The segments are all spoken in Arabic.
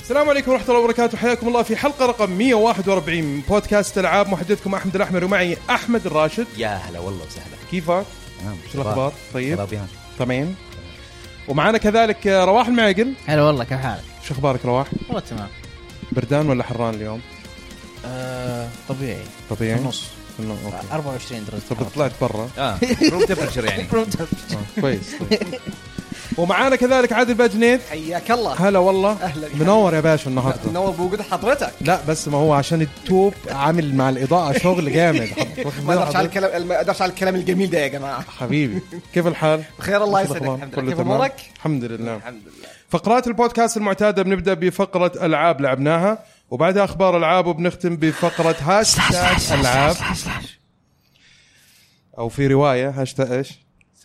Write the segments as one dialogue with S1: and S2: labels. S1: السلام عليكم ورحمة الله وبركاته حياكم الله في حلقة رقم 141 من بودكاست ألعاب محدثكم أحمد الأحمر ومعي أحمد الراشد
S2: يا هلا والله وسهلا
S1: كيفك؟ نعم. شو الأخبار؟ طيب؟
S2: شباب يعني. يا هلا.
S1: تمام ومعنا كذلك آه، رواح المعقل
S3: هلا والله كيف حالك؟
S1: شو أخبارك رواح؟
S3: والله تمام
S1: بردان ولا حران اليوم؟
S3: طبيعي
S1: طبيعي؟
S3: النص
S1: إنه- أوكي.
S3: 24 درجة
S1: طب طلعت برا
S2: اه روم تمبرشر يعني
S1: آه، كويس طيب. ومعانا كذلك عادل باجنيد
S4: حياك الله
S1: هلا والله
S4: اهلا
S1: منور يا باشا النهارده
S4: منور بوجود حضرتك
S1: لا بس ما هو عشان التوب عامل مع الاضاءه شغل جامد
S4: ما اقدرش على الكلام ما اقدرش على الكلام الجميل ده يا جماعه
S1: حبيبي كيف الحال؟
S4: بخير الله
S1: كيف
S4: يسعدك
S1: الأخبار؟
S4: الحمد
S1: كله
S4: لله كيف
S1: تمام؟
S4: امورك؟
S1: الحمد لله
S4: الحمد لله
S1: فقرات البودكاست المعتاده بنبدا بفقره العاب لعبناها وبعدها اخبار العاب وبنختم بفقره هاشتاج العاب او في روايه هاشتاج ايش؟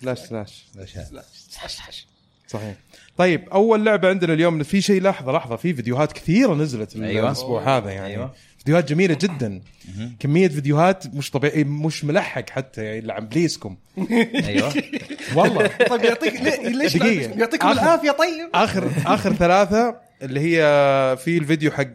S1: سلاش سلاش صحيح طيب اول لعبه عندنا اليوم في شيء لحظه لحظه في فيديوهات كثيره نزلت
S2: أيوة.
S1: أيوة. الاسبوع هذا يعني أيوة.
S2: أيوة.
S1: فيديوهات جميله جدا كميه فيديوهات مش طبيعي مش ملحق حتى يعني اللي عم بليسكم
S2: ايوه
S1: والله
S4: طيب يعطيك ليه- ليش
S1: دقيقة.
S4: يعطيكم
S1: آخر.
S4: العافيه طيب
S1: اخر اخر ثلاثه اللي هي في الفيديو حق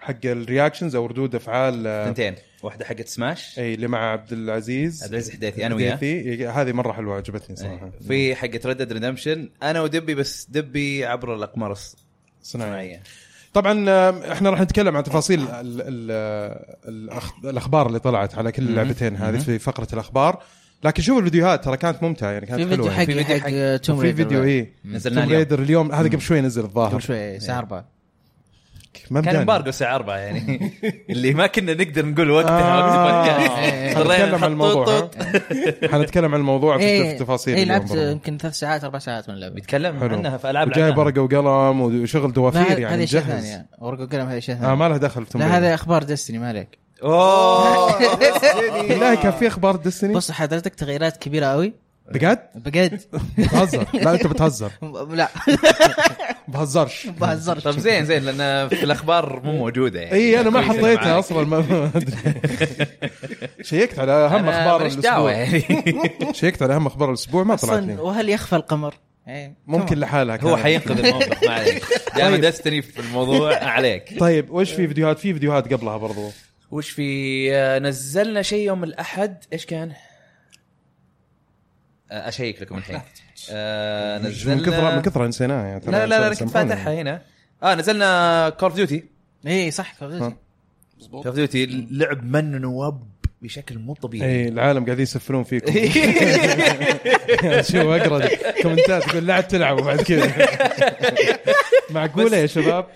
S1: حق الرياكشنز او ردود افعال
S2: ثنتين واحده حقت سماش
S1: اي اللي مع عبد العزيز
S2: عبد العزيز حديثي انا وياه
S1: حديثي. هذه مره حلوه عجبتني صراحه
S2: إيه. في حقت ردد ريدمشن انا ودبي بس دبي عبر الاقمار
S1: صناعيه
S2: الصناعيه
S1: طبعا آه، احنا راح نتكلم عن تفاصيل ال ال الأخ- الاخبار اللي طلعت على كل اللعبتين هذه في فقره الاخبار لكن شوفوا الفيديوهات ترى كانت ممتعه يعني كانت
S3: في فيديو
S1: حلوه
S3: حق
S1: يعني.
S2: في فيديو
S3: حق توم
S1: في
S3: ريدر
S1: فيديو إيه، اي
S2: نزلناه اليوم.
S1: ريدر اليوم هذا قبل شوي نزل
S3: قبل
S1: الظاهر
S3: شوي إيه، الساعة 4
S2: كان
S1: مجاني.
S2: امبارجو الساعه 4 يعني اللي ما كنا نقدر نقول وقتها
S1: آه.
S2: وقت
S1: حنتكلم
S2: البودكاست
S3: إيه.
S1: عن الموضوع ها؟
S2: خطوط.
S1: حنتكلم عن الموضوع في التفاصيل
S3: اي
S1: اليوم
S3: إيه، لعبت
S1: برضه.
S3: يمكن ثلاث ساعات اربع ساعات من اللعبه
S2: بيتكلم
S1: حلو.
S2: عنها في العاب
S1: وجايب
S2: لعبناها.
S1: ورقه وقلم وشغل دوافير
S3: هذه
S1: يعني
S3: شيء
S1: مجهز
S3: ثاني ورقه وقلم هذه شيء
S1: آه
S3: ثاني
S1: ما لها دخل في توم
S3: لا
S1: بريدر.
S3: هذا اخبار ديستني ما عليك
S2: اوه
S1: آه،
S4: آه،
S1: يعني بالله إيه، كان في اخبار ديستني
S3: بص حضرتك تغييرات كبيره قوي
S1: بجد
S3: بجد
S1: بتهزر لا انت بتهزر
S3: لا
S1: بهزرش
S3: بهزرش
S2: طب زين زين لان في الاخبار مو موجوده يعني
S1: اي انا إيه، ما
S2: كويسة
S1: حطيتها
S2: معاك.
S1: اصلا ما- ما ادري شيكت على اهم
S2: أنا
S1: اخبار
S2: ماليش دعوة
S1: الاسبوع
S2: يعني
S1: شيكت على اهم اخبار الاسبوع ما طلعت
S3: اصلا
S1: لي
S3: وهل يخفى القمر؟ إيه.
S1: ممكن لحالها
S2: هو
S1: كانت.
S2: حينقذ الموقف ما عليك دائما دستني في الموضوع عليك
S1: طيب وش في فيديوهات في فيديوهات قبلها برضو
S2: وش في آه، نزلنا شيء يوم الاحد ايش كان؟ آه، اشيك لكم الحين آه، نزلنا
S1: من كثره من كثره نسيناها يعني ترى
S2: لا لا لا أنا كنت
S1: سامحونا.
S2: فاتحها هنا اه نزلنا كول اوف ديوتي
S3: اي إيه، صح كوزيتي.
S1: ها.
S2: كول اوف ديوتي لعب من نوب بشكل مو طبيعي يعني
S1: اي إيه، العالم قاعدين يسفلون فيكم يعني شو اقرا كومنتات تقول لا تلعبوا بعد كذا معقوله يا شباب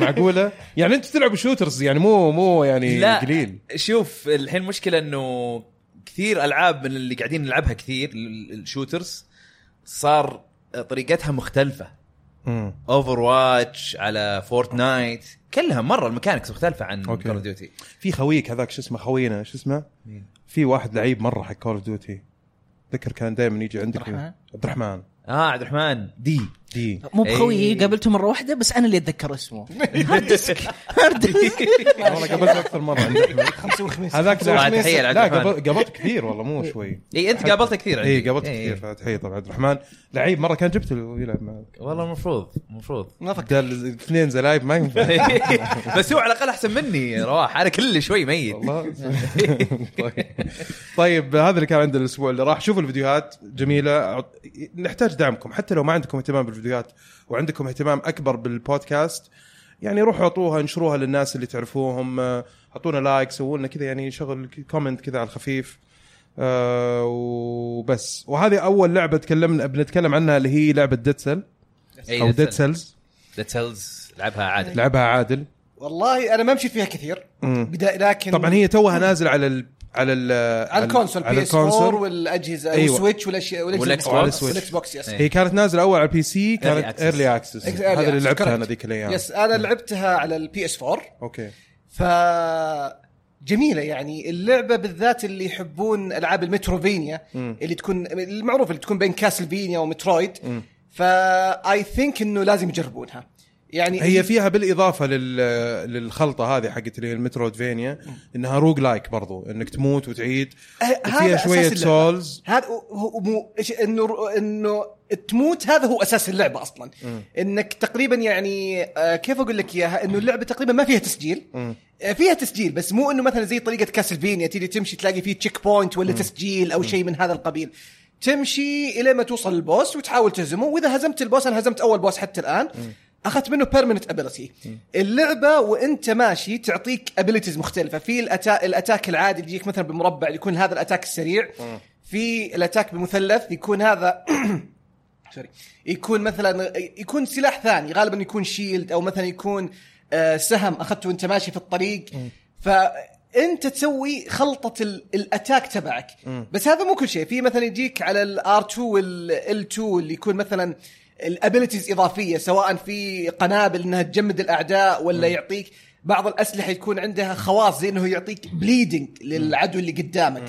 S1: معقوله يعني انتم تلعبوا شوترز يعني مو مو يعني
S2: لا.
S1: قليل
S2: شوف الحين المشكله انه كثير العاب من اللي قاعدين نلعبها كثير ال- الشوترز صار طريقتها مختلفه
S1: مم.
S2: اوفر واتش على فورتنايت كلها مره الميكانكس مختلفه عن
S1: أوكي.
S2: كول اوف ديوتي
S1: في خويك هذاك شو اسمه خوينا شو اسمه
S2: مين؟
S1: في واحد لعيب مره حق كول اوف ديوتي ذكر كان دائما يجي عندك
S3: الرحمن؟
S1: عبد الرحمن
S2: اه عبد الرحمن دي
S1: دي
S3: مو بخويي
S2: إي.
S3: قابلته مره واحده بس انا اللي اتذكر اسمه هارد ديسك هارد ديسك
S1: والله قابلته اكثر مره عند أحمد. هذاك
S2: طبعاً،
S1: لعيب-
S2: تحية لعبد
S1: لا
S2: الرحمن.
S1: قابل- قابلته كثير والله مو شوي
S2: اي انت قابلته كثير عندي.
S1: اي قابلته
S2: إي.
S1: إيه، كثير فتحيه طبعا عبد الرحمن لعيب مره كان جبته يلعب معك
S2: والله المفروض المفروض
S1: ده الاثنين زلايب ما ينفع
S2: بس هو على الاقل احسن مني يا رواح انا كل شوي ميت
S1: والله طيب. طيب هذا اللي كان عندنا الاسبوع اللي راح شوفوا الفيديوهات جميله عط- نحتاج دعمكم حتى لو ما عندكم اهتمام بالفيديوهات وعندكم اهتمام اكبر بالبودكاست يعني روحوا اعطوها انشروها للناس اللي تعرفوهم آه، اعطونا لايك سووا لنا كذا يعني شغل كومنت كذا على الخفيف آه وبس وهذه اول لعبه تكلمنا بنتكلم عنها اللي هي لعبه ديد سيل
S2: إيه،
S1: او ديد سيلز
S2: ديد سيلز لعبها عادل
S1: لعبها عادل
S4: والله انا ما مشيت فيها كثير
S1: مم.
S4: بدا لكن
S1: طبعا هي توها نازل على ال على ال
S4: على الكونسول بي اس 4 والاجهزه
S1: أيوة.
S4: أيوة. والسويتش والاشياء
S2: والإكس
S1: بوكس.
S4: والاكس بوكس يس
S2: إيه.
S1: هي كانت نازله اول على البي سي كانت
S2: Early access.
S1: ايرلي اكسس
S4: Ex- early
S1: هذا اللي
S4: access,
S1: لعبتها
S4: correct.
S1: انا ذيك الايام
S4: يس انا لعبتها على البي اس 4
S1: اوكي
S4: ف جميلة يعني اللعبة بالذات اللي يحبون العاب المتروفينيا اللي تكون المعروف اللي تكون بين كاسلفينيا ومترويد فاي ثينك انه لازم يجربونها يعني
S1: هي فيها بالاضافه لل... للخلطه هذه حقت اللي هي المترودفينيا انها روج لايك برضو انك تموت وتعيد
S4: ه- أه، هذا
S1: فيها
S4: أساس
S1: شويه
S4: اللعبة.
S1: سولز
S4: هذا هو- هو مو إيش- انه انه تموت هذا هو اساس اللعبه اصلا انك تقريبا يعني آه، كيف اقول لك اياها انه اللعبه تقريبا ما فيها تسجيل آه، فيها تسجيل بس مو انه مثلا زي طريقه كاسلفينيا تيجي تمشي تلاقي فيه تشيك بوينت ولا تسجيل او شيء من هذا القبيل تمشي الى ما توصل البوس وتحاول تهزمه واذا هزمت البوس انا هزمت اول بوس حتى الان اخذت منه بيرمننت ابيلتي اللعبه وانت ماشي تعطيك ابيلتيز مختلفه في الأتا... الاتاك العادي اللي يجيك مثلا بمربع يكون هذا الاتاك السريع في الاتاك بمثلث يكون هذا سوري يكون مثلا يكون سلاح ثاني غالبا يكون شيلد او مثلا يكون آه، سهم اخذته وانت ماشي في الطريق فانت تسوي خلطه ال- الاتاك تبعك بس هذا مو كل شيء في مثلا يجيك على الار 2 وال 2 اللي يكون مثلا الابيلتيز اضافيه سواء في قنابل انها تجمد الاعداء ولا يعطيك بعض الاسلحه يكون عندها خواص زي انه يعطيك بليدنج للعدو اللي قدامك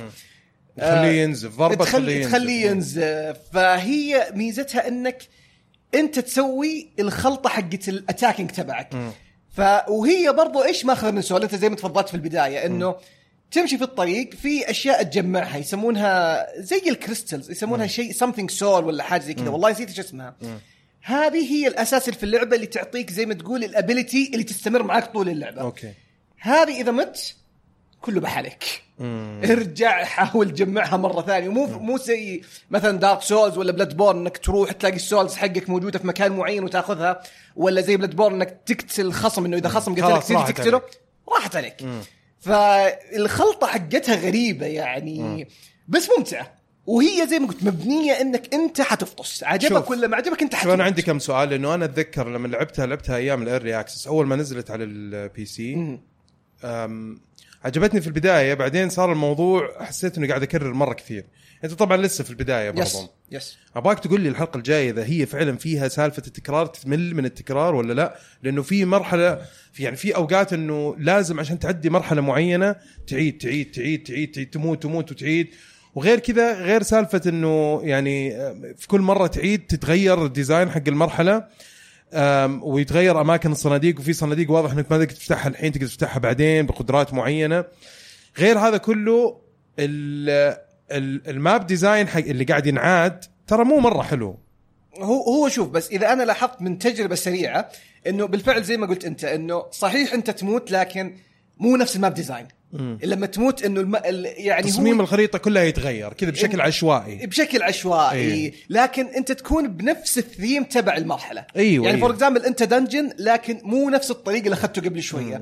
S1: تخليه ينزف ضربه
S4: أه، تخلي تخليه ينزف فهي ميزتها انك انت تسوي الخلطه حقت الاتاكينج تبعك ف وهي برضو ايش ماخذ من سؤال انت زي ما تفضلت في البدايه انه تمشي في الطريق في اشياء تجمعها يسمونها زي الكريستلز يسمونها شيء something سول ولا حاجه زي كذا والله نسيت ايش اسمها هذه هي الاساس اللي في اللعبه اللي تعطيك زي ما تقول الابيلتي اللي تستمر معك طول اللعبه
S1: اوكي
S4: هذه اذا مت كله بحالك ارجع حاول تجمعها مره ثانيه مو مو زي مثلا دارك سولز ولا بلاد بورن انك تروح تلاقي السولز حقك موجوده في مكان معين وتاخذها ولا زي بلاد بورن انك تقتل خصم انه اذا خصم قتلك
S1: خلاص
S4: تيجي
S1: راحت
S4: تقتله
S1: عليك.
S4: راحت عليك فالخلطه حقتها غريبه يعني بس ممتعه وهي زي ما قلت مبنيه انك انت حتفطس عجبك
S1: شوف.
S4: ولا ما عجبك انت
S1: شوف انا
S4: حتموت
S1: عندي كم سؤال لانه انا اتذكر لما لعبتها لعبتها ايام الايرلي اكسس اول ما نزلت على البي سي أم، عجبتني في البدايه بعدين صار الموضوع حسيت انه قاعد اكرر مره كثير انت طبعا لسه في البدايه
S4: يس
S1: برضو
S4: يس
S1: ابغاك تقول لي الحلقه الجايه اذا هي فعلا فيها سالفه التكرار تمل من التكرار ولا لا لانه في مرحله في يعني في اوقات انه لازم عشان تعدي مرحله معينه تعيد تعيد تعيد تعيد, تعيد تموت تموت وتعيد وغير كذا غير سالفه انه يعني آه، في كل مره تعيد تتغير الديزاين حق المرحله آم، ويتغير اماكن الصناديق وفي صناديق واضح انك ما تقدر تفتحها الحين تقدر تفتحها بعدين بقدرات معينه غير هذا كله ال- ال- الماب ديزاين حق اللي قاعد ينعاد ترى مو مره حلو
S4: يعني هو هو شوف بس اذا انا لاحظت من تجربه سريعه انه بالفعل زي ما قلت انت انه صحيح انت تموت لكن مو نفس الماب ديزاين لما تموت انه الم... ال- يعني
S1: تصميم
S4: هو إيه.
S1: الخريطه كلها يتغير كذا بشكل عشوائي
S4: بشكل عشوائي
S1: إيه.
S4: لكن انت تكون بنفس الثيم تبع المرحله
S1: أيوة،
S4: يعني
S1: أيوة.
S4: فور اكزامبل انت دنجن لكن مو نفس الطريق اللي اخذته قبل شويه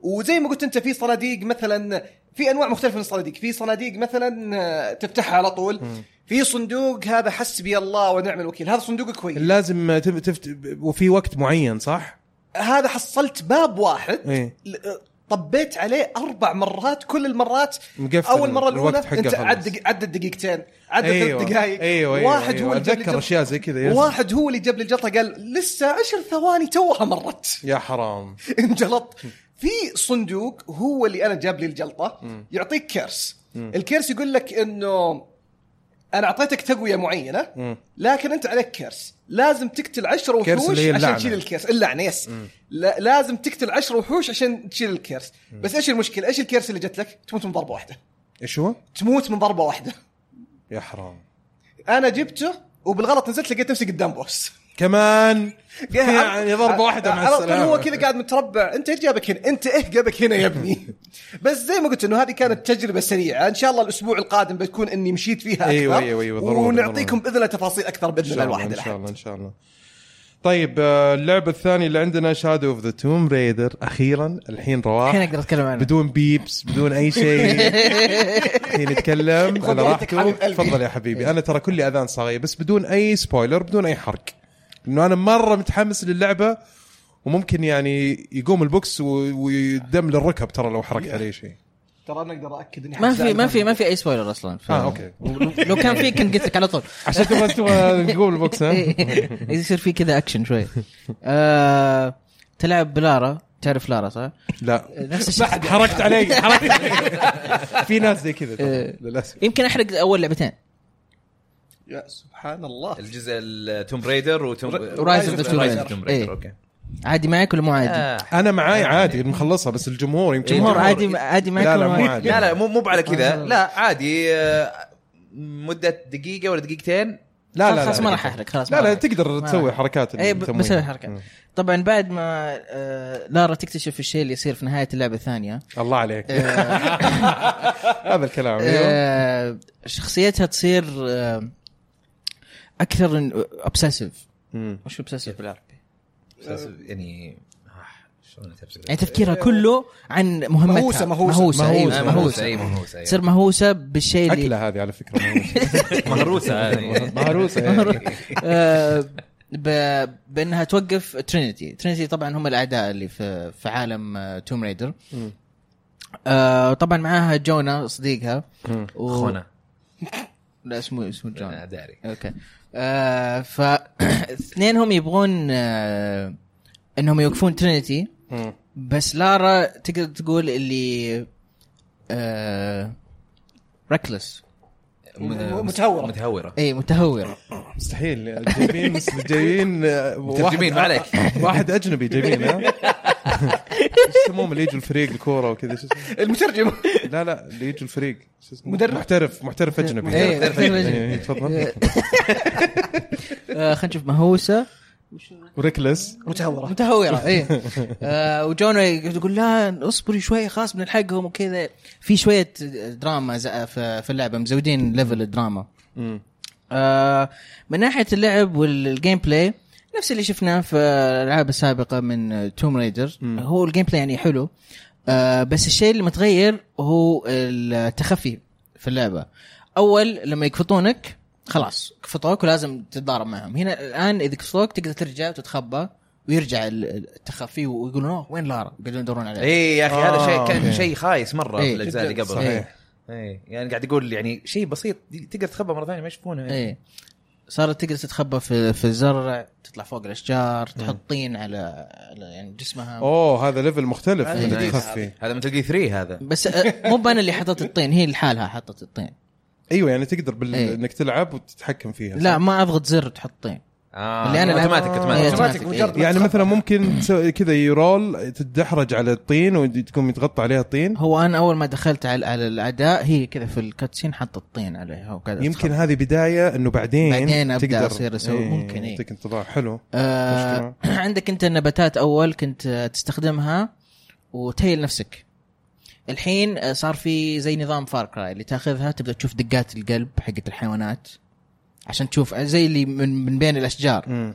S4: وزي ما قلت انت في صناديق مثلا في انواع مختلفه من الصناديق في صناديق مثلا آه، تفتحها على طول في صندوق هذا حسبي الله ونعم الوكيل هذا صندوق كويس
S1: لازم تب- تفت وفي وقت معين صح؟
S4: هذا حصلت باب واحد
S1: إيه.
S4: ل- طبيت عليه اربع مرات كل المرات
S1: مقفل
S4: اول مره
S1: الوقت
S4: الاولى
S1: حقه
S4: انت
S1: خلص.
S4: عد عد الدقيقتين عد
S1: أيوة،
S4: ثلاث دقائق
S1: أيوة، أيوة،
S4: واحد
S1: أيوة،
S4: هو اللي جاب
S1: أتذكر
S4: لي الجلطة.
S1: أشياء زي كذا، يس.
S4: واحد هو اللي جاب لي الجلطه قال لسه عشر ثواني توها مرت
S1: يا حرام
S4: انجلط في صندوق هو اللي انا جاب لي الجلطه يعطيك كيرس الكيرس يقول لك انه انا اعطيتك تقويه معينه لكن انت عليك كيرس لازم تقتل 10
S1: كيرس
S4: وحوش
S1: اللي هي
S4: عشان
S1: اللعنة.
S4: تشيل الكيرس اللعنه يس لا لازم تقتل 10 وحوش عشان تشيل الكيرس بس ايش المشكله ايش الكيرس اللي جت لك تموت من ضربه واحده
S1: ايش هو؟
S4: تموت من ضربه واحده
S1: يا حرام
S4: انا جبته وبالغلط نزلت لقيت نفسي قدام بوس
S1: كمان يعني ضربه واحده مع
S4: على طول
S1: السلامه
S4: هو كذا قاعد متربع انت ايش جابك هنا؟ انت ايه جابك هنا يا ابني؟ بس زي ما قلت انه هذه كانت تجربه سريعه، ان شاء الله الاسبوع القادم بتكون اني مشيت فيها اكثر
S1: أيوة، أيوة، أيوة، ضروري،
S4: ونعطيكم
S1: ضروري.
S4: باذن الله تفاصيل اكثر باذن الله الواحد
S1: ان شاء
S4: الاحد
S1: الله ان شاء الله طيب آه، اللعبه الثانيه اللي عندنا شادو اوف ذا توم ريدر اخيرا الحين
S3: الحين
S1: رواح
S3: اقدر اتكلم عنه
S1: بدون بيبس بدون اي شيء إيه، الحين يتكلم على
S4: تفضل يدك
S1: راحته
S4: حبيب قلبي.
S1: تفضل يا حبيبي انا ترى كلي اذان صاغيه بس بدون اي سبويلر بدون اي حرق انه انا مره متحمس للعبه وممكن يعني يقوم البوكس و- ويدم للركب ترى لو حركت عليه شيء
S4: ترى انا اقدر اكد اني
S3: ما
S4: حزعل
S3: في ما
S4: مرة.
S3: في ما في اي سبويلر اصلا ف-
S1: اه اوكي
S3: لو كان في كنت قلت لك على طول
S1: عشان تبغى تبغى تقوم البوكس ها
S3: إيه، يصير في كذا اكشن شوي آه، تلعب بلارا تعرف لارا صح؟
S1: لا
S3: نفس الشيء
S1: حركت علي حركت علي في ناس زي كذا ترى،
S3: إيه.
S1: للاسف
S3: يمكن احرق اول لعبتين
S4: يا سبحان الله
S2: الجزء التوم ريدر وتوم
S3: ورايز أوف ذا توم
S2: رايز
S3: ريدر.
S2: أوف توم
S3: إيه.
S2: ريدر اوكي
S3: عادي معك ولا مو عادي؟
S2: آه.
S1: انا معاي عادي مخلصها بس الجمهور يمكن
S3: الجمهور
S1: الجمهور-
S3: إيه. عادي عادي معك
S1: إيه، لا لا
S3: ولا
S1: مو
S3: معك؟
S1: عادي
S2: لا لا مو مو على
S3: ما شاء
S2: كذا
S3: الله.
S2: لا عادي آه، مدة دقيقة ولا دقيقتين
S1: لا لا لا
S3: خلاص ما
S1: لا.
S3: راح احرق خلاص ما
S1: لا لا
S3: راح أحرق. إيه،
S1: تقدر
S3: ما
S1: تسوي
S3: راح.
S1: حركات
S3: اي ب-
S1: التمويل.
S3: بسوي حركات
S1: مم.
S3: طبعا بعد ما آه، لارا تكتشف الشيء اللي يصير في نهايه اللعبه الثانيه
S1: الله عليك هذا الكلام أيوه.
S3: آه، شخصيتها تصير آه، اكثر اوبسيسيف
S1: مم.
S3: وش اوبسيسيف؟
S2: بالعربي
S1: أه.
S2: يعني آه، شلون اترجم
S3: يعني تفكيرها كله عن مهمتها
S4: مهووسة- مهووسة.
S1: مهووسة.
S3: مهووسه أيوة،
S2: آه، مهوسة اي
S3: مهوسه
S2: مهوسة أي.
S3: تصير مهوسه بالشيء اللي
S1: اكله هذه على فكره مهروسه
S2: مهروسة هذه.
S1: مهروسه يعني.
S3: آه، ب- بانها توقف ترينيتي ترينيتي طبعا هم الاعداء اللي في في عالم آه، توم ريدر
S1: مم.
S3: طبعا آه، معاها جونا صديقها
S1: مم.
S3: و-
S2: خونا
S3: لا اسمه اسمه جونا
S2: آه، داري
S3: اوكي آه فاثنينهم يبغون آه انهم يوقفون ترينيتي
S1: مم.
S3: بس لارا تقدر تقول اللي آه ركلس
S4: م- متهورة.
S2: متهورة
S3: اي متهوره
S1: مستحيل جايبين مس- جايبين آه، واحد-
S2: مترجمين، ما عليك.
S1: واحد اجنبي جايبين ها ايش يسموهم اللي يجوا الفريق الكوره وكذا شو اسمه
S4: المترجم
S1: لا لا اللي يجوا الفريق شو اسمه
S4: مدرب.
S1: محترف محترف اجنبي
S3: إيه، محترف أجنبي.
S1: إيه، تفضل
S3: آه خلينا نشوف مهووسه
S1: وريكلس
S4: متهوره
S3: متهوره اي إيه. آه وجونا يقول لا اصبري شوي خلاص بنلحقهم وكذا في شويه دراما ز- في في اللعبه مزودين ليفل الدراما
S1: مم.
S3: آه، من ناحيه اللعب والجيم بلاي نفس اللي شفناه في الالعاب السابقه من توم ريدر
S1: مم.
S3: هو الجيم بلاي يعني حلو آه، بس الشيء اللي متغير هو التخفي في اللعبه اول لما يكفطونك خلاص كفطوك ولازم تتضارب معهم هنا الان اذا كفطوك تقدر ترجع وتتخبى ويرجع ال- التخفي ويقولون "أوه، وين لارا يقعدون يدورون عليها
S2: اي إيه يا اخي
S1: آه،
S2: هذا شيء
S1: أوكي.
S2: كان شيء خايس مره
S3: إيه.
S2: في الاجزاء اللي
S1: جداً،
S2: قبل
S1: صحيح.
S2: اي يعني قاعد يقول يعني شيء بسيط تقدر تخبى مره ثانيه ما يشوفونها
S1: إيه.
S2: يعني.
S3: ايه صارت تقدر تتخبى في في الزرع تطلع فوق الاشجار تحط طين على على يعني جسمها
S1: اوه هذا ليفل مختلف
S3: آه،
S4: هذا
S1: من
S2: جديد.
S1: التخفي
S2: هذا مثل جي 3 هذا
S3: بس آه، مو انا اللي حطيت الطين هي لحالها حطت الطين
S1: ايوه يعني تقدر بال...
S3: إيه.
S1: انك تلعب وتتحكم فيها
S3: لا ما اضغط زر تحط طين
S2: اه
S3: اللي أنا الآن-
S2: اوتوماتيك
S1: آه،
S3: إيه،
S2: اوتوماتيك
S3: automatic.
S4: مجرد
S1: يعني مثلا ممكن تسوي كذا يرول تدحرج على الطين وتكون متغطى عليها الطين
S3: هو انا اول ما دخلت على, على الاعداء هي كذا في الكاتسين حطت طين عليها وقاعدة
S1: يمكن
S3: تخبط.
S1: هذه بدايه انه بعدين
S3: بعدين أبدأ أصير أسوي. ممكن، إيه.
S1: يعطيك انطباع حلو
S3: آه
S1: مشكلة.
S3: عندك انت النباتات اول كنت آه، تستخدمها وتهيل نفسك الحين آه، صار في زي نظام فار كراي اللي تاخذها تبدا تشوف دقات القلب حقت الحيوانات عشان تشوف آه، زي اللي من, من بين الاشجار
S1: مم.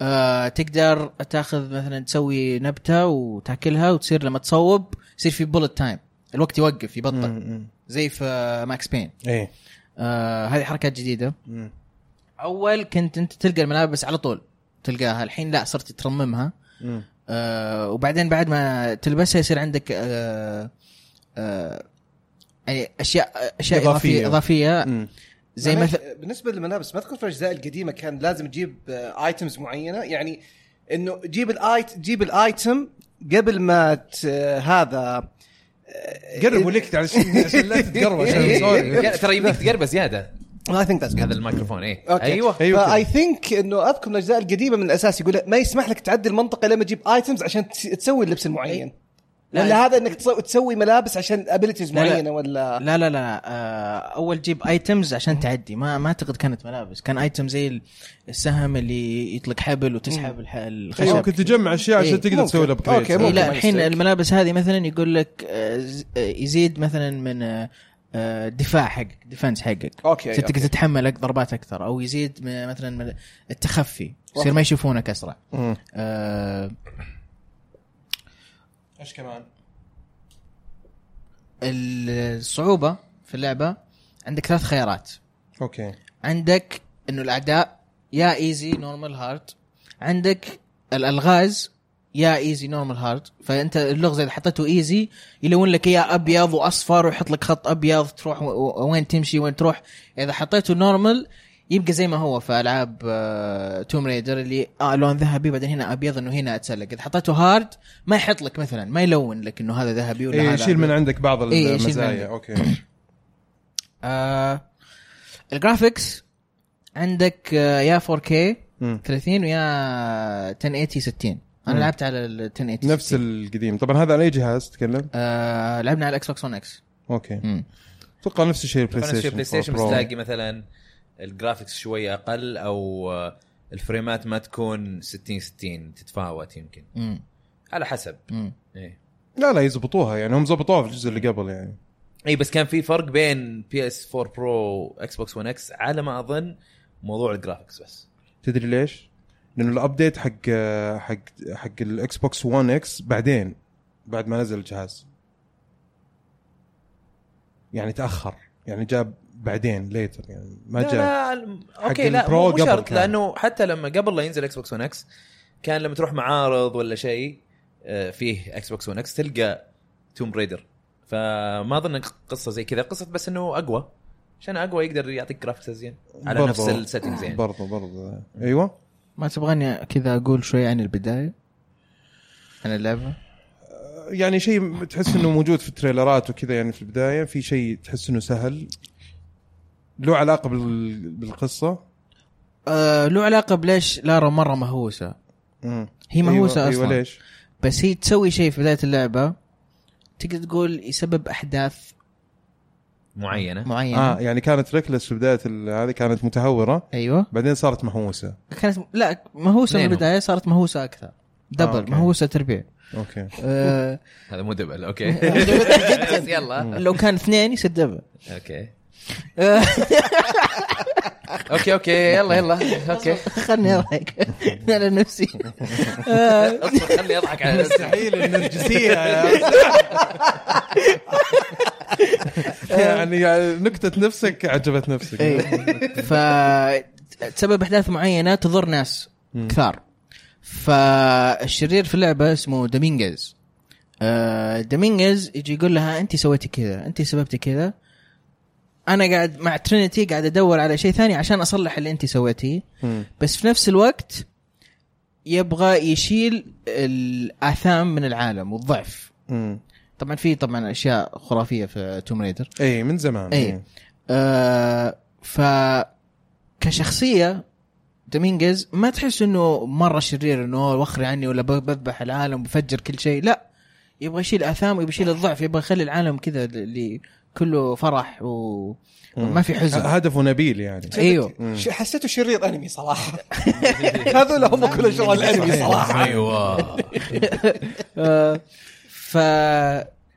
S3: آه تقدر تاخذ مثلا تسوي نبته وتاكلها وتصير لما تصوب يصير في بولت تايم الوقت يوقف يبطل
S1: مم. مم.
S3: زي في ماكس بين
S1: ايه
S3: آه هذه حركات جديده
S1: مم.
S3: اول كنت انت تلقى الملابس على طول تلقاها الحين لا صرت ترممها
S1: مم.
S3: آه وبعدين بعد ما تلبسها يصير عندك آه آه يعني اشياء اشياء
S1: إضافية.
S3: اضافيه اضافيه
S1: مم. يعني
S3: زي
S4: معليش،
S3: مثلا
S4: بالنسبه يعني للملابس ما اذكر في الاجزاء القديمه كان لازم تجيب ايتمز معينه يعني انه جيب الايت جيب الايتم قبل ما ت... آه، هذا آه،
S3: إيه.
S1: قربوا لك عشان عشان لا تتقرب
S2: إيه،
S1: عشان سوري
S2: لا، ترى يبيك تقربه زياده
S4: اي ثينك ذاتس
S2: هذا الميكروفون ايه
S4: اوكي
S2: ايوه
S1: أيوة كده.
S4: اي ثينك انه اذكر من الاجزاء القديمه من الاساس يقول ما يسمح لك تعدي المنطقه لما تجيب ايتمز عشان تس- تسوي اللبس المعين
S3: لا،
S4: ولا هذا انك تسوي, تسوي ملابس عشان ابيلتيز
S3: لا، لا.
S4: معينه ولا
S3: لا لا لا آه، اول جيب ايتمز عشان تعدي ما ما اعتقد كانت ملابس كان ايتم زي السهم اللي يطلق حبل وتسحب الح- الخشب
S1: ايوه كنت تجمع اشياء عشان
S3: إيه.
S1: تقدر تسوي
S4: ممكن.
S1: الابجريد
S4: أوكي،
S3: إيه
S4: إيه، ممكن.
S3: لا
S4: ما
S3: الحين
S4: يستوي.
S3: الملابس هذه مثلا يقول لك آه، ز- آه، يزيد مثلا من آه، آه، دفاع حقك ديفنس حقك
S4: اوكي
S3: تصير تقدر
S4: أوكي.
S3: تتحمل أك- ضربات اكثر او يزيد من- مثلا من التخفي يصير ما يشوفونك اسرع
S1: مم.
S3: آه،
S1: ايش كمان؟
S3: الصعوبه في اللعبه عندك ثلاث خيارات
S1: اوكي
S3: عندك انه الاعداء يا ايزي نورمال هارد عندك الالغاز يا ايزي نورمال هارد فانت اللغز اذا حطيته ايزي يلون لك اياه ابيض واصفر ويحط لك خط ابيض تروح و- و- وين تمشي وين تروح اذا حطيته نورمال يبقى زي ما هو في العاب توم ريدر اللي اه لون ذهبي بعدين هنا ابيض انه هنا اتسلق اذا حطيته هارد ما يحط لك مثلا ما يلون لك انه هذا ذهبي ولا
S1: إيه،
S3: هذا
S1: يشيل من
S3: أبيض.
S1: عندك بعض
S3: إيه، يشيل من
S1: المزايا
S3: عندك.
S1: اوكي
S3: آه الجرافيكس عندك آه يا 4K
S1: مم.
S3: 30 ويا 1080 60 انا لعبت على ال 1080
S1: نفس القديم طبعا هذا على اي جهاز تتكلم؟
S3: آه لعبنا على الاكس بوكس 1 اكس
S1: اوكي اتوقع نفس الشيء البلاي
S2: طبعا
S1: ستيشن
S2: في بلاي ستيشن
S1: Pro
S2: بس
S1: Pro.
S2: تلاقي مثلا الجرافيكس شوي اقل او آه، الفريمات ما تكون 60 60 تتفاوت يمكن على حسب ايه
S1: لا لا يزبطوها يعني هم زبطوها في الجزء اللي قبل يعني
S2: اي إيه، بس كان في فرق بين بي اس 4 برو اكس بوكس 1 اكس على ما اظن موضوع الجرافيكس بس
S1: تدري ليش؟ لانه الابديت حق حق حق الاكس بوكس 1 اكس بعدين بعد ما نزل الجهاز يعني تاخر يعني جاب بعدين ليتر يعني ما
S2: لا
S1: جاء
S2: لا اوكي
S1: حق
S2: لا
S1: البرو
S2: مو مو
S1: قبل
S2: شرط
S1: كان.
S2: لانه حتى لما قبل لا ينزل اكس بوكس 1 اكس كان لما تروح معارض ولا شيء آه، فيه اكس بوكس 1 اكس تلقى توم بريدر فما اظن قصه زي كذا قصه بس انه اقوى عشان اقوى يقدر يعطيك جرافيكس زين على
S1: برضو-
S2: نفس السيتنجز يعني
S1: برضو برضو ايوه
S3: ما تبغاني كذا اقول شوي عن البدايه عن اللعبه
S1: يعني شيء تحس انه موجود في التريلرات وكذا يعني في البدايه في شيء تحس انه سهل له علاقه بال... بالقصه
S3: آه له علاقه بليش لارا مره مهووسه
S1: مم.
S3: هي مهووسه
S1: أيوة.
S3: اصلا
S1: ايوه ليش؟
S3: بس هي تسوي شيء في بدايه اللعبه تقدر تقول يسبب احداث
S2: معينه
S3: معينه
S1: اه يعني كانت ريكلس في بدايه ال- هذه كانت متهوره
S3: ايوه
S1: بعدين صارت مهووسه
S3: كانت لا مهوسه من
S2: نينو.
S3: البدايه صارت مهوسه اكثر دبل
S1: أوكي.
S3: آه، مهوسه تربيع
S1: اوكي
S3: آه
S2: هذا مو دبل اوكي بس يلا
S3: لو كان اثنين يصير دبل
S2: اوكي اوكي اوكي يلا يلا اوكي
S3: خلني اضحك على نفسي آه،
S2: اصبر خلني اضحك على نفسي
S1: مستحيل النرجسيه يعني نكتة نفسك عجبت نفسك
S3: إيه. ف تسبب احداث معينه تضر ناس كثار فالشرير في اللعبه اسمه دومينغيز آه، دومينغيز يجي يقول لها انت سويتي كذا انت سببتي كذا انا قاعد مع ترينيتي قاعد ادور على شيء ثاني عشان اصلح اللي انت سويتيه بس في نفس الوقت يبغى يشيل الاثام من العالم والضعف طبعا في طبعا اشياء خرافيه في توم ريدر
S1: اي إيه، من زمان
S3: اي آه ف كشخصيه دومينغيز ما تحس انه مره شرير انه "أوه، وخري عني ولا ب- بذبح العالم وبفجر كل شيء لا يبغى يشيل اثام ويبغى يشيل الضعف يبغى يخلي العالم كذا اللي كله فرح و... وما في
S1: ه-
S3: حزن
S1: هدفه نبيل يعني
S3: ايوه
S4: أيوه. ش- حسيته شرير انمي صراحه هذول هم كل شرار الانمي صراحه
S2: ايوه
S3: آه، ف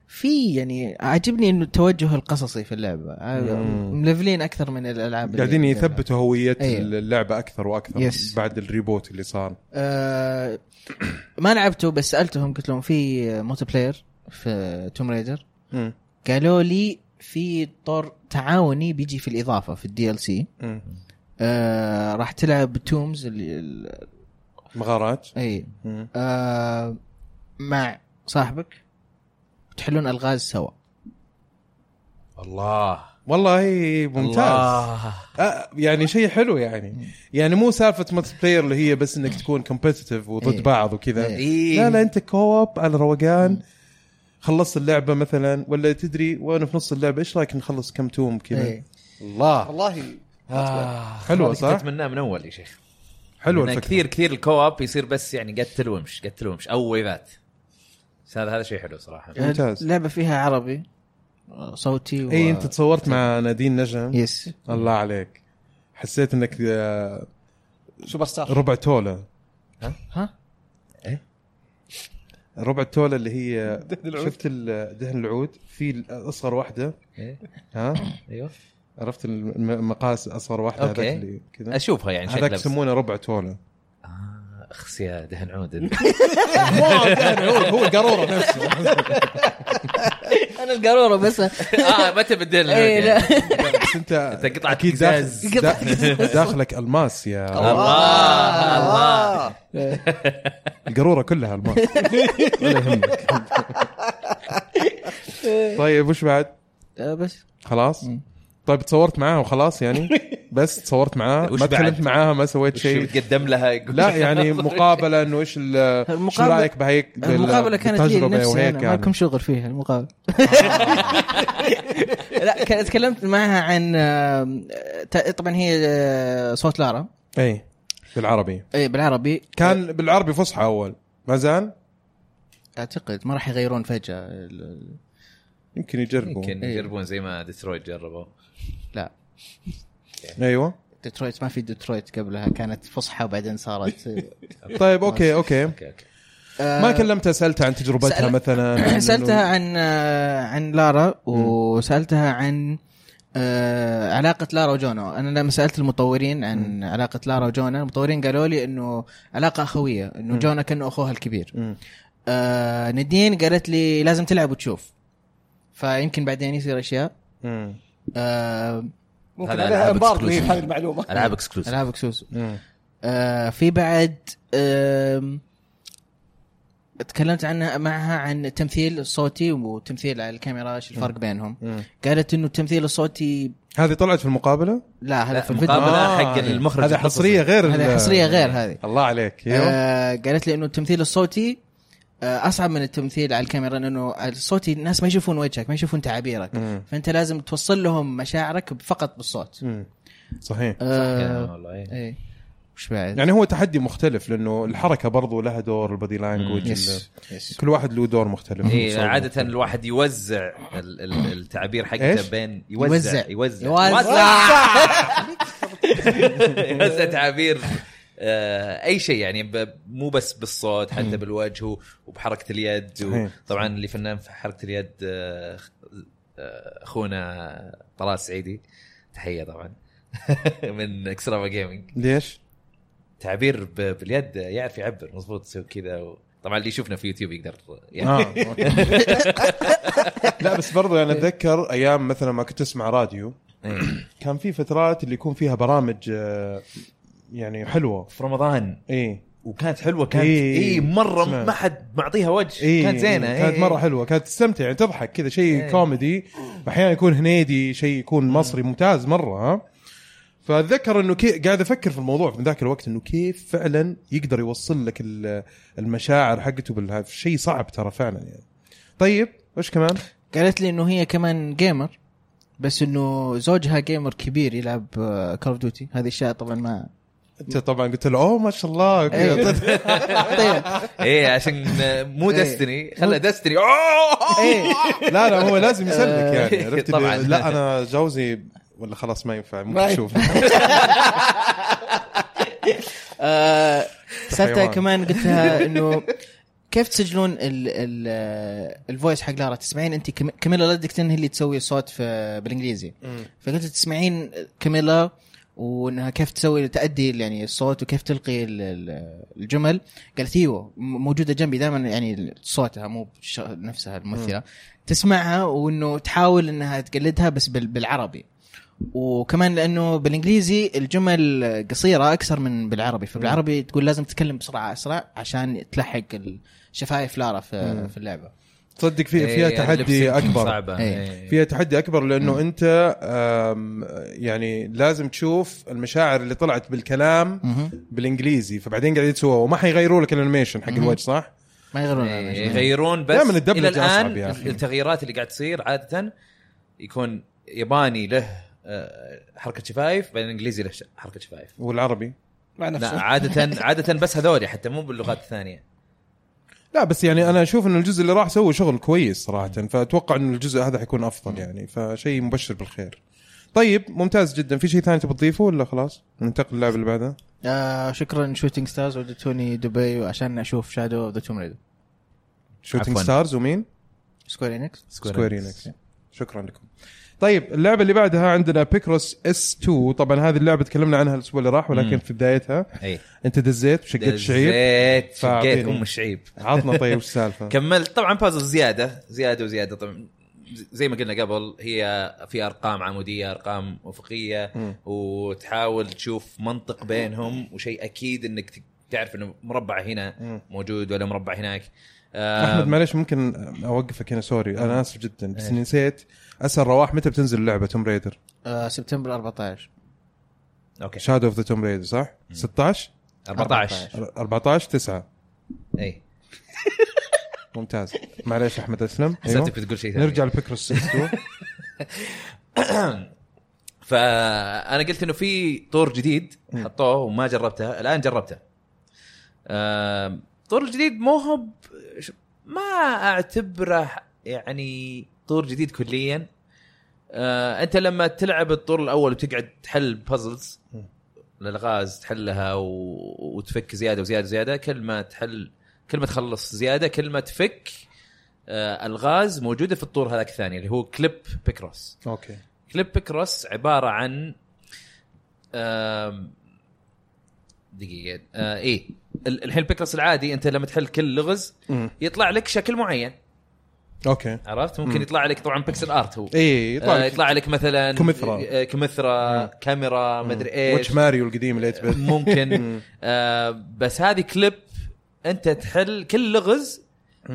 S3: في يعني عاجبني انه التوجه القصصي في اللعبه عا- ملفلين اكثر من الالعاب
S1: قاعدين
S3: اللي-
S1: يثبتوا هوية
S3: أيوة.
S1: اللعبة أكثر وأكثر
S3: يس.
S1: بعد الريبوت اللي صار
S3: آه، ما لعبته بس سالتهم قلت لهم في موتو بلاير في توم ريدر
S1: مم.
S3: قالوا لي في طور تعاوني بيجي في الاضافه في الدي ال سي
S1: مم.
S3: آه راح تلعب تومز اللي ال-
S1: مغارات
S3: اي
S1: مم.
S3: آه مع صاحبك تحلون الغاز سوا
S2: الله
S1: والله ممتاز
S2: الله.
S1: آه، يعني شيء حلو يعني يعني مو سالفه ملتي بلاير اللي هي بس انك تكون كومبتتف وضد
S3: إيه.
S1: بعض وكذا
S2: إيه.
S1: لا لا انت كوب على روقان خلصت اللعبه مثلا ولا تدري وانا في نص اللعبه ايش رايك نخلص كم توم كذا
S3: إيه.
S1: الله
S4: والله
S2: آه.
S1: حلوة،
S2: هذه كنت
S1: صح؟
S2: اتمناها من اول يا شيخ
S1: حلوه
S2: لأن
S1: الفكره
S2: كثير كثير الكواب يصير بس يعني قتل وامش قتل وامش او ويفات بس هذا هذا شيء حلو صراحه
S1: ممتاز.
S3: لعبه فيها عربي آه، صوتي و...
S1: اي انت إيه، تصورت مع نادين نجم
S2: إيه.
S3: يس
S1: الله عليك حسيت انك آه،
S4: سوبر ستار
S1: ربع توله
S3: ها
S1: ربع التوله اللي هي شفت ال- دهن العود في ال- اصغر واحده
S2: إيه.
S1: ها
S2: ايوه
S1: عرفت الم- المقاس اصغر واحده هذاك
S2: أوكي.
S1: اللي كذا
S2: اشوفها يعني شكلها
S1: هذاك
S2: بس.
S1: يسمونه ربع توله
S2: آه، اخس يا دهن عود يعني
S1: هو القاروره نفسه
S3: انا القاروره بس
S2: اه متى بدينا
S3: إيه، لا.
S1: بس انت
S2: أنت قطعة
S1: اكيد
S2: قزاز.
S1: داخل دا- داخلك الماس يا
S2: الله الله
S1: القاروره كلها الماس ولا يهمك طيب وش بعد؟
S3: آه، بس
S1: خلاص؟ طيب تصورت معاها وخلاص يعني؟ بس تصورت معاها
S2: وش
S1: ما
S2: بعد؟
S1: تكلمت معاها ما سويت
S2: شيء
S1: شيء
S2: بتقدم لها يقول
S1: لا يعني مقابله انه ايش ال- آه، شو
S3: المقابلة-
S1: رايك بهيك بال-
S3: المقابله كانت لي
S1: بالتجربة
S3: لنفسي
S1: وهيك
S3: انا ما
S1: يعني.
S3: لكم شغل فيها المقابله لا كان تكلمت معها عن آم، آه، طبعا هي آه، صوت لارا
S1: اي بالعربي
S3: اي بالعربي أه.
S1: كان بالعربي فصحى اول ما زال
S3: اعتقد ما راح يغيرون فجاه ال-
S1: يمكن يجربوا
S2: يمكن
S3: إيه.
S2: يجربون زي ما ديترويت جربوا
S3: لا
S1: ايوه
S3: ديترويت ما في ديترويت قبلها كانت فصحى وبعدين صارت
S1: طيب اوكي اوكي
S2: اوكي اوكي
S1: ما كلمتها سالتها عن تجربتها
S3: أه. سأل-
S1: مثلا عن
S3: سالتها
S1: إنه-
S3: عن آه، عن لارا وسالتها عن آه، علاقة لارا وجونا أنا لما سألت المطورين عن علاقة لارا وجونا المطورين قالوا لي أنه علاقة أخوية أنه جونا كأنه أخوها الكبير
S1: مم.
S3: آه ندين قالت لي لازم تلعب وتشوف فيمكن بعدين يصير أشياء
S1: مم.
S3: آه
S4: ممكن
S2: هذا
S4: هذا
S2: ألعاب
S4: امبارك
S2: exclusive.
S4: في هذه المعلومه
S2: العاب اكسكلوسيف
S3: ألعاب كسوس
S1: مم.
S3: آه في بعد آم، تكلمت عنها معها عن التمثيل الصوتي وتمثيل على الكاميرا ايش الفرق بينهم
S1: مم.
S3: قالت انه التمثيل الصوتي
S1: هذه طلعت في المقابله
S3: لا هذا
S2: لا،
S3: في الفيديو
S2: مقابلة
S1: آه،
S2: حق المخرج
S1: هذا حصريه غير ال-
S3: هذا حصريه غير هذه
S1: الله عليك ايوه
S3: آه قالت لي انه التمثيل الصوتي آه اصعب من التمثيل على الكاميرا لانه الصوتي الناس ما يشوفون وجهك ما يشوفون تعابيرك
S1: مم.
S3: فانت لازم توصل لهم مشاعرك فقط بالصوت
S1: مم. صحيح
S3: آه
S2: والله إيه.
S3: ايه وش بعد؟
S1: يعني هو تحدي مختلف لانه الحركه برضو لها دور البادي لانجوج ال-
S3: يس يس
S1: كل واحد له دور مختلف
S2: اي
S1: صوت.
S2: إيه، عادة الواحد يوزع ال- ال- التعبير
S1: إيش؟
S2: حقته بين يوزع
S3: يوزع.
S2: يوزع
S3: يوزع.
S2: يوزع تعابير آه، اي شيء يعني ب- مو بس بالصوت حتى بالوجه و- وبحركه اليد و-
S1: صحيح.
S2: طبعا اللي فنان في حركه اليد آه، خ- آه، اخونا طلال سعيدي تحيه طبعا من اكسترافا جيمنج
S1: ليش؟
S2: تعبير ب- باليد يعرف يعبر مضبوط يسوي كذا و- طبعا اللي يشوفنا في يوتيوب يقدر يعني
S1: آه، أوكي. لا بس برضو يعني انا اتذكر ايام مثلا ما كنت اسمع راديو
S2: إيه.
S1: كان في فترات اللي يكون فيها برامج آه، يعني إيه. حلوه
S2: في رمضان
S1: اي
S2: وكانت حلوه كانت
S1: إيه.
S2: اي إيه مره
S1: سمعت.
S2: ما حد معطيها وجه
S1: إيه
S2: كانت زينه
S1: إيه كانت
S2: إيه.
S1: مره حلوه كانت تستمتع يعني تضحك كذا شيء
S2: إيه.
S1: كوميدي احيانا يكون هنيدي شيء يكون مصري ممتاز مره ها فاتذكر انه كي... قاعد افكر في الموضوع من ذاك الوقت انه كيف فعلا يقدر يوصل لك ال- المشاعر حقته بالهذا شيء صعب ترى فعلا يعني طيب ايش كمان؟
S3: قالت لي انه هي كمان جيمر بس انه زوجها جيمر كبير يلعب آه، كول اوف ديوتي هذه الاشياء طبعا ما
S1: انت طبعا قلت له اوه ما شاء الله
S3: إيه.
S1: كذا.
S3: طيب
S2: ايه عشان مو
S3: إيه.
S2: دستني خلى دستني اوه
S3: ايه
S1: لا لا هو لازم يسلك يعني
S2: آه.
S1: عرفت
S2: طبعاً.
S1: اللي- لا انا جوزي ولا خلاص ما ينفع ممكن
S4: ما ي-
S1: تشوف
S3: آه، سالتها
S1: حيوان.
S3: كمان قلت لها انه كيف تسجلون ال ال الفويس حق لارا تسمعين انت كم- كاميلا لدكتن هي اللي تسوي الصوت في بالانجليزي فقلت لها تسمعين كاميلا وانها كيف تسوي تادي يعني الصوت وكيف تلقي ال- ال- الجمل قالت ايوه م- موجوده جنبي دائما يعني صوتها مو بش- نفسها الممثله تسمعها وانه تحاول انها تقلدها بس بال- بالعربي وكمان لانه بالانجليزي الجمل قصيره اكثر من بالعربي فبالعربي تقول لازم تتكلم بسرعه اسرع عشان تلحق الشفايف لارا في, في اللعبه
S1: تصدق في فيها
S2: إيه، يعني
S1: تحدي
S2: لبسك
S1: اكبر
S2: صعبه
S3: إيه.
S2: إيه.
S1: فيها تحدي اكبر لانه انت آم، يعني لازم تشوف المشاعر اللي طلعت بالكلام
S3: مهم.
S1: بالانجليزي فبعدين قاعدين يسووها وما حيغيروا لك الانيميشن حق
S3: مهم.
S1: الوجه صح؟
S3: ما يغيرون
S2: إيه،
S3: هذا.
S2: يغيرون بس
S1: دائماً الدبلجة
S2: الى
S1: أصعب
S2: الان
S1: يا أخي.
S2: التغييرات اللي قاعد تصير عاده يكون ياباني له آه، حركه شفايف بعدين انجليزي له ش- حركه شفايف
S1: والعربي
S4: مع
S2: لا
S4: نفسه
S2: عاده عاده بس هذولي حتى مو باللغات الثانيه
S1: لا بس يعني انا اشوف ان الجزء اللي راح سوى شغل كويس صراحه فاتوقع ان الجزء هذا حيكون افضل يعني فشيء مبشر بالخير طيب ممتاز جدا في شيء ثاني تبي تضيفه ولا خلاص ننتقل للعبه اللي بعدها
S3: آه شكرا شوتينج ستارز ودتوني دبي عشان اشوف شادو اوف ذا توم ريدر
S1: شوتينج
S2: عفواً.
S1: ستارز ومين
S3: سكوير انكس
S1: سكوير انكس شكرا لكم طيب اللعبه اللي بعدها عندنا بيكروس اس 2 طبعا هذه اللعبه تكلمنا عنها الاسبوع اللي راح ولكن
S2: مم.
S1: في بدايتها
S2: اي
S1: انت دزيت وشقيت شعير
S2: شعيب شقيت
S1: فأعطيني.
S2: ام الشعيب
S1: عطنا طيب وش السالفه
S2: كملت طبعا بازل زياده زياده وزياده طبعا زي ما قلنا قبل هي في ارقام عموديه ارقام افقيه
S1: مم.
S2: وتحاول تشوف منطق بينهم وشيء اكيد انك ت- تعرف انه مربع
S1: مم.
S2: هنا موجود ولا مربع هناك
S1: احمد
S2: آه
S1: معلش ممكن اوقفك هنا سوري انا اسف جدا بس إني نسيت اسال رواح متى بتنزل اللعبه توم ريدر
S3: آه سبتمبر 14
S2: اوكي
S1: شادو اوف ذا توم ريدر صح 16
S2: 14
S1: 14 9
S2: اي
S1: ممتاز معليش احمد اسلم
S2: حسيتك بتقول شيء ثاني
S1: أيوة. نرجع لبيكروس اس 2
S2: فانا قلت انه في طور جديد حطوه وما جربته الان جربته آم، طور الجديد مو هو ب- ش- ما اعتبره يعني طور جديد كليا آه، انت لما تلعب الطور الاول وتقعد تحل بازلز
S1: مم.
S2: الالغاز تحلها و... وتفك زياده وزياده وزياده كل ما تحل كل ما تخلص زياده كل ما تفك آه، الغاز موجوده في الطور هذاك الثاني اللي هو كليب بيكروس
S1: اوكي
S2: كليب كروس عباره عن آم، دقيقه آه، ايه ال- الحين البيكرس العادي انت لما تحل كل لغز
S1: مم.
S2: يطلع لك شكل معين
S1: اوكي
S2: عرفت
S1: مم.
S2: ممكن يطلع لك طبعا بيكسل ارت هو
S1: اي
S2: يطلع, آه
S1: يطلع
S2: يطلع لك مثلا
S1: كمثرى.
S2: آه، كمثرى كاميرا مدري ايش
S1: واتش ماريو القديم اللي 8 بت.
S2: ممكن آه بس هذه كليب انت تحل كل لغز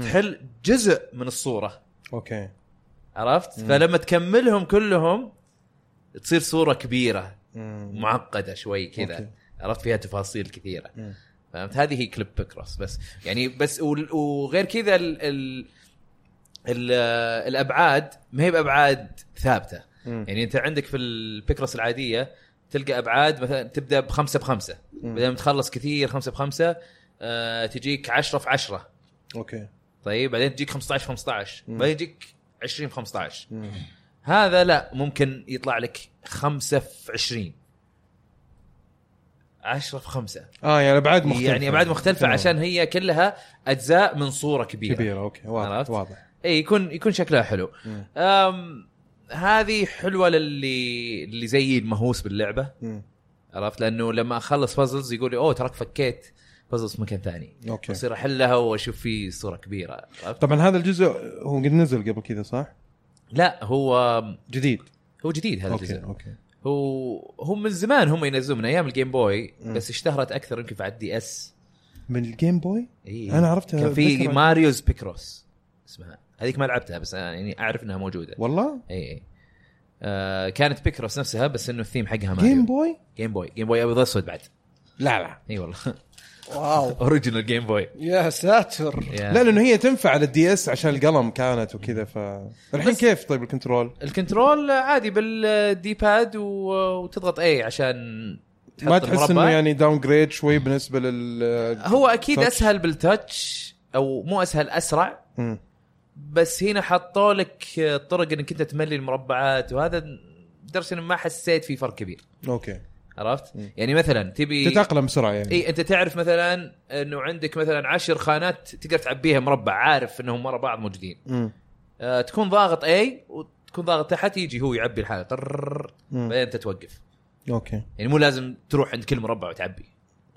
S2: تحل جزء من الصوره
S1: اوكي
S2: عرفت فلما تكملهم كلهم تصير صوره كبيره
S1: مم.
S2: معقده شوي كذا
S1: أوكي.
S2: عرفت فيها تفاصيل كثيره
S1: مم.
S2: فهمت هذه هي كليب كروس بس يعني بس وال- وغير كذا ال ال ال الابعاد ما هي بابعاد ثابته
S1: مم.
S2: يعني انت عندك في البيكروس العاديه تلقى ابعاد مثلا تبدا بخمسه بخمسه
S1: مم.
S2: بعدين تخلص كثير خمسه بخمسه آه تجيك عشرة في عشرة
S1: اوكي
S2: طيب بعدين تجيك 15 15
S1: مم.
S2: بعدين يجيك 20 في 15
S1: مم.
S2: هذا لا ممكن يطلع لك خمسة في 20 10 في 5
S1: اه يعني آه، ابعاد مختلفه
S2: يعني ابعاد مختلفة
S1: تمام.
S2: عشان هي كلها اجزاء من صورة كبيرة,
S1: كبيره اوكي واضح
S2: عرفت؟
S1: واضح
S2: اي يكون يكون شكلها حلو
S1: مم.
S2: أم هذه حلوة للي اللي زيي المهووس باللعبة
S1: مم.
S2: عرفت لانه لما اخلص بازلز يقول لي اوه تراك فكيت بازلز في مكان ثاني
S1: اوكي
S2: اصير احلها واشوف في صورة كبيرة عرفت؟
S1: طبعا هذا الجزء هو قد نزل قبل كذا صح؟
S2: لا هو
S1: جديد
S2: هو جديد هذا
S1: اوكي
S2: الجزء
S1: اوكي
S2: هو هو من زمان هم ينزلون من ايام الجيم بوي
S1: مم.
S2: بس اشتهرت اكثر يمكن بعد دي اس
S1: من الجيم بوي؟
S2: اي
S1: أنا عرفتها،
S2: كان في
S1: أتذكر.
S2: ماريوز بيكروس اسمها هذيك ما لعبتها بس أنا يعني اعرف انها موجوده
S1: والله؟
S2: اي اي آه كانت بيكروس نفسها بس انه الثيم حقها ماريو
S1: جيم بوي؟
S2: جيم بوي جيم بوي ابيض اسود بعد
S1: لا لا
S2: اي والله
S4: واو
S2: اوريجينال جيم بوي
S4: يا ساتر
S2: يا.
S1: لا لانه هي تنفع على الدي اس عشان القلم كانت وكذا ف الحين
S2: بس-
S1: كيف طيب الكنترول؟
S2: الكنترول عادي بالدي باد و- وتضغط اي عشان تحط آه.
S1: ما تحس
S2: المربع.
S1: انه يعني داون جريد شوي بالنسبه لل
S2: هو اكيد
S1: touch؟
S2: اسهل بالتاتش او مو اسهل اسرع
S1: مم.
S2: بس هنا حطوا لك طرق انك انت تملي المربعات وهذا لدرجه اني ما حسيت في فرق كبير
S1: اوكي
S2: عرفت؟
S1: مم.
S2: يعني مثلا تبي
S1: تتاقلم بسرعه يعني
S2: اي انت تعرف مثلا انه عندك مثلا عشر خانات تقدر تعبيها مربع عارف انهم ورا بعض موجودين
S1: مم.
S2: آه تكون ضاغط اي وتكون ضاغط تحت يجي هو يعبي الحالة طرررر،
S1: مم.
S2: بعدين انت توقف
S1: اوكي
S2: يعني مو لازم تروح عند كل مربع وتعبي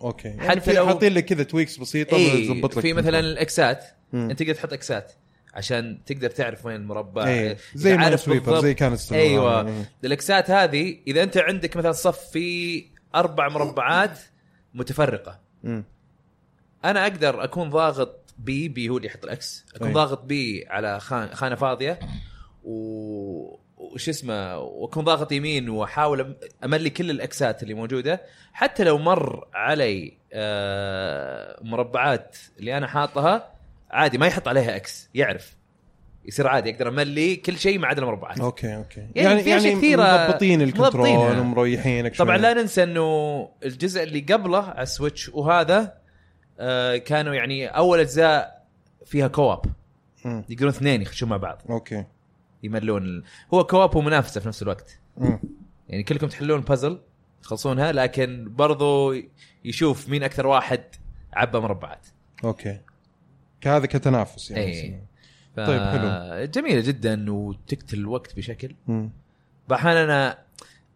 S1: اوكي يعني
S2: حتى
S1: حتى
S2: لو-
S1: لو حاطين لك كذا تويكس بسيطه
S2: اي
S1: تظبط لك
S2: إيه، في مثلا الاكسات
S1: مم.
S2: انت تقدر تحط اكسات عشان تقدر تعرف وين المربع
S1: إيه. زي ما
S2: آه، عارف
S1: سويبر
S2: بالضبط.
S1: زي كانت سويبر.
S2: ايوه
S1: يعني.
S2: الاكسات هذه اذا انت عندك مثلا صف فيه اربع مربعات متفرقه
S1: مم.
S2: انا اقدر اكون ضاغط بي بي هو اللي يحط الاكس اكون
S1: أي.
S2: ضاغط بي على خان خانه فاضيه و وش اسمه واكون ضاغط يمين واحاول أم- املي كل الاكسات اللي موجوده حتى لو مر علي آه، مربعات اللي انا حاطها عادي ما يحط عليها اكس يعرف يصير عادي اقدر املي كل شيء ما عدا المربعات
S1: اوكي اوكي
S2: يعني في أشياء كثيرة
S1: يعني- مضبطين الكنترول
S2: مضبطينها.
S1: ومريحينك شوي.
S2: طبعا لا ننسى انه الجزء اللي قبله على السويتش وهذا آه، كانوا يعني اول اجزاء فيها كواب
S1: مم.
S2: يقدرون اثنين يخشون مع بعض
S1: اوكي
S2: يملون ال... هو كواب ومنافسه في نفس الوقت
S1: مم.
S2: يعني كلكم تحلون بازل تخلصونها لكن برضو يشوف مين اكثر واحد عبى مربعات
S1: اوكي كهذا كتنافس يعني
S2: إيه. ف...
S1: طيب، حلو.
S2: جميله جدا وتقتل الوقت بشكل
S1: مم.
S2: بحال انا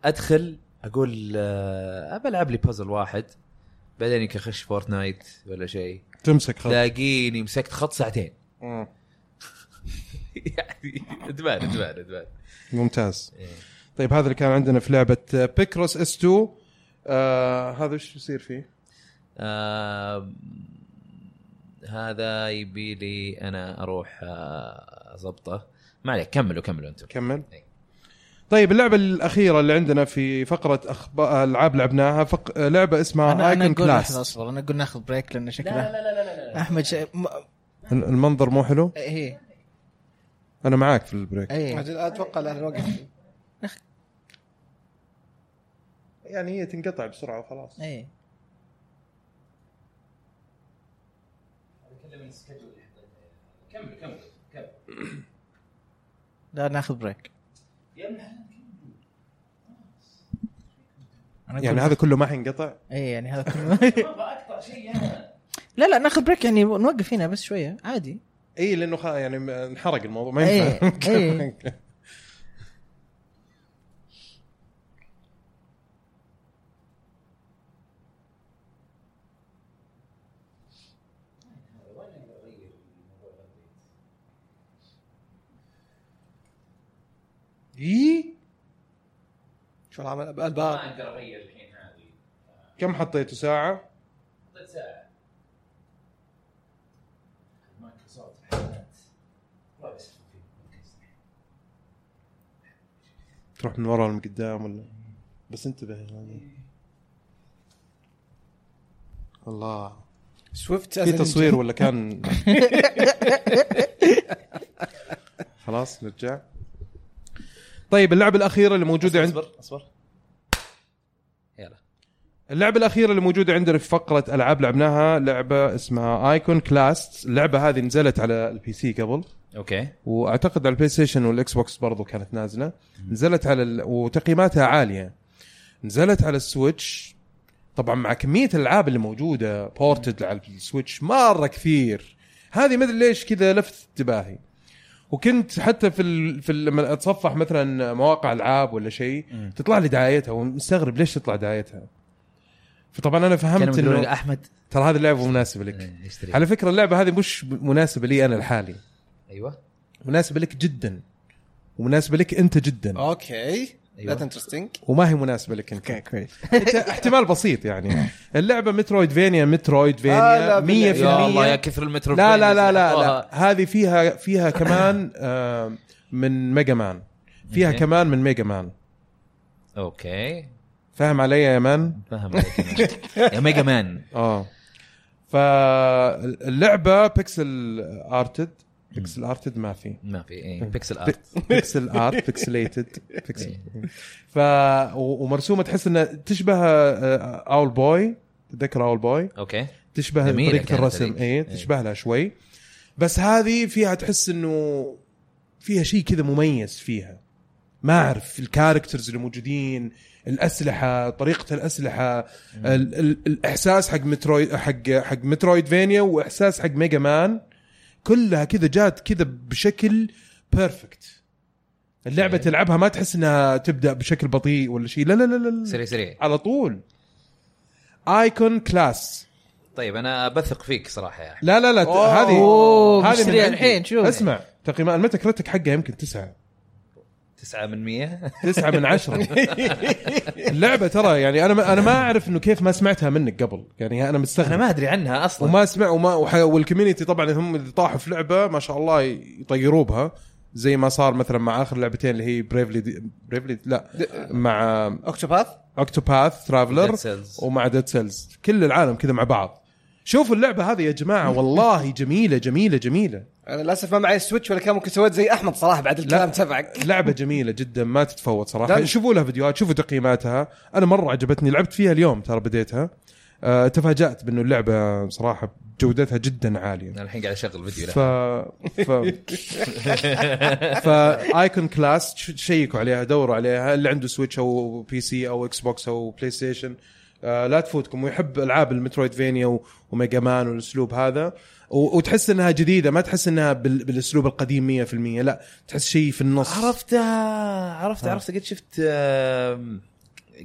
S2: ادخل اقول آه، بلعب لي بازل واحد بعدين يمكن اخش فورتنايت ولا شيء
S1: تمسك خط
S2: تلاقيني مسكت خط ساعتين
S1: مم.
S2: يعني ادمان ادمان ادمان
S1: ممتاز
S2: إيه.
S1: طيب هذا اللي كان عندنا في لعبه بيكروس اس 2 آه هذا وش يصير فيه؟
S2: آه هذا يبي لي انا اروح آه، اضبطه ما عليك كملوا كملوا انتم
S1: كمل
S2: إيه.
S1: طيب اللعبه الاخيره اللي عندنا في فقره اخبار العاب لعبناها فق... لعبه
S2: آه،
S1: اسمها
S3: انا انا
S1: ايكون
S3: اقول لحظه
S1: كلاس
S3: اصبر انا اقول ناخذ بريك لان شكله لا لا لا لا, لا. احمد شيء م... إيه،
S1: المنظر مو حلو
S3: هي
S1: انا معاك في البريك
S3: اي
S4: أجل، اتوقع لا نوقف
S1: يعني هي تنقطع بسرعه وخلاص
S3: اي
S5: كمل كمل كمل
S3: لا ناخذ بريك
S5: يا ابن الحلال
S3: أنا
S1: يعني
S3: أقول-
S1: هذا كله ما حينقطع
S3: اي يعني هذا كله
S5: ما بقطع شيء انا
S3: لا لا ناخذ بريك يعني نوقف هنا بس شويه عادي
S1: اي لانه خ... يعني م- انحرق الموضوع ما
S3: إيه،
S1: ينفع
S3: إيه.
S1: إيه؟
S4: شو العمل الباب
S5: ما اقدر اغير الحين هذه
S1: كم حطيته ساعه؟
S5: حطيت ساعه مايكروسوفت حالات والله بس
S1: تروح من ورا ولا من قدام ولا بس انتبه يعني. الله
S4: سويفت
S1: في تصوير ولا كان خلاص نرجع طيب اللعبه الاخيره اللي موجوده عند
S2: اصبر اصبر يلا
S1: اللعبه الاخيره اللي موجوده عندنا في فقره العاب لعبناها لعبه اسمها ايكون كلاست اللعبه هذه نزلت على البي سي قبل
S2: اوكي
S1: واعتقد على البلاي ستيشن والاكس بوكس برضو كانت نازله نزلت على ال... وتقييماتها عاليه نزلت على السويتش طبعا مع كميه الالعاب اللي موجوده بورتد على السويتش مره كثير هذه ما ادري ليش كذا لفت انتباهي وكنت حتى في ال... في ال- لما اتصفح مثلا مواقع العاب ولا شيء
S2: مم.
S1: تطلع لي دعايتها ومستغرب ليش تطلع دعايتها فطبعا انا فهمت انه
S2: احمد
S1: ترى هذه اللعبه مناسبه لك
S2: "آه." إيه، اشتري
S1: على فكره اللعبه هذه مش مناسبه لي انا لحالي
S2: ايوه
S1: مناسبه لك جدا ومناسبه لك انت
S4: آه.
S1: جدا
S4: اوكي
S2: أيوة.
S4: ذات انترستنج
S1: وما هي مناسبه لك انت
S4: كويس
S1: إنت احتمال بسيط يعني اللعبه مترويد فينيا مترويد
S4: آه، لا،
S1: فينيا 100%
S4: بالله.
S2: يا الله يا كثر المترو
S1: لا لا لا لا, لا. هذه فيها فيها كمان آه، من ميجا مان فيها
S2: أوكي.
S1: كمان من ميجا مان
S2: اوكي
S1: فاهم علي يا مان؟
S2: فاهم عليك أنا. يا ميجا مان
S1: اه فاللعبه بيكسل ارتد بيكسل ارتد ما في
S2: ما في ايه بيكسل ارت
S1: بيكسل ارت بيكسليتد بيكسل
S2: إيه.
S1: ف و- ومرسومه تحس انها تشبه آه، اول بوي تتذكر اول بوي
S2: اوكي
S1: تشبه
S2: جميلة
S1: طريقه
S2: كانت
S1: الرسم
S2: هذيك.
S1: اي
S2: إيه.
S1: تشبه لها شوي بس هذه فيها تحس انه فيها شيء كذا مميز فيها ما اعرف الكاركترز اللي موجودين الاسلحه طريقه الاسلحه ال- ال- الاحساس حق مترويد حق حق مترويد فينيا واحساس حق ميجا مان كلها كذا جات كذا بشكل بيرفكت اللعبه
S2: أوكي.
S1: تلعبها ما تحس انها تبدا بشكل بطيء ولا شيء لا لا لا لا
S2: سريع سريع
S1: على طول ايكون كلاس
S2: طيب انا بثق فيك صراحه يا احمد
S1: لا لا لا ت-
S4: أوه.
S1: هذه
S3: أوه،
S1: هذه
S3: مشتريها
S1: من عندي.
S3: الحين، شوف.
S1: اسمع تقييمات المتى كريتك حقها يمكن تسعة
S2: تسعة من مية
S1: تسعة من عشرة اللعبة ترى يعني أنا ما أنا ما أعرف إنه كيف ما سمعتها منك قبل يعني أنا مستغرب
S2: انا ما ادري عنها اصلا
S1: وما سمع وما وح- والكوميونتي طبعا هم اللي طاحوا في لعبه ما شاء الله يطيروا بها زي ما صار مثلا مع اخر لعبتين اللي هي بريفلي دي بريفلي لا مع
S4: اوكتوباث
S1: اوكتوباث ترافلر
S2: Dead Cells.
S1: ومع ديد سيلز كل العالم كذا مع بعض شوفوا اللعبه هذه يا جماعه والله جميله جميله جميله
S4: انا للاسف ما معي سويتش ولا كان ممكن سويت زي احمد صراحه بعد الكلام تبعك
S1: لعبه جميله جدا ما تتفوت صراحه
S4: دم.
S1: شوفوا لها فيديوهات شوفوا تقييماتها انا مره عجبتني لعبت فيها اليوم ترى بديتها أه تفاجات بانه اللعبه صراحه جودتها جدا عاليه
S2: انا الحين قاعد اشغل فيديو
S1: ف
S2: لها
S1: ف فايكون كلاس شيكوا عليها دوروا عليها اللي عنده سويتش او بي سي او اكس بوكس او بلاي ستيشن آه، لا تفوتكم ويحب العاب المترويد فينيا و- وميجا مان والاسلوب هذا و- وتحس انها جديده ما تحس انها بال- بالاسلوب القديم 100% لا تحس شيء في النص
S2: عرفتها عرفت عرفت قد شفت آم،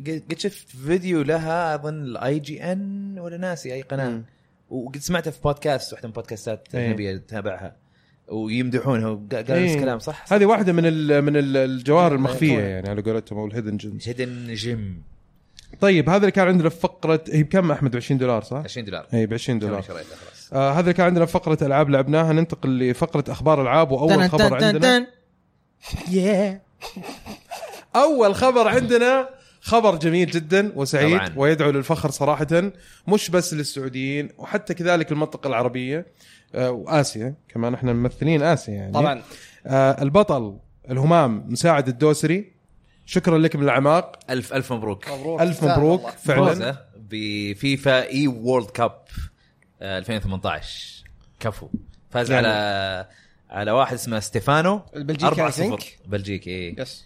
S2: قد قد شفت فيديو لها اظن الاي جي ان ولا ناسي اي قناه
S1: مم.
S2: وقد سمعتها في بودكاست واحده من بودكاستات
S1: إيه.
S2: اجنبيه تتابعها ويمدحونها وقالوا
S1: إيه.
S2: نفس الكلام صح؟
S1: هذه واحده من ال من ال- الجوار المخفيه
S2: طبعاً.
S1: يعني على قولتهم او الهيدن جيمز
S2: هيدن جيم
S1: طيب هذا اللي كان عندنا في فقره هي بكم احمد 20 دولار صح؟
S2: 20 دولار
S1: اي ب 20
S2: دولار
S1: دولار
S2: شريتها خلاص
S1: آه هذا اللي كان عندنا في فقره العاب لعبناها ننتقل لفقره اخبار العاب واول
S3: تن-
S1: خبر
S3: تن- تن-
S1: عندنا
S3: تن. ياه.
S1: اول خبر عندنا خبر جميل جدا وسعيد
S2: طبعاً.
S1: ويدعو للفخر صراحه مش بس للسعوديين وحتى كذلك المنطقه العربيه آه واسيا كمان احنا ممثلين اسيا يعني
S4: طبعا
S1: آه البطل الهمام مساعد الدوسري شكرا لك من الاعماق
S2: الف الف مبروك
S4: مبروك
S1: الف مبروك
S4: والله.
S1: فعلا
S2: فوزه بفيفا اي وورلد كاب آه، 2018 كفو فاز
S1: نعم.
S2: على على واحد اسمه ستيفانو
S4: البلجيكي
S2: 4
S4: I
S2: صفر
S4: think.
S2: بلجيكي إيه. اي
S4: يس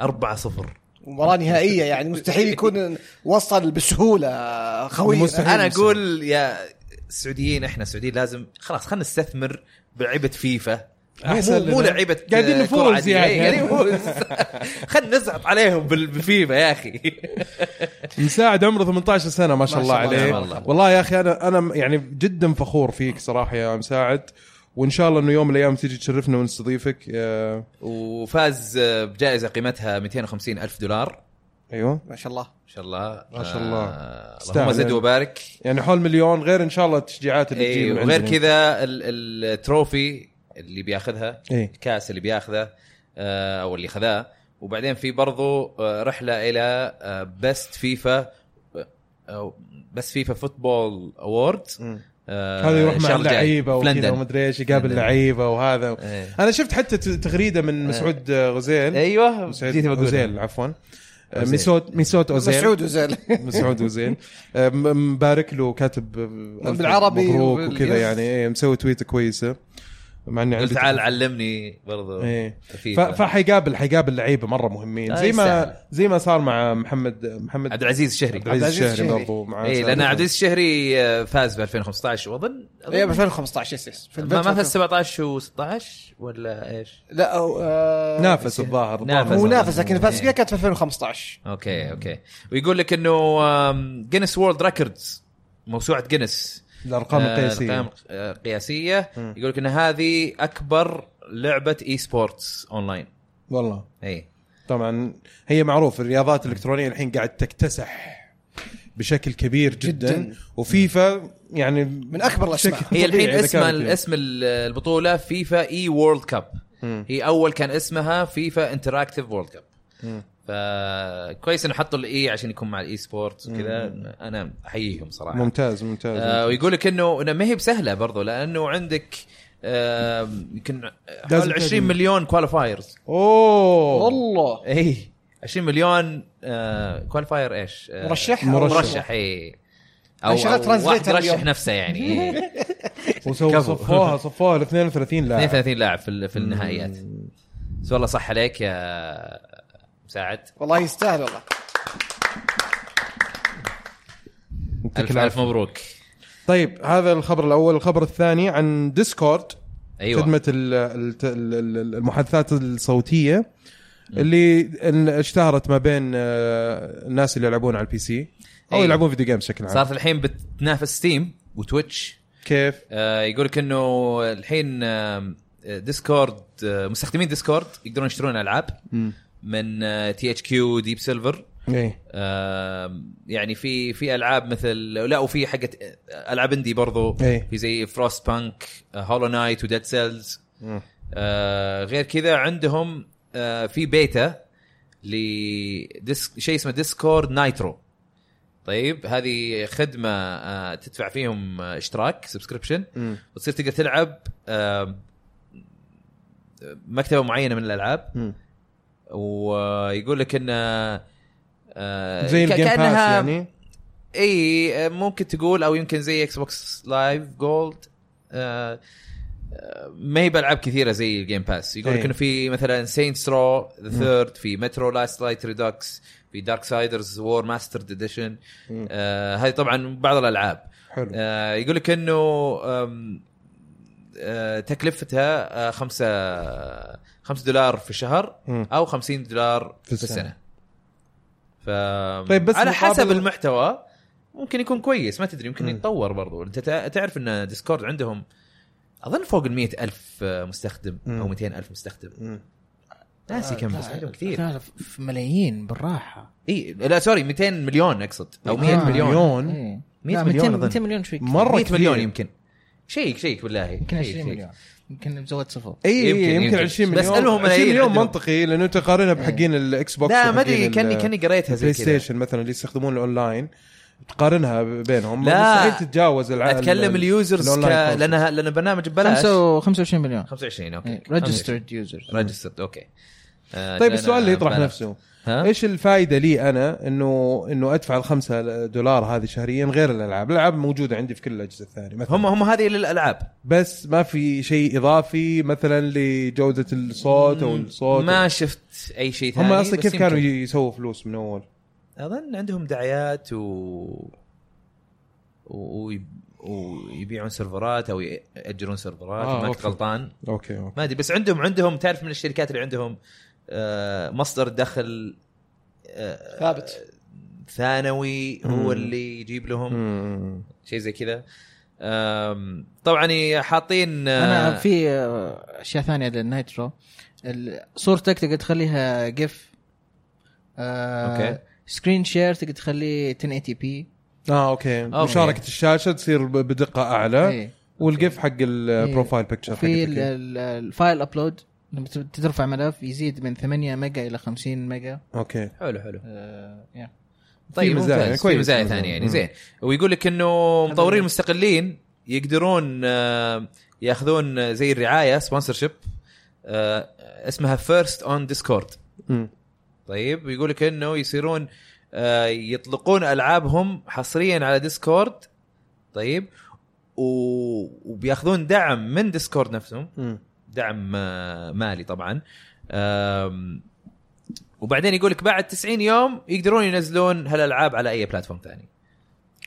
S2: 4 0
S4: مباراه نهائيه يعني مستحيل يكون وصل بسهوله خوي
S1: مستحيل.
S2: انا اقول يا السعوديين احنا السعوديين لازم خلاص خلينا نستثمر بلعيبه فيفا مو- مو
S1: أحسن
S2: مو
S1: لنا.
S2: لعيبه
S1: قاعدين
S2: آه،
S1: نفوز
S2: كرة عادية.
S1: يعني.
S2: إيه، قاعدين نفوز خلينا نزعط عليهم بال- بفيفا يا اخي
S1: إيه. مساعد عمره 18 سنه ما شاء الله
S4: شاء الله،
S1: عليه
S2: نعم والله.
S1: والله يا اخي انا انا يعني جدا فخور فيك صراحه يا مساعد وان شاء الله انه يوم من الايام تيجي تشرفنا ونستضيفك آه،
S2: وفاز آه، بجائزه قيمتها 250 الف دولار
S1: ايوه
S4: ما شاء الله
S2: ما شاء الله
S1: ما شاء الله.
S2: آه، اللهم
S1: تستاهل
S2: زد
S1: يعني.
S2: وبارك
S1: يعني حول مليون غير ان شاء الله التشجيعات اللي
S2: اي
S1: تجي من
S2: إيه، وغير
S1: عندنا.
S2: كذا ال- التروفي اللي بياخذها
S1: اي
S2: الكاس اللي بياخذه آه، او اللي خذاه وبعدين في برضو آه، رحله الى بيست فيفا او بس فيفا فوتبول اوورد
S1: مم.
S2: آه،
S1: هذا يروح مع
S2: الشهر الجاي
S1: اللعيبه
S2: في
S1: وكذا
S2: لندن
S1: ومدري ايش يقابل
S2: لندن.
S1: لعيبه وهذا
S2: إيه.
S1: انا شفت حتى ت- تغريده من مسعود آه، غزيل
S2: ايوه
S1: مسعود
S2: جيت بقول
S1: غزيل عفوا آه،
S2: غزيل.
S1: ميسوت ميسوت اوزيل
S4: مسعود وزيل
S1: مسعود وزين آه، م- مبارك له كاتب آه،
S4: نعم، بالعربي
S1: مبروك
S4: وبال-
S1: وكذا
S4: يس.
S1: يعني ايه مسوي تويته كويسه مع اني
S2: قلت
S1: عندي
S2: تعال علمني برضو
S1: ايه ف-
S2: فيفا
S1: فحيقابل حيقابل لعيبه مره
S2: آه،
S1: مهمين زي
S2: يستاهل.
S1: ما زي ما صار مع محمد محمد
S2: عبد العزيز الشهري
S1: عبد العزيز
S4: عبد العزيز
S1: الشهري
S4: الشهري.
S1: برضو مع
S2: اي لان عبد العزيز إيه، الشهري آه، فاز ب 2015 واظن أظن
S4: اي 2015 يس يس في
S2: ما ما إيه، فاز
S4: البيت.
S2: 17 و16 ولا ايش؟
S4: لا أو- آه،
S1: نافس الظاهر
S2: نافس.
S4: هو نافس لكن فاز
S2: إيه.
S4: فيها كانت في 2015
S2: اوكي اوكي ويقول لك انه جينيس وورلد ريكوردز موسوعه جينيس
S1: الارقام
S2: آه،
S1: القياسيه
S2: قياسيه يقول لك ان هذه اكبر لعبه اي سبورتس اونلاين
S1: والله
S2: اي
S1: طبعا هي معروف الرياضات الالكترونيه الحين قاعد تكتسح بشكل كبير جدا,
S4: جداً.
S1: وفيفا يعني من
S4: أكبر الأسماء.
S2: هي الحين اسمها
S1: يعني.
S2: اسم ال- البطوله فيفا اي وورلد كاب هي اول كان اسمها فيفا انتراكتيف وورلد كاب فكويس انه حطوا الاي عشان يكون مع الاي سبورتس وكذا انا احييهم صراحه
S1: ممتاز ممتاز,
S2: آه ويقول لك انه انه ما هي بسهله برضو لانه عندك آه، يمكن
S1: لازم
S2: حوالي 20 مليون كواليفايرز
S1: اوه
S4: والله
S2: اي 20 مليون كواليفاير ايش؟ آه،
S4: مرشح
S1: مرشح.
S2: مرشح اي او,
S4: أنا شغال
S2: أو واحد
S4: ترانزليتر
S2: رشح
S4: اليوم.
S2: نفسه يعني إيه.
S1: وسووا
S2: كفو.
S1: صفوها صفوها ل 32 لاعب
S2: 32 لاعب في ال- في النهائيات بس والله صح عليك يا مساعد
S4: والله يستاهل والله
S2: الف,
S1: العافية.
S2: الف مبروك
S1: طيب هذا الخبر الاول الخبر الثاني عن ديسكورد
S2: ايوه
S1: خدمه ال- ال- ال- ال- المحادثات الصوتيه اللي ال- اشتهرت ما بين آه، الناس اللي يلعبون على البي سي او
S2: أي.
S1: يلعبون فيديو جيمز بشكل عام
S2: صارت الحين بتنافس ستيم وتويتش
S1: كيف
S2: آه، يقول لك انه الحين آم، آه، ديسكورد آه، مستخدمين ديسكورد يقدرون يشترون العاب من آه، تي اتش كيو ديب سيلفر
S1: ايه
S2: آم، يعني في في العاب مثل لا وفي حقت العاب اندي برضو
S1: إيه.
S2: في زي آه، فروست بانك هولو نايت وديد سيلز
S1: مم.
S2: آه، غير كذا عندهم آه، في بيتا لديسك شيء اسمه ديسكورد نايترو طيب هذه خدمه آه، تدفع فيهم آه، اشتراك سبسكريبشن
S1: مم.
S2: وتصير تقدر تلعب آه، مكتبه معينه من الالعاب
S1: مم.
S2: ويقول لك ان آه،
S1: زي
S2: ك-
S1: الجيم باس
S2: كأنها-
S1: يعني
S2: اي إيه، آه، ممكن تقول او يمكن زي اكس بوكس لايف جولد آه، ما هي بالعاب كثيره زي الجيم باس يقول لك
S1: إيه.
S2: انه في مثلا سينت سترو ذا ثيرد في مترو لاست لايت ريدوكس في دارك سايدرز وور ماستر اديشن
S1: مم.
S2: آه، هذه طبعا بعض الالعاب
S1: حلو
S2: آه، يقول لك انه آم، آه، تكلفتها آه، خمسة خمسة دولار في الشهر
S1: مم.
S2: او 50 دولار في
S1: السنة.
S2: السنه ف
S1: طيب
S2: طيب
S1: بس
S2: بس على
S1: مقابل-
S2: حسب المحتوى ممكن يكون كويس ما تدري يمكن
S1: مم.
S2: يتطور برضو انت تع- تعرف ان ديسكورد عندهم اظن فوق ال ألف مستخدم
S1: مم.
S2: او 200 ألف مستخدم
S1: مم.
S2: ناسي كم بس عندهم كثير
S3: لا لا في ملايين بالراحه
S2: اي لا سوري 200 مليون اقصد او 100
S3: آه.
S2: مليون
S1: مليون
S3: إيه.
S2: 100
S3: لا،
S2: مليون
S3: 200
S2: أظن.
S3: 200 مليون شوي كثير.
S1: مرة
S2: 100 مليون
S1: كثير.
S2: يمكن شيك شيك بالله
S3: يمكن
S2: شيك،
S3: 20
S2: شيك.
S3: مليون يمكن مزود صفر
S1: اي
S2: يمكن-
S1: إيه، يمكن, يمكن
S2: يمكن.
S1: 20
S2: بس إيه،
S1: ملايين
S2: ألهم ملايين
S1: 20 مليون
S2: عندهم.
S1: منطقي لانه انت قارنها بحقين الاكس بوكس
S2: لا ما
S1: وحقين
S2: ادري
S1: ال-
S2: كاني كاني قريتها زي
S1: بلاي
S2: كذا
S1: ستيشن مثلا اللي يستخدمون الاونلاين تقارنها بينهم
S2: لا.
S1: مستحيل تتجاوز الع...
S2: اتكلم
S1: ال-
S2: اليوزرز ك...
S1: الأونلاين process.
S2: لانها لان برنامج ببلاش
S3: 25 مليون إيه،
S2: 25 اوكي
S3: ريجسترد يوزرز
S2: ريجسترد اوكي آه،
S1: طيب
S2: لأن
S1: السؤال اللي يطرح
S2: ببلاش.
S1: نفسه
S2: ها؟
S1: ايش الفائده لي انا انه انه ادفع الخمسة دولار هذه شهريا غير الالعاب الالعاب موجوده عندي في كل الاجهزه الثانيه مثلا
S2: هم هم هذه للالعاب
S1: بس ما في شيء اضافي مثلا لجوده الصوت او الصوت
S2: ما شفت اي شيء ثاني
S1: هم اصلا
S2: بس
S1: كيف كانوا
S2: يمكن.
S1: يسووا فلوس من اول؟
S2: اظن عندهم دعايات و, و... ويب- ويبيعون سيرفرات او ياجرون سيرفرات
S1: آه،
S2: آه ما كنت
S1: أوكي.
S2: غلطان
S1: اوكي اوكي
S2: ما ادري بس عندهم عندهم تعرف من الشركات اللي عندهم آه، مصدر دخل آه،
S4: ثابت.
S2: ثانوي
S1: مم.
S2: هو اللي يجيب لهم
S1: مم.
S2: شيء زي كذا آم، طبعا حاطين آه،
S3: انا في آه، اشياء ثانيه للنايترو ال- صورتك تقدر تخليها جيف
S2: أوكي.
S3: اوكي سكرين شير تقدر تخليه 1080 بي
S1: اه اوكي مشاركه الشاشه تصير ب- بدقه
S2: إيه.
S1: اعلى
S3: إيه.
S1: والقف حق البروفايل بيكتشر حق
S3: في الفايل ابلود لما ت- ترفع ملف يزيد من 8 ميجا الى 50 ميجا
S1: اوكي
S2: حلو حلو
S3: آه، يا.
S2: طيب
S1: مزايا،
S2: ممتاز في
S1: كويس.
S2: مزايا ثانيه يعني
S1: مم.
S2: زين ويقول لك انه مطورين مستقلين يقدرون آه، ياخذون زي الرعايه سبونسر شيب اسمها فيرست اون ديسكورد
S1: مم.
S2: طيب ويقول لك انه يصيرون آه، يطلقون العابهم حصريا على ديسكورد طيب و- وبياخذون دعم من ديسكورد نفسهم
S1: مم.
S2: دعم آه، مالي طبعا آم، وبعدين يقول لك بعد 90 يوم يقدرون ينزلون هالالعاب على اي بلاتفورم ثاني يعني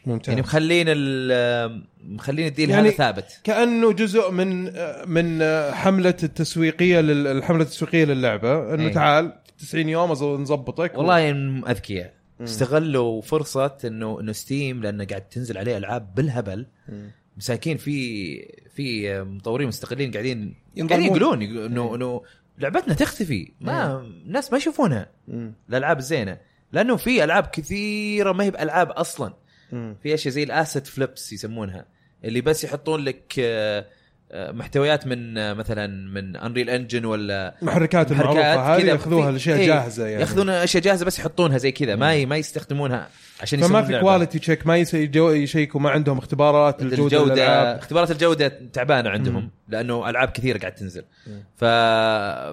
S1: ممتاز
S2: مخلين ال- مخلين الديل
S1: يعني-
S2: يعني هذا ثابت
S1: كانه جزء من من حمله التسويقيه لل- الحمله التسويقيه للعبه انه
S2: أي.
S1: تعال 90 يوم أز- نظبطك
S2: والله إن اذكياء
S1: مم.
S2: استغلوا فرصه انه انه ستيم لانه قاعد تنزل عليه العاب بالهبل
S1: مم.
S2: مساكين في في مطورين مستقلين قاعدين قاعدين
S4: ينضربون.
S2: يقولون يقولون انه انه لعبتنا تختفي ما الناس ما يشوفونها
S1: مم.
S2: الالعاب الزينه لانه في العاب كثيره ما هي بالعاب اصلا
S1: مم.
S2: في اشياء زي الاسيت فليبس يسمونها اللي بس يحطون لك آه، آه، محتويات من آه، مثلا من انريل انجن ولا
S1: محركات المعروفه
S2: محركات
S1: هذه
S2: كذا
S1: ياخذوها
S2: في-
S1: الاشياء
S2: إيه،
S1: جاهزه يعني
S2: ياخذون اشياء جاهزه بس يحطونها زي كذا ما ما يستخدمونها عشان
S1: فما
S2: يسوون
S1: في
S2: لعبة.
S1: كواليتي تشيك ما يس- يجو- يشيكوا ما عندهم اختبارات الجوده,
S2: الجوده
S1: الجودة
S2: اختبارات الجوده تعبانه عندهم
S1: مم.
S2: لانه العاب كثيره قاعد تنزل
S1: مم.
S2: ف...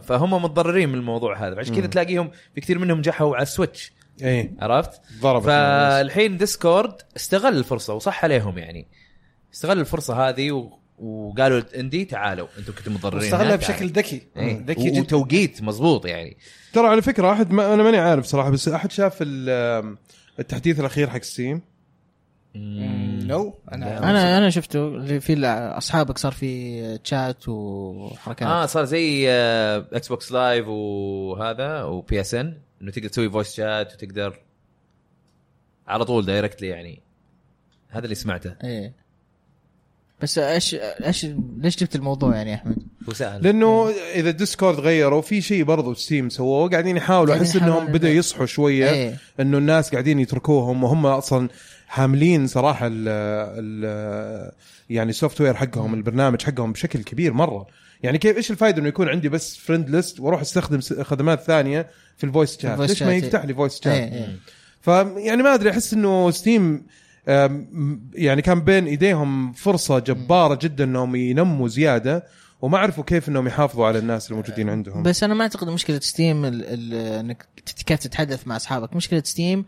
S2: فهم متضررين من الموضوع هذا عشان كذا
S1: مم.
S2: تلاقيهم في كثير منهم جحوا على السويتش
S1: ايه
S2: عرفت؟
S1: ضربت الناس.
S2: فالحين ديسكورد استغل الفرصه وصح عليهم يعني استغل الفرصه هذه و... وقالوا اندي تعالوا انتم كنتم متضررين
S4: استغلها
S2: هنا،
S4: بشكل
S2: تعالوا.
S4: ذكي
S2: آه،
S4: آه،
S2: إيه.
S4: ذكي
S2: و-
S4: جدا
S2: وتوقيت مضبوط يعني
S1: ترى على فكره احد ما انا ماني عارف صراحه بس احد شاف ال- التحديث الاخير حق ستيم
S4: نو انا
S3: انا انا شفته اللي في الع- اصحابك صار في تشات وحركات
S2: اه صار زي آه، اكس بوكس لايف وهذا وبي اس ان انه تقدر تسوي فويس شات وتقدر على طول دايركتلي يعني هذا اللي سمعته
S3: ايه بس ايش ايش ليش جبت الموضوع يعني يا احمد؟
S2: وسهل
S1: لانه
S3: إيه.
S1: اذا الديسكورد غيروا في شيء برضو ستيم سووه قاعدين يحاولوا
S3: قاعدين
S1: احس انهم
S3: يحاولون
S1: بدأوا
S3: يبدأ.
S1: يصحوا شويه
S3: إيه.
S1: انه الناس قاعدين يتركوهم وهم اصلا حاملين صراحه ال ال يعني السوفت وير حقهم البرنامج حقهم بشكل كبير مره يعني كيف ايش الفائده انه يكون عندي بس فريند ليست واروح استخدم س- خدمات ثانيه في الفويس شات
S3: الفويس
S1: ليش ما
S3: شات، إيه.
S1: يفتح لي فويس شات
S3: إيه، إيه.
S1: ف يعني ما ادري احس انه ستيم آم، يعني كان بين ايديهم فرصه جباره جدا انهم ينموا زياده وما عرفوا كيف انهم يحافظوا على الناس الموجودين
S3: إيه.
S1: عندهم
S3: بس انا ما اعتقد مشكله ستيم ال- ال- انك تتكاد تتحدث مع اصحابك مشكله ستيم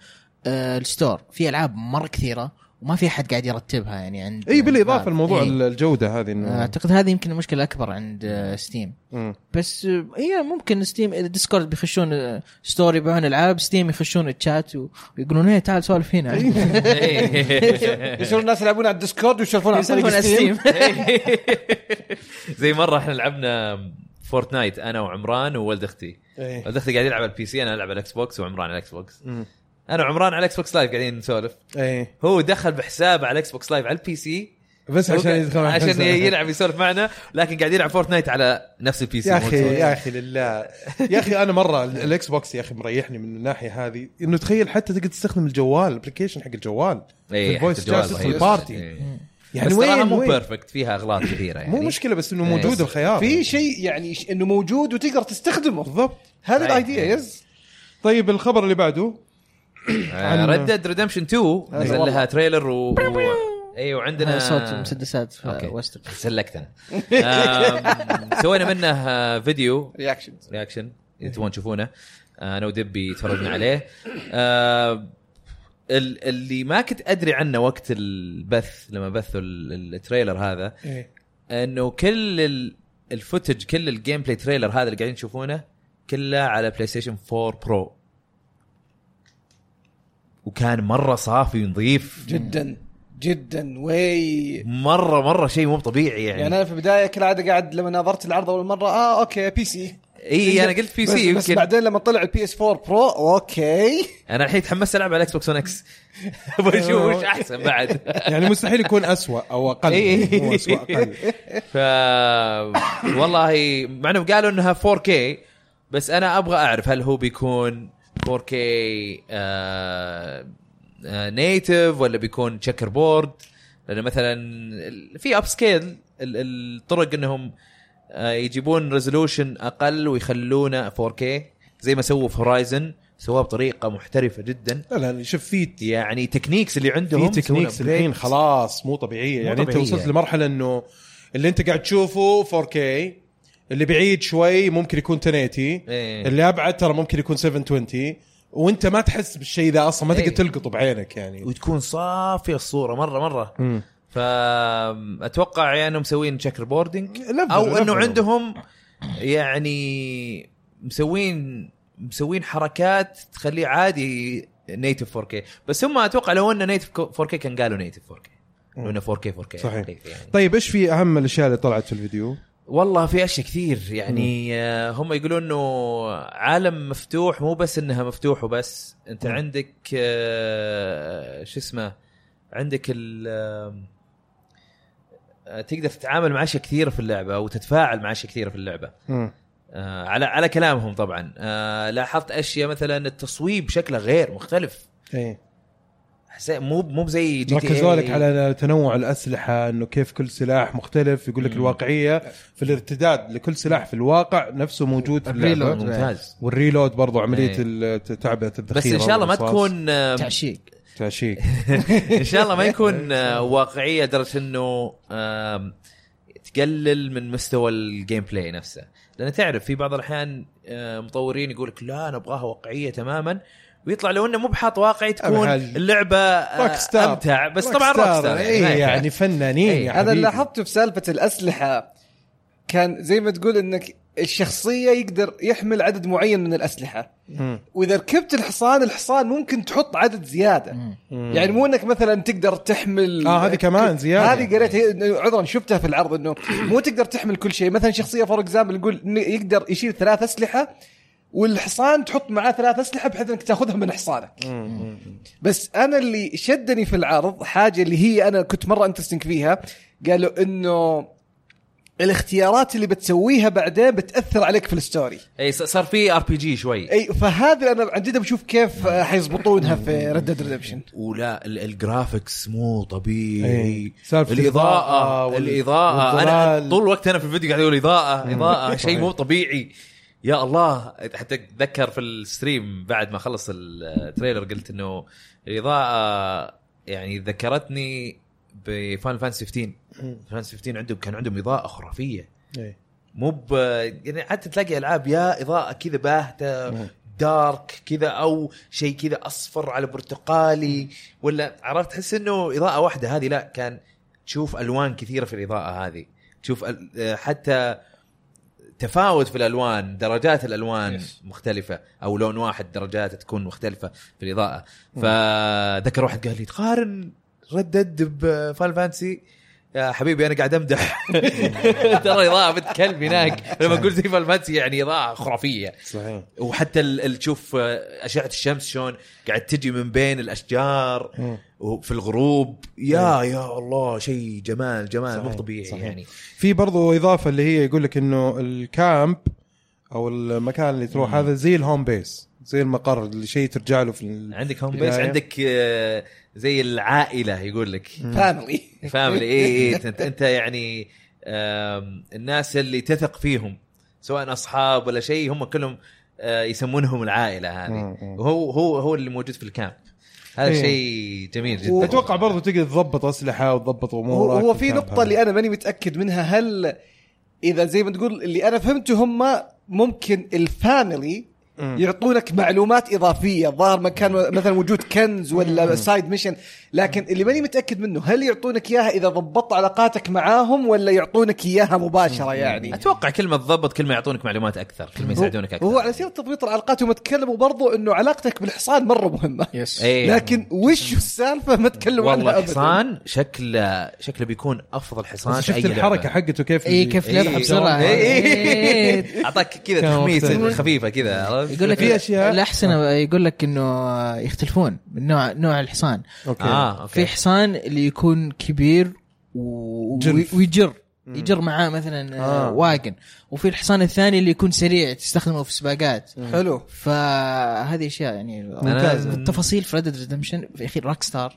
S3: آه، الستور في العاب مره كثيره وما في احد قاعد يرتبها يعني عند
S1: اي بالاضافه لموضوع
S3: إيه.
S1: الجوده هذه
S3: آه،
S1: انه
S3: اعتقد هذه يمكن المشكله اكبر عند آه، ستيم
S1: مم.
S3: بس آه، هي ممكن ستيم إذا ديسكورد بيخشون آه، ستور يبيعون العاب ستيم يخشون الشات و- ويقولون هي تعال سولف هنا
S4: يصيرون الناس يلعبون على الديسكورد ويشوفون على طريق ستيم
S2: زي مره احنا لعبنا فورتنايت انا وعمران وولد اختي
S1: إيه.
S2: ولد اختي قاعد يلعب على البي سي انا العب على الاكس بوكس وعمران على الاكس بوكس
S1: مم.
S2: انا وعمران على الاكس بوكس لايف قاعدين نسولف
S1: ايه
S2: هو دخل بحسابه على الاكس بوكس لايف على البي سي
S1: بس عشان يدخل على
S2: عشان
S1: الحزام.
S2: يلعب يسولف معنا لكن قاعد يلعب فورتنايت على نفس البي سي
S1: يا اخي يا اخي لله يا اخي انا مره ال- الاكس بوكس يا اخي مريحني من الناحيه هذه انه تخيل حتى تقدر تستخدم الجوال الابلكيشن حق الجوال
S2: إيه،
S1: في الفويس شات تدخل البارتي.
S2: يعني
S1: يعني
S2: بس تراها
S1: وين
S2: مو
S1: وين
S2: بيرفكت فيها اغلاط كثيره يعني
S1: مو مشكله بس انه
S2: إيه.
S1: موجود الخيار
S4: في شيء يعني ش- انه موجود وتقدر تستخدمه
S1: بالضبط
S4: هذا
S2: صحيح.
S4: الايديا يز
S1: طيب الخبر اللي بعده عن-
S2: ريد ديد ريدمشن 2 نزل
S1: والله.
S2: لها تريلر و, و...
S1: أيوة.
S2: ايوه وعندنا
S3: هذا صوت آه، مسدسات في
S2: اوكي
S3: وستر
S2: سلكت انا آم، سوينا منه آه، فيديو
S4: رياكشنز إيه.
S2: رياكشن اذا تبون تشوفونه آه، آم، انا ودبي تفرجنا عليه آه، ال- اللي ما كنت ادري عنه وقت البث لما بثوا ال- ال- التريلر هذا
S1: إيه.
S2: انه كل ال- الفوتج كل الجيم بلاي تريلر هذا اللي قاعدين تشوفونه كله على بلاي ستيشن 4 برو وكان مره صافي ونظيف
S4: جدا جدا وي
S2: إيه. مره مره شيء مو طبيعي يعني,
S4: يعني انا في البدايه كالعاده قاعد لما نظرت العرض اول مره اه اوكي بي سي
S2: اي انا قلت بي سي
S4: بس, بس بعدين لما طلع البي اس 4 برو اوكي
S2: انا الحين تحمست العب على الاكس بوكس 1 اكس
S4: أيوه.
S2: ابغى اشوف وش احسن بعد
S1: يعني مستحيل يكون أسوأ او اقل
S2: إيه.
S1: يعني مو أسوأ اقل
S2: ف والله مع انهم قالوا انها 4K بس انا ابغى اعرف هل هو بيكون 4K آه نيتف ولا بيكون تشيكر بورد لان مثلا ال- في اب سكيل الطرق انهم آه، يجيبون ريزولوشن اقل ويخلونه 4K زي ما سووا في هورايزن سووها بطريقه محترفه جدا
S1: لا لا شوف في
S2: يعني تكنيكس اللي
S1: في
S2: عندهم يسوون
S1: تكنيكس الحين
S2: upgrades.
S1: خلاص مو طبيعيه
S2: مو
S1: يعني انت
S2: طبيعية.
S1: وصلت لمرحله انه اللي انت قاعد تشوفه 4K اللي بعيد شوي ممكن يكون 1080
S2: إيه.
S1: اللي ابعد ترى ممكن يكون 720 وانت ما تحس بالشيء ذا اصلا ما تقدر
S2: إيه.
S1: تلقطه بعينك يعني
S2: وتكون صافيه الصوره مره مره
S1: مم.
S2: فاتوقع يعني انهم مسوين تشيكر بوردنج
S1: لفل-
S2: او
S1: لفل.
S2: انه عندهم يعني مسوين مسوين حركات تخليه عادي نيتف 4K بس هم اتوقع لو انه نيتف 4K كان قالوا نيتف 4K لو انه 4K 4K
S1: صحيح.
S2: حقيقي يعني.
S1: طيب ايش في اهم الاشياء اللي طلعت في الفيديو؟
S2: والله في اشياء كثير يعني آه، هم يقولون انه عالم مفتوح مو بس انها مفتوح وبس انت
S1: مم.
S2: عندك آه، شو اسمه عندك ال آه، تقدر تتعامل مع اشياء كثيره في اللعبه وتتفاعل مع اشياء كثيره في اللعبه
S1: مم.
S2: آه، على على كلامهم طبعا آه، لاحظت اشياء مثلا التصويب شكله غير مختلف
S1: ايه
S2: حسيت- مو مو زي جي تي إيه
S1: ركزوا لك على تنوع الاسلحه انه كيف كل سلاح مختلف يقول لك
S2: مم.
S1: الواقعيه في الارتداد لكل سلاح في الواقع نفسه موجود في اللعبه
S3: الريلود.
S2: ممتاز
S1: والريلود برضو عمليه
S2: إيه.
S1: ايه. تعبئه الذخيره
S2: بس ان شاء الله ما
S1: والرصاص.
S2: تكون آه،
S3: تعشيق
S1: تعشيق
S2: ان شاء الله ما يكون آه، واقعيه لدرجه انه آم، تقلل من مستوى الجيم بلاي نفسه لان تعرف في بعض الاحيان آه، مطورين يقول لك لا انا ابغاها واقعيه تماما ويطلع لو انه مو بحاط واقعي تكون
S1: أبهل.
S2: اللعبه آه،
S1: روك ستار
S2: امتع بس طبعا روك ستار
S1: اي
S2: ما ينفع.
S1: يعني, يعني فنانين
S2: إيه.
S1: يا
S4: هذا
S1: حبيبي.
S4: اللي لاحظته في سالفه الاسلحه كان زي ما تقول انك الشخصيه يقدر يحمل عدد معين من الاسلحه
S1: مم.
S4: واذا ركبت الحصان الحصان ممكن تحط عدد زياده
S1: مم.
S4: يعني مو انك مثلا تقدر تحمل
S1: آه، هذه كمان زيادة. يعني.
S4: هذه قريت هي- عذرا شفتها في العرض انه مو تقدر تحمل كل شيء مثلا شخصيه فور اكزامبل نقول إنه يقدر يشيل ثلاث اسلحه والحصان تحط معاه ثلاث اسلحه بحيث انك تاخذها من حصانك بس انا اللي شدني في العرض حاجه اللي هي انا كنت مره انترستنج فيها قالوا انه الاختيارات اللي بتسويها بعدين بتاثر عليك في الستوري
S2: اي إيه، ص- صار في ار بي جي شوي
S4: اي فهذا انا عن جد بشوف كيف آه، حيظبطونها في ريد ديد ريدمشن
S2: ولا ال- الجرافيكس مو
S1: إيه.
S2: طبيعي
S1: سالفة الإضاءة
S2: الاضاءه
S1: وال-
S2: الاضاءه
S1: والظلال.
S2: انا طول الوقت انا في الفيديو قاعد اقول اضاءه اضاءه
S1: صحيح.
S2: شيء مو طبيعي يا الله حتى اتذكر في الستريم بعد ما خلص التريلر قلت انه الاضاءه يعني ذكرتني بفان فانس 15 فان 15 عندهم كان عندهم اضاءه خرافيه
S1: إيه.
S2: مو ب يعني حتى تلاقي العاب يا اضاءه كذا باهته دارك كذا او شيء كذا اصفر على برتقالي ولا عرفت تحس انه اضاءه واحده هذه لا كان تشوف الوان كثيره في الاضاءه هذه تشوف ال- آه، حتى تفاوت في الالوان درجات الالوان yes. مختلفه او لون واحد درجات تكون مختلفه في الاضاءه فذكر واحد قال لي تقارن ردد بفان فانسي يا حبيبي انا قاعد امدح ترى اضاءه بنت كلب هناك لما اقول زي فان فانسي يعني اضاءه خرافيه
S1: صحيح
S2: وحتى ال- ال- تشوف آه، اشعه الشمس شلون قاعد تجي من بين الاشجار
S1: مم.
S2: وفي الغروب يا يا الله شيء جمال جمال مو
S1: صحيح،
S2: طبيعي
S1: صحيح.
S2: يعني
S1: في برضو اضافه اللي هي يقول لك انه الكامب او المكان اللي تروح هذا زي الهوم بيس زي المقر اللي شيء ترجع له في ال...
S2: عندك هوم بيس
S1: بداية.
S2: عندك آه، زي العائله يقول لك
S4: فاميلي
S2: فاميلي اي اي انت, انت يعني آم، الناس اللي تثق فيهم سواء اصحاب ولا شيء هم كلهم آه، يسمونهم العائله هذه
S1: مم، مم.
S2: وهو هو هو اللي موجود في الكامب هذا
S1: إيه.
S2: شيء جميل جدا
S1: اتوقع برضو تقدر تضبط اسلحه وتضبط
S4: هو
S1: امورك
S4: هو في
S1: الكامب
S4: نقطة
S1: هذا.
S4: اللي أنا ماني متأكد منها هل إذا زي ما تقول اللي أنا فهمته هم ممكن الفاميلي يعطونك معلومات اضافيه ظاهر مكان مثلا وجود كنز ولا سايد ميشن لكن اللي ماني متاكد منه هل يعطونك اياها اذا ضبطت علاقاتك معاهم ولا يعطونك اياها مباشره يعني
S2: اتوقع كل ما تضبط كل ما يعطونك معلومات اكثر كل ما يساعدونك اكثر
S4: وهو على سيره تضبيط العلاقات هم تكلموا برضو انه علاقتك بالحصان مره مهمه
S3: يس
S2: إيه.
S4: لكن وش السالفه ما تكلموا
S2: والله
S4: عنها ابدا
S2: الحصان شكله شكله بيكون افضل حصان في
S1: شفت
S2: أي لعبة.
S1: الحركه حقته كيف
S3: اي كيف
S2: إيه.
S3: يلعب بسرعه
S2: إيه.
S3: إيه.
S2: اعطاك كذا
S1: كان
S2: تخميسه
S1: مختلف.
S2: خفيفه كذا عرفت؟ آه،
S3: يقول لك
S1: في أشياء-
S3: الاحسنه يقول لك انه يختلفون من نوع نوع الحصان
S1: اوكي
S2: اه اوكي
S3: في حصان اللي يكون كبير و...
S1: جلف.
S3: ويجر يجر معاه مثلا آه.
S1: آه.
S3: واجن وفي الحصان الثاني اللي يكون سريع تستخدمه في سباقات
S4: حلو
S3: فهذه اشياء يعني
S2: ممتاز.
S3: التفاصيل في ريد ريدمشن في اخير روك ستار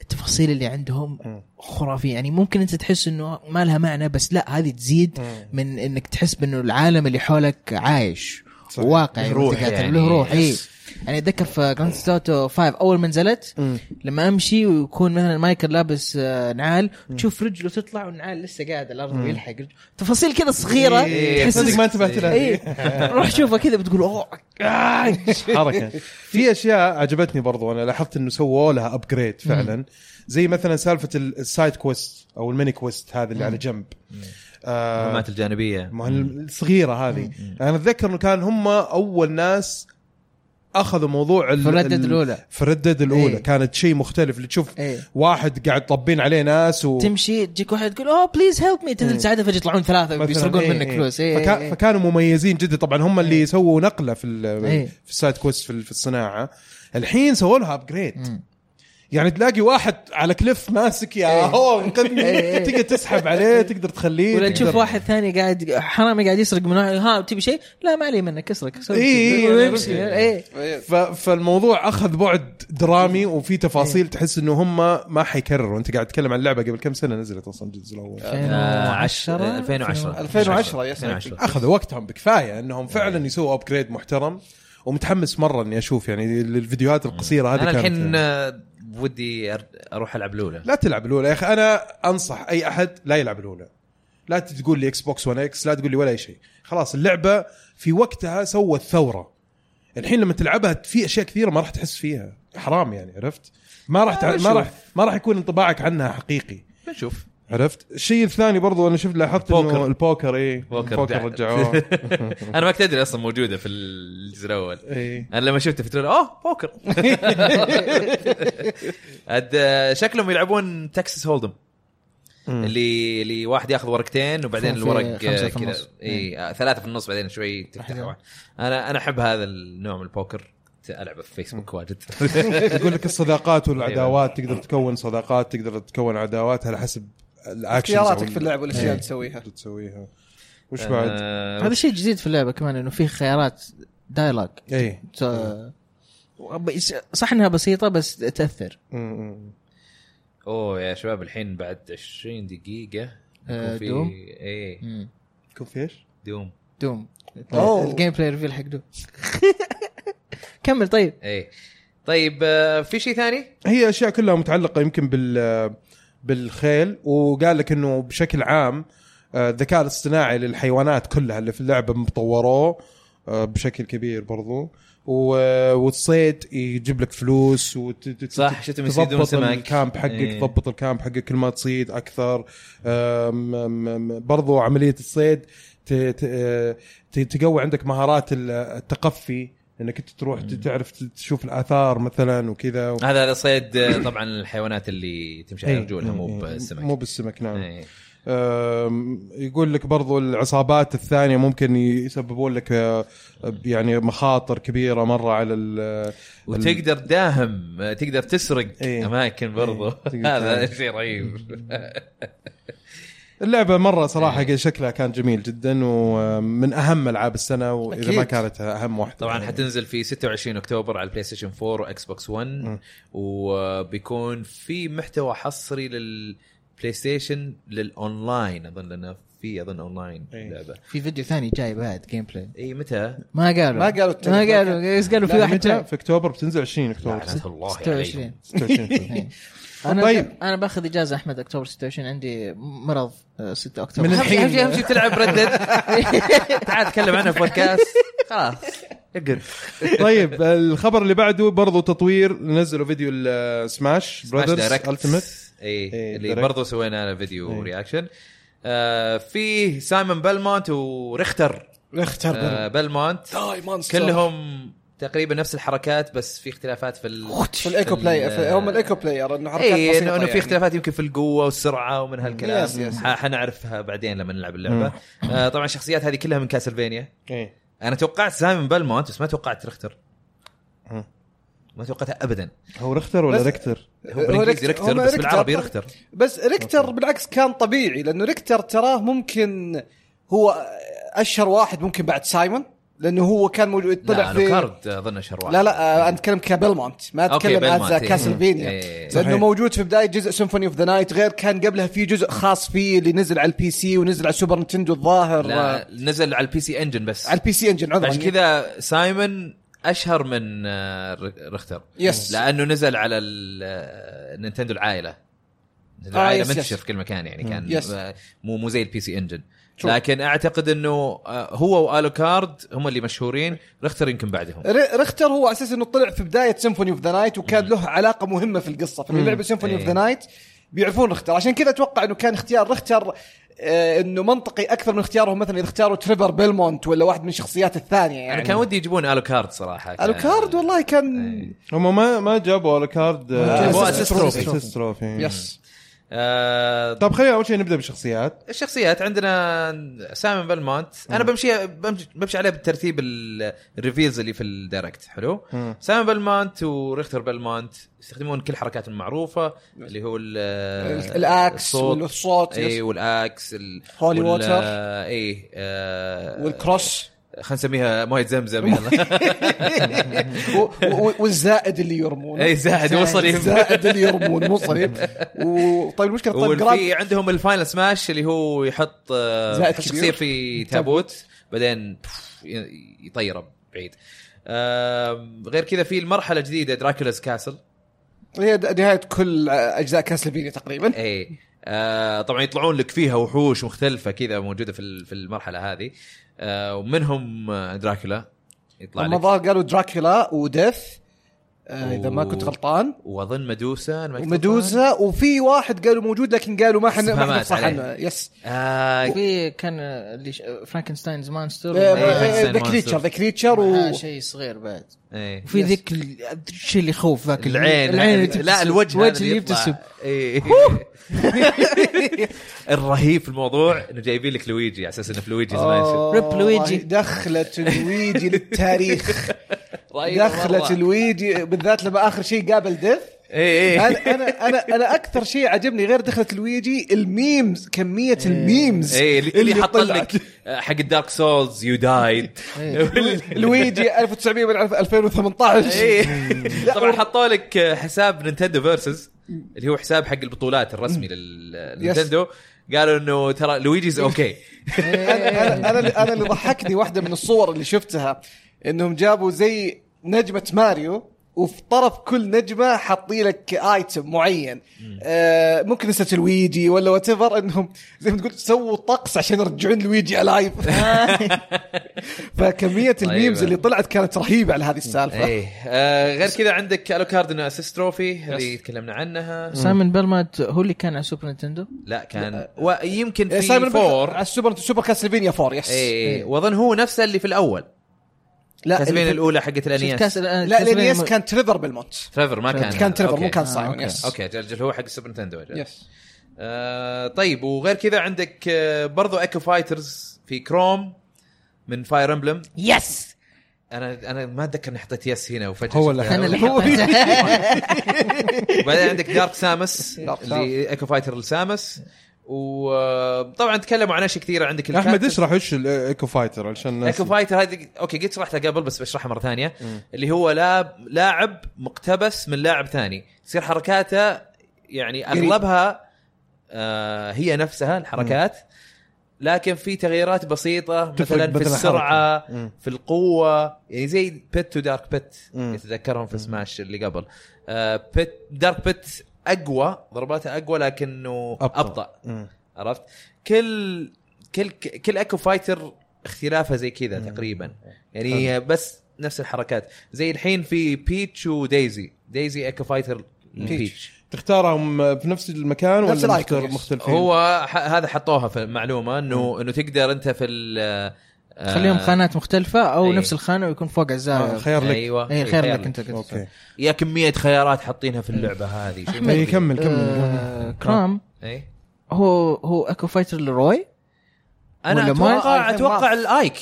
S3: التفاصيل اللي عندهم خرافيه يعني ممكن انت تحس انه ما لها معنى بس لا هذه تزيد من انك تحس بانه العالم اللي حولك عايش
S1: صحيح.
S3: واقعي
S2: له روح
S3: وتقاتل،
S2: يعني.
S3: له روح اي يعني اتذكر في جراند ستوتو 5 اول ما نزلت لما امشي ويكون مثلا مايكل لابس آه، نعال تشوف رجله تطلع والنعال لسه قاعد على الارض ويلحق رجله تفاصيل كذا صغيره
S2: إيه،
S1: صدق
S3: تحسسك
S1: ما انتبهت لها
S3: اي إيه. روح شوفها كذا بتقول اوه آه،
S1: حركه في اشياء عجبتني برضو انا لاحظت انه سووا لها ابجريد فعلا زي مثلا سالفه ال- السايد كويست او الميني كويست هذه اللي على جنب آه
S2: المهمات الجانبيه
S1: ما هي الصغيره هذه انا اتذكر انه كان هم اول ناس اخذوا موضوع ال-
S3: في Red Dead
S1: ال-
S3: الأولى.
S1: في Red Dead الاولى
S3: إيه.
S1: كانت شيء مختلف اللي تشوف
S3: إيه.
S1: واحد قاعد طبين عليه ناس و...
S3: تمشي تجيك واحد تقول اوه بليز هيلب مي تنزل تساعده فجاه يطلعون ثلاثه
S1: إيه. مثلاً.
S3: بيسرقون
S1: إيه،
S3: منك
S1: إيه.
S3: فلوس إيه،
S1: فكا...
S3: إيه.
S1: فكانوا مميزين جدا طبعا هم اللي سووا نقله في ال...
S3: إيه.
S1: في السايد كويست في, ال- في الصناعه الحين سووا لها ابجريد يعني تلاقي واحد على كليف ماسك يا هو
S3: إيه.
S1: انقذني تقدر تسحب عليه تقدر تخليه
S3: ولا تشوف
S1: تقدر-
S3: واحد ثاني قاعد حرامي قاعد يسرق من واحد ها تبي شيء لا ما علي منك اسرق سوي
S1: إيه، إيه،
S3: كذا.
S1: أنا
S3: وامشي.
S1: عرفت.
S3: إيه.
S1: ف... فالموضوع اخذ بعد درامي وفي
S3: إيه.
S1: تفاصيل تحس انه هم ما حيكرروا انت قاعد تتكلم عن اللعبه قبل كم سنه نزلت اصلا الجزء الاول
S3: إيه.
S2: آه،
S3: 2010
S2: 2010
S4: 2010 يا سلام.
S2: 2010
S1: اخذوا وقتهم بكفايه
S3: إيه.
S1: انهم فعلا يسووا ابجريد محترم ومتحمس مره اني اشوف يعني الفيديوهات القصيره هذه
S2: انا
S1: كانت- يعني.
S2: الحين آه، ودي أر- اروح العب الاولى
S1: لا تلعب الاولى يا اخي انا انصح اي احد لا يلعب الاولى لا تقول لي اكس بوكس 1 اكس لا تقول لي ولا اي شيء خلاص اللعبه في وقتها سوت ثوره الحين لما تلعبها في اشياء كثيره ما راح تحس فيها حرام يعني عرفت ما راح تع... ما راح ما راح يكون انطباعك عنها حقيقي
S2: بنشوف
S1: عرفت الشيء الثاني برضو انا شفت لاحظت
S2: البوكر.
S1: انه البوكر اي
S2: البوكر
S1: البوكر
S2: رجع-
S1: رجعوه
S2: انا ما كنت ادري اصلا موجوده في الجزء الاول
S1: إيه.
S2: انا لما شفته في تويتر اوه بوكر عاد آه، شكلهم يلعبون تكساس هولدم اللي اللي واحد ياخذ ورقتين وبعدين
S3: في-
S2: الورق
S3: خمسة
S2: آه،
S3: في النص.
S2: كذا اي آه، ثلاثه في النص بعدين شوي تفتح واحد. انا انا احب هذا النوع من البوكر العبه في فيسبوك واجد
S1: يقول لك الصداقات والعداوات
S4: أيوة.
S1: تقدر تكون صداقات تقدر تكون عداوات على حسب الاكشن
S4: اختياراتك في اللعب والاشياء
S1: إيه.
S4: اللي تسويها
S1: تسويها وش بعد؟
S2: آه،
S3: هذا شيء جديد في اللعبه كمان انه في خيارات دايلوج
S1: اي
S3: ت- وبيس- صح انها بسيطه بس تاثر
S2: اوه يا شباب الحين بعد 20 دقيقة
S3: آه،
S2: يكون في
S3: دوم؟
S2: ايه
S3: مم.
S1: يكون في ايش؟
S2: دوم
S3: دوم
S4: أوه.
S3: الجيم بلاي ريفيل حق دوم كمل طيب
S2: ايه طيب آه، في شيء ثاني؟
S1: هي اشياء كلها متعلقه يمكن بال بالخيل وقال لك انه بشكل عام آه، الذكاء الاصطناعي للحيوانات كلها اللي في اللعبه مطوروه آه، بشكل كبير برضو و- آه، والصيد يجيب لك فلوس وت-
S2: صح، شفتهم يصيدون
S1: تضبط
S2: سمك.
S1: الكامب حقك
S2: إيه.
S1: ضبط الكامب حقك كل ما تصيد اكثر آم، آم، آم، برضو عمليه الصيد ت- ت- آه، ت- تقوي عندك مهارات ال- التقفي انك انت تروح ت- تعرف ت- تشوف الاثار مثلا وكذا و...
S2: هذا هذا صيد آه، طبعا الحيوانات اللي تمشي على
S1: إيه،
S2: رجولها يعني مو
S1: إيه،
S2: بالسمك
S1: مو بالسمك نعم
S2: إيه.
S1: أم، يقول لك برضو العصابات الثانيه ممكن يسببون لك أه، يعني مخاطر كبيره مره على ال-
S2: وتقدر تداهم آه، تقدر تسرق
S1: إيه.
S2: اماكن برضو
S1: تقدر
S2: هذا
S1: تداهم.
S2: شيء رهيب
S1: اللعبه مره صراحه شكلها كان جميل جدا ومن اهم العاب السنه واذا
S3: أكيد.
S1: ما كانت اهم واحده
S2: طبعا
S1: يعني.
S2: حتنزل في 26 اكتوبر على البلاي ستيشن 4 واكس بوكس 1 وبيكون في محتوى حصري للبلاي ستيشن للاونلاين اظن لانه في اظن اونلاين
S1: إيه.
S2: لعبه
S3: في فيديو ثاني جاي بعد جيم بلاي
S2: اي متى؟
S3: ما قالوا
S4: ما قالوا التاريخ.
S3: ما قالوا بس قالوا في
S4: لا،
S3: واحد
S1: متى
S3: جاي
S1: في اكتوبر بتنزل 20 اكتوبر
S2: لعنة الله
S3: 26
S2: عليهم
S1: 26
S3: انا
S1: طيب.
S3: طيب. انا باخذ اجازه احمد اكتوبر 26 عندي مرض آه، 6 اكتوبر
S1: من
S2: اهم شيء
S1: الحين.
S2: اهم شيء بتلعب ردد تعال تكلم عنها في بودكاست خلاص اقر
S1: طيب الخبر اللي بعده برضو تطوير نزلوا فيديو السماش براذرز التيمت إيه،
S2: اي اللي
S1: Direct.
S2: برضو سوينا له فيديو
S1: إيه.
S2: رياكشن آه فيه سايمون بلمونت وريختر
S4: اختر
S2: آه بلمونت
S4: داي مانستر
S2: كلهم تقريبا نفس الحركات بس في اختلافات في ال...
S4: في الايكو
S2: في ال-
S4: بلاير في- هم الايكو بلاير انه حركات
S2: اي
S4: بسيطه
S2: انه انه
S4: يعني.
S2: في اختلافات يمكن في القوه والسرعه ومن هالكلام
S4: يس- يس-
S2: ح- حنعرفها بعدين لما نلعب اللعبه آه طبعا الشخصيات هذه كلها من كاسلفينيا
S1: إيه.
S2: انا توقعت سايمون بلمونت بس ما توقعت ريختر
S1: مم.
S2: ما توقعتها ابدا
S1: هو رختر ولا
S4: بس-
S1: ريكتر؟
S2: هو بالانجليزي
S4: ريكتر-
S2: ريختر
S4: هم
S2: بس
S4: ريكتر.
S2: بالعربي ريختر
S4: بس ريكتر بالعكس كان طبيعي لانه ريكتر تراه ممكن هو اشهر واحد ممكن بعد سايمون لانه هو كان موجود طلع
S2: لا
S4: في
S2: لوكارد اظن اشهر واحد
S4: لا لا آه، انا اتكلم كبلمونت ما
S2: أوكي،
S4: اتكلم
S2: بيلمونت،
S4: از
S2: إيه.
S4: كاسلفينيا
S2: إيه.
S1: صحيح.
S4: لانه موجود في بدايه جزء سيمفوني اوف ذا نايت غير كان قبلها في جزء خاص فيه اللي نزل على البي سي ونزل على السوبر نتندو الظاهر آه،
S2: لا نزل على البي سي انجن بس
S4: على البي سي انجن عذرا
S2: عشان كذا سايمون اشهر من آه، ر- رختر
S4: يس.
S2: لانه نزل على ال- آه، نينتندو العائله نينتندو
S4: آه،
S2: العائله
S4: يس،
S2: منتشر
S4: يس.
S2: في كل مكان يعني كان
S4: يس.
S2: آه، مو مو زي البي سي انجن
S4: True.
S2: لكن اعتقد انه آه، هو والوكارد هم اللي مشهورين رختر يمكن بعدهم يعني
S4: ر- رختر هو على اساس انه طلع في بدايه سيمفوني اوف ذا نايت وكان له علاقه مهمه في القصه فلما لعبوا سيمفوني اوف
S2: إيه.
S4: ذا نايت بيعرفون رختر عشان كذا اتوقع انه كان اختيار رختر آه، انه منطقي اكثر من اختيارهم مثلا اذا اختاروا تريفر بيلمونت ولا واحد من الشخصيات الثانيه
S2: يعني
S4: يعني
S2: كان ودي يجيبون الوكارد صراحه كان- إيه.
S4: الوكارد والله كان
S1: هم ما ما جابوا على كارد آه،
S2: جابوا
S1: اسيست
S2: assist
S1: تروفي
S2: trophy.
S1: assist trophy.
S2: إيه.
S4: يس
S2: آه،
S1: طب خلينا اول شيء نبدا بالشخصيات
S2: الشخصيات عندنا سايمون بلمونت انا بمشي بمشي, بمشي عليها بالترتيب ال- الريفيلز اللي في الدايركت حلو
S1: مم.
S2: سايمون بلمونت وريختر بلمونت يستخدمون كل حركاتهم المعروفه اللي هو ال- إيه.
S4: الاكس والصوت
S2: اي
S4: يس.
S2: والاكس ال-
S4: Holy
S2: وال-
S4: water.
S2: اي آه،
S4: والكروس
S2: خلينا نسميها مويه زمزم يلا
S4: و- و- والزائد اللي يرمونه
S2: اي إيه، زاهد وصل
S4: الزائد اللي يرمون مو صريف وطيب المشكله طيب
S2: وفي
S4: جراند
S2: عندهم الفاينل سماش اللي هو يحط آه،
S4: زائد
S2: شخصيه
S4: كبير.
S2: في تابوت بعدين بف، ي- يطيره بعيد آم، غير كذا في المرحله الجديده دراكولاز كاسل
S4: هي د- نهايه كل اجزاء كاسلفينيا تقريبا
S2: اي آه، طبعا يطلعون لك فيها وحوش مختلفه كذا موجوده في ال- في المرحله هذه آه، ومنهم آه، دراكولا يطلع
S4: هم
S2: لك
S4: الظاهر قالوا دراكولا وديث آه اذا ما كنت
S2: و-
S4: غلطان
S2: واظن مدوسه أنا ما كنت غلطان.
S4: ومدوزا وفي واحد قالوا موجود لكن قالوا ما حن ما
S2: استفهامات
S4: حنفصح
S2: عليه.
S4: عنه يس
S2: آه،
S3: في كان آه، اللي ش... فرانكنستاينز مانستر
S2: إيه.
S4: آه، ذا كريتشر ذا كريتشر
S3: معاه
S4: و
S3: شيء صغير بعد
S2: إيه.
S3: وفي ذيك ال- الشيء اللي يخوف ذاك اللي-
S2: العين
S3: العين اللي
S2: لا
S3: تبتسم.
S2: الوجه
S3: الوجه
S2: هذا
S3: اللي
S2: يطلع.
S3: يبتسم
S2: إيه. الرهيب في الموضوع انه جايبين لك لويجي على اساس انه في لويجي
S4: آه،
S3: ريب لويجي.
S4: دخلت لويجي للتاريخ
S2: طيب،
S4: دخلت
S2: اي
S4: لويجي بالذات لما اخر شيء قابل ديث
S2: اي
S4: انا انا انا انا اكثر شيء عجبني غير دخلت لويجي الميمز
S2: إيه.
S4: كميه الميمز
S2: اي اللي, اللي حط
S4: طلعت.
S2: لك آه، حق الدارك سولز يو دايد
S3: إيه.
S4: لويجي 1900 من
S2: إيه.
S4: 2018
S2: طبعا حطوا لك آه، حساب نينتندو فيرسز اللي هو حساب حق البطولات الرسمي
S3: Mm.
S2: للنينتندو قالوا انه ترى لويجيز اوكي
S4: انا انا انا اللي, أنا اللي ضحكني واحده من الصور اللي شفتها انهم جابوا زي نجمه ماريو وفي طرف كل نجمه حاطين لك ايتم معين آه ممكن نسيت لويجي ولا وات انهم زي ما تقول سووا طقس عشان يرجعون لويجي الايف فكميه الميمز
S2: طيب.
S4: اللي طلعت كانت رهيبه على هذه السالفه
S2: ايه آه غير كذا عندك الوكارد انه اسيست تروفي اللي تكلمنا عنها
S3: سايمون بيرمات هو اللي كان على سوبر نينتندو
S2: لا كان ويمكن
S4: آه،
S2: في
S4: سايمون بيرك على
S2: فور إيه،
S4: السوبر سوبر كاسلفينيا 4 يس
S2: اي واظن هو نفسه اللي في الاول
S4: إيه. لا
S2: كاسلفين
S4: ال-
S2: الاولى حقت
S3: شفت
S2: الانيس
S3: كاس ال-
S4: لا
S3: كاس
S4: الانيس
S3: الم-
S4: كان تريفر بالموت
S2: تريفر ما كان
S4: كان تريفر مو
S2: أوكي.
S4: كان
S3: آه،
S4: سايمون
S3: أوكي.
S4: يس
S2: اوكي جل جل هو حق السوبر نتندو أجل.
S4: يس
S2: آه طيب وغير كذا عندك آه برضو ايكو فايترز في كروم من فاير امبلم
S3: يس
S2: انا انا ما اتذكر اني حطيت يس هنا وفجاه
S1: هو اللي
S2: شفتها.
S3: انا اللي
S2: هو-
S3: حطيتها.
S2: وبعدين عندك دارك سامس
S4: دارك سامس.
S2: اللي ايكو فايتر السامس وطبعا آه، تكلموا عن اشياء كثيره عندك
S1: احمد
S2: الكابتن-
S1: اشرح وش الايكو فايتر عشان الناس
S2: ايكو فايتر هذه اوكي قد شرحتها قبل بس بشرحها مره ثانيه اللي هو لاعب لاعب مقتبس من لاعب ثاني تصير حركاته يعني
S4: قريب.
S2: اغلبها آه هي نفسها الحركات لكن في تغييرات بسيطه
S1: تفرق
S2: مثلا في
S1: بدل
S2: السرعه
S1: مم.
S2: في القوه يعني زي بيت ودارك بيت
S1: مم.
S2: يتذكرهم في سماش اللي قبل آه بيت دارك بيت اقوى ضرباته اقوى لكنه
S1: أبطأ.
S2: ابطا, أبطأ.
S1: مم.
S2: عرفت كل كل كل اكو فايتر اختلافها زي كذا تقريبا يعني بس نفس الحركات زي الحين في بيتش ودايزي دايزي اكا فايتر
S4: بيتش.
S2: بيتش
S1: تختارهم بنفس المكان
S4: نفس
S1: ولا
S4: الآيكون،
S1: مختار
S4: يس.
S1: مختلفين؟
S2: هو ح- هذا حطوها في المعلومه انه انه تقدر انت في ال آه،
S3: خليهم خانات مختلفه او
S2: إيه.
S3: نفس الخانه ويكون فوق
S1: آه،
S3: الزاويه
S1: خيار لك
S2: ايوه
S3: اي خير إيه، لك انت كنت
S1: اوكي
S2: يا كميه خيارات حاطينها في اللعبه هذه إيه؟ شيء
S3: أحمد.
S2: ما
S1: اي
S2: يدري.
S1: إيه، كمل كمل
S3: آه، كرام
S2: اي
S3: هو هو اكو فايتر لروي
S2: انا
S3: ولا ما-
S2: اتوقع
S4: الحين
S2: اتوقع
S4: ما-
S2: الايك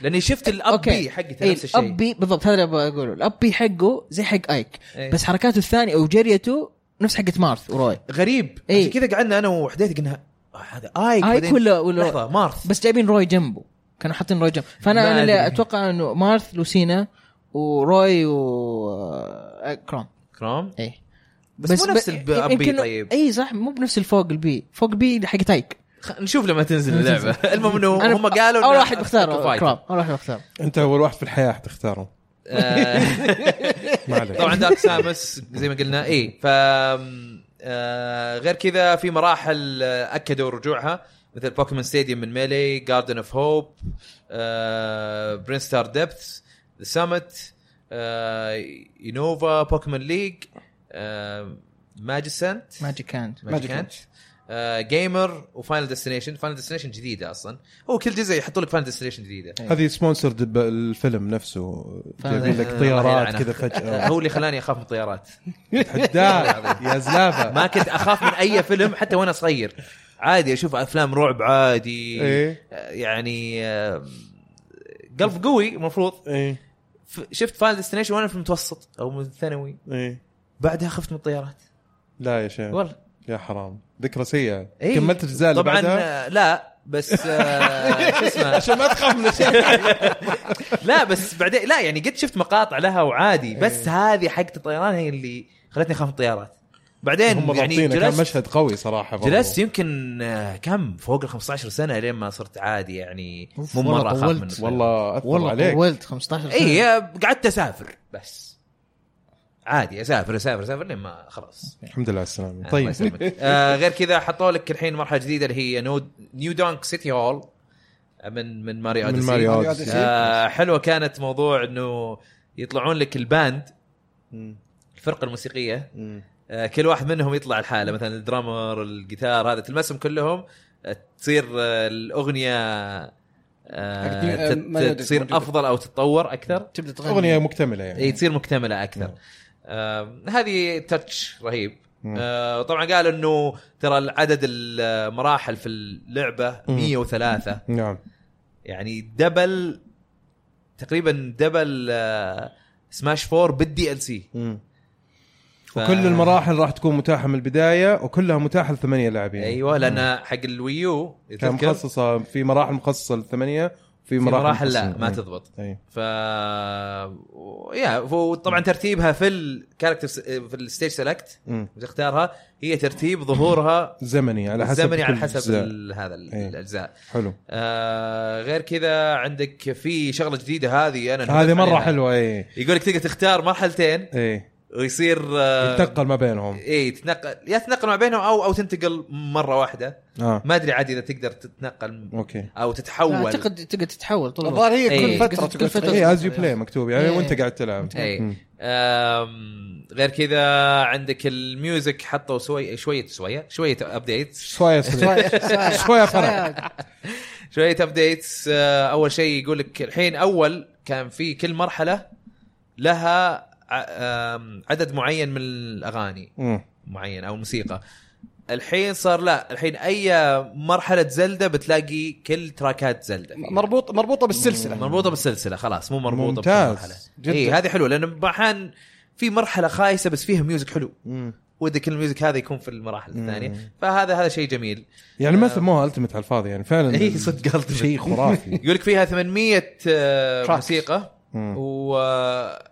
S2: لاني شفت الاب بي حقته
S3: إيه،
S2: نفس الشيء
S3: الاب بي بالضبط هذا اللي بقوله الاب بي حقه زي حق ايك
S2: إيه.
S3: بس حركاته الثانيه او جريته نفس حقت مارث وروي
S2: غريب
S3: إيه.
S2: عشان كذا قعدنا انا وحديث قلنا آه، هذا ايك
S3: ايك
S2: بعدين-
S3: ولا ولا
S2: لحظه مارث
S3: بس جايبين روي جنبه كانوا حاطين روي جنبه فانا
S2: ما أدري.
S3: انا اللي اتوقع انه مارث لوسينا وروي آه، وكرام
S2: كروم
S3: ايه
S2: إيه. بس, مو نفس الب- الاب بي
S3: يمكن-
S2: طيب
S3: اي صح مو بنفس الفوق البي فوق بي حق تايك
S2: خ- نشوف لما تنزل اللعبه المهم انه هم قالوا
S3: اول
S2: إنه
S3: واحد
S2: أكو
S3: بختار
S2: فايت.
S3: كرام اول واحد بختار
S1: انت اول واحد في الحياه حتختاره
S2: آه،
S1: ما عليك
S2: طبعا دارك سامس زي ما قلنا اي ف آه، غير كذا في مراحل آه، اكدوا رجوعها مثل بوكيمون ستاديوم من ميلي جاردن اوف هوب برين ستار ديبث ذا سمت آه، ينوفا بوكيمون ليج آه، ماجيسنت
S3: ماجيك هاند
S2: ماجيك هاند آه، جيمر وفاينل ديستنيشن فاينل ديستنيشن جديده اصلا هو كل جزء يحطوا لك فاينل ديستنيشن جديده
S1: هذه سبونسرد بالفيلم نفسه
S3: فهذا-
S1: جايبين لك
S2: آه، الله
S1: طيارات
S2: يلعنه.
S1: كذا
S2: آه،
S1: فجاه
S2: هو اللي خلاني اخاف من الطيارات
S1: حداد يا زلافه
S2: ما كنت اخاف من اي فيلم حتى وانا صغير عادي اشوف افلام رعب عادي
S1: إيه.
S2: آه، يعني آه، قلب قوي المفروض
S1: ايه
S2: ف- شفت فاينل ديستنيشن وانا في المتوسط او من الثانوي
S1: ايه
S2: بعدها خفت من الطيارات
S1: لا يا شيخ
S2: والله
S1: يا حرام ذكرى سيئه
S2: إيه.
S1: كملت الجزء اللي
S2: طبعا
S1: بعدها
S2: آه، لا بس آه، شو اسمه
S1: عشان ما تخاف من الشيء
S2: لا بس بعدين لا يعني قد شفت مقاطع لها وعادي
S1: إيه.
S2: بس هذه حقت الطيران هي اللي خلتني اخاف من الطيارات
S1: هم
S2: بعدين يعني
S1: ضابطينه كان
S2: جلست
S1: مشهد قوي صراحه برضو.
S2: جلست يمكن آه، كم فوق ال 15 سنه لين ما صرت عادي يعني
S3: أوف،
S2: مو
S3: والله
S2: مره اخاف
S3: طولت.
S2: من الطيران.
S1: والله اثر
S3: والله
S1: عليك
S3: طولت 15 سنه
S2: اي آه، قعدت اسافر بس عادي اسافر اسافر اسافر لين ما خلاص
S1: الحمد لله على السلامه
S2: آه،
S1: طيب
S2: الله يسلمك. آه غير كذا حطوا لك الحين مرحله جديده اللي هي نو- نيو دونك سيتي هول من من ماريو
S1: من
S2: أوديسي.
S1: ماريو
S4: ماريو
S1: أوديسي.
S4: أوديسي.
S2: آه حلوه كانت موضوع انه يطلعون لك الباند
S1: مم.
S2: الفرقه الموسيقيه
S1: مم.
S2: آه كل واحد منهم يطلع الحاله مثلا الدرامر الجيتار هذا تلمسهم كلهم آه، تصير آه الاغنيه آه
S4: أكيد، آه، ما
S2: تت-
S4: يدري
S2: تصير
S4: موجودة.
S2: افضل او تتطور اكثر
S3: تبدا تغني
S1: اغنيه مكتمله يعني
S2: اي تصير مكتمله اكثر
S1: مم.
S2: آه هذه تاتش رهيب
S1: مم.
S2: آه طبعا قالوا انه ترى العدد المراحل في اللعبه
S1: مم.
S2: 103
S1: نعم
S2: يعني دبل تقريبا دبل آه، سماش 4 بالدي ال سي
S1: مم.
S2: ف-
S1: وكل المراحل راح تكون متاحه من البدايه وكلها متاحه لثمانيه لاعبين
S2: ايوه لان حق الويو
S1: إيه. كان
S2: تذكر في
S1: مخصصه في مراحل مخصصه للثمانيه في مراحل,
S2: مراحل لا
S1: مخصصة.
S2: ما
S1: إيه.
S2: تضبط
S1: إيه.
S2: ف و- يا وطبعا ترتيبها في الكاركتر في الستيج سيلكت
S1: مم.
S2: بتختارها هي ترتيب ظهورها
S1: زمني على حسب
S2: الزمني على
S1: كل
S2: حسب
S1: أجزاء.
S2: ال- هذا ال-
S1: إيه.
S2: الاجزاء
S1: حلو
S2: آه غير كذا عندك في شغله جديده هذه انا
S1: هذه إيه،
S2: ندمت
S1: مره
S2: عليها.
S1: حلوه اي
S2: يقول لك تقدر تختار مرحلتين
S1: اي
S2: ويصير آه،
S1: يتنقل إيه. ما بينهم
S2: اي تتنقل يا تتنقل ما بينهم او او تنتقل مره واحده
S1: اه
S2: ما ادري عاد اذا تقدر تتنقل
S1: اوكي
S2: او
S3: لا،
S2: تتحول
S3: اعتقد تقدر تتحول طول الوقت
S4: الظاهر هي
S2: إيه.
S4: كل فتره
S3: كل
S4: تقول
S3: فترة.
S1: اي از يو بلاي مكتوب يعني
S3: إيه.
S1: وانت قاعد تلعب
S2: إيه.
S1: مم.
S2: آم، غير كذا عندك الميوزك حطوا سوي شويه شويه شويه ابديتس
S1: شويه شويه شويه فرق
S2: شويه ابديتس آه، اول شيء يقول لك الحين اول كان في كل مرحله لها ع- آم، عدد معين من الاغاني
S1: مم.
S2: معين او موسيقى الحين صار لا الحين اي مرحله زلده بتلاقي كل تراكات زلده فيها.
S4: مربوط مربوطه بالسلسله
S2: مربوطه بالسلسله خلاص مو مربوطه
S1: ممتاز.
S2: جدا اي إيه، هذه حلوه لان احيانا في مرحله خايسه بس فيها ميوزك حلو
S1: مم.
S2: ودك الميوزك هذا يكون في المراحل
S1: مم.
S2: الثانيه فهذا هذا شيء جميل
S1: يعني ما سموها التمت على الفاضي يعني فعلا
S2: اي صدق قلت
S1: شيء خرافي
S2: يقول لك فيها 800 آه،
S4: Tracks.
S2: موسيقى
S1: مم.
S2: و...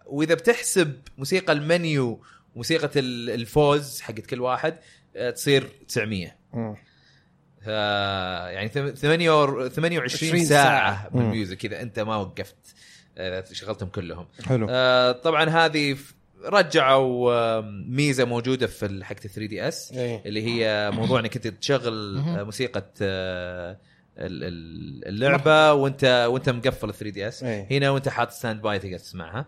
S2: واذا بتحسب موسيقى المنيو وموسيقى ال- الفوز حقت كل واحد آه، تصير 900
S1: مم.
S2: آه، يعني ثم- ثمانية وار- 28
S4: 20
S2: ساعة
S4: ساعة.
S2: من
S1: مم.
S2: ميوزك إذا أنت ما وقفت آه، شغلتهم كلهم
S1: حلو
S2: آه، طبعا هذه ف- رجعوا آه، ميزة موجودة في حقة 3 دي اس
S1: إيه.
S2: اللي هي موضوع انك انت تشغل آه، موسيقى آه، ال- ال- اللعبه وانت وانت مقفل ال 3 دي اس
S1: إيه.
S2: هنا وانت حاط ستاند باي تقدر تسمعها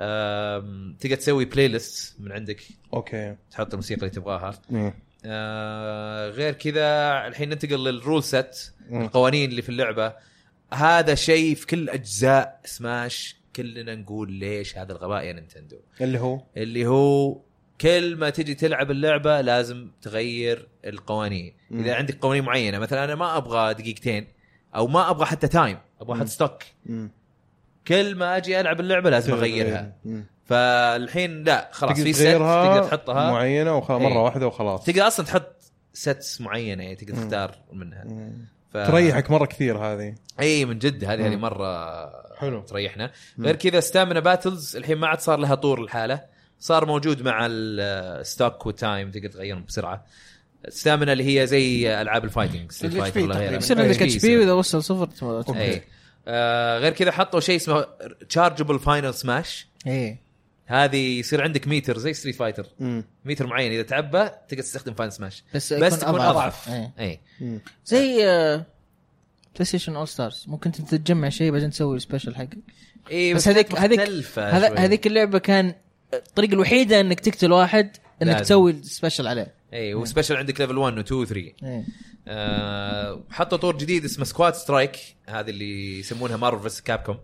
S2: آم، تقدر تسوي بلاي ليست من عندك
S1: اوكي
S2: تحط الموسيقى اللي تبغاها
S1: مم.
S2: آه، غير كذا الحين ننتقل للرول سيت القوانين اللي في اللعبه هذا شيء في كل اجزاء سماش كلنا نقول ليش هذا الغباء يا نينتندو
S1: اللي هو
S2: اللي هو كل ما تجي تلعب اللعبه لازم تغير القوانين
S1: مم.
S2: اذا عندك قوانين معينه مثلا انا ما ابغى دقيقتين او ما ابغى حتى تايم ابغى
S1: مم.
S2: حتى ستوك كل ما اجي العب اللعبه لازم اغيرها فالحين لا خلاص في ست تقدر تحطها
S1: معينه وخلاص
S2: إيه.
S1: مره واحده وخلاص
S2: تقدر اصلا تحط ستس معينه يعني تقدر
S1: مم.
S2: تختار منها
S1: مم.
S2: ف...
S1: تريحك مره كثير هذه
S2: اي من جد هذه هذه
S1: مم.
S2: مره
S1: حلو.
S2: تريحنا
S1: مم.
S2: غير كذا ستامنا باتلز الحين ما عاد صار لها طور الحاله صار موجود مع الستوك والتايم تقدر تغيرهم بسرعه ستامنا اللي هي زي العاب الفايتنج ستريت
S4: ال HP
S2: فايتر ولا
S4: تقريباً.
S2: غيرها.
S4: بس
S3: يصير عندك
S2: HP
S3: اتش بي واذا وصل صفر تموت.
S2: اي آه، غير كذا حطوا شيء اسمه تشارجبل فاينل سماش
S3: ايه
S2: هذه يصير عندك ميتر زي ستريت فايتر
S1: مم.
S2: ميتر معين اذا تعبى تقدر تستخدم فاينل سماش
S3: بس
S2: بس تكون اضعف
S3: إيه.
S2: اي
S1: مم.
S3: زي آه، بلاي ستيشن اول ستارز ممكن انت تجمع شيء بعدين تسوي سبيشل حقك
S2: اي
S3: بس هذيك- هذيك- هذا هذيك اللعبه كان الطريقه الوحيده انك تقتل واحد انك
S2: لازم.
S3: تسوي سبيشل عليه
S2: اي وسبيشل إيه، عندك ليفل 1 و 2 و 3
S3: إيه.
S2: آه حطوا طور جديد اسمه سكواد سترايك هذه اللي يسمونها مارفل فيس كابكوم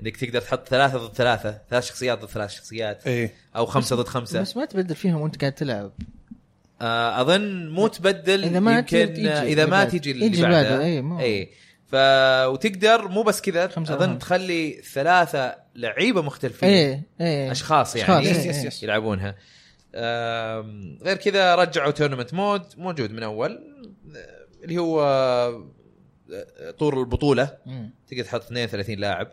S2: انك تقدر تحط ثلاثه ضد ثلاثه ثلاث شخصيات ضد ثلاث شخصيات
S1: ايه
S2: او خمسه ضد خمسه
S3: إيه. بس ما تبدل فيهم وانت قاعد تلعب
S2: آه اظن مو تبدل
S3: إذا ما
S2: يمكن
S3: تجي- يجي
S2: اذا ما
S3: بعد.
S2: تجي اللي
S3: يجي
S2: بعدها
S3: بعده، إي، مو-
S2: اي ف وتقدر مو بس كذا
S3: خمسة
S2: اظن
S3: ضد
S2: تخلي ثلاثه لعيبه مختلفين
S3: ايه ايه
S2: اشخاص يعني
S3: أشخاص،
S4: إيه، يس- يس- يس.
S2: يلعبونها آم، غير كذا رجعوا تورنمنت مود موجود من اول آه، اللي هو آه، طور البطوله
S3: مم.
S2: تقدر تحط 32 لاعب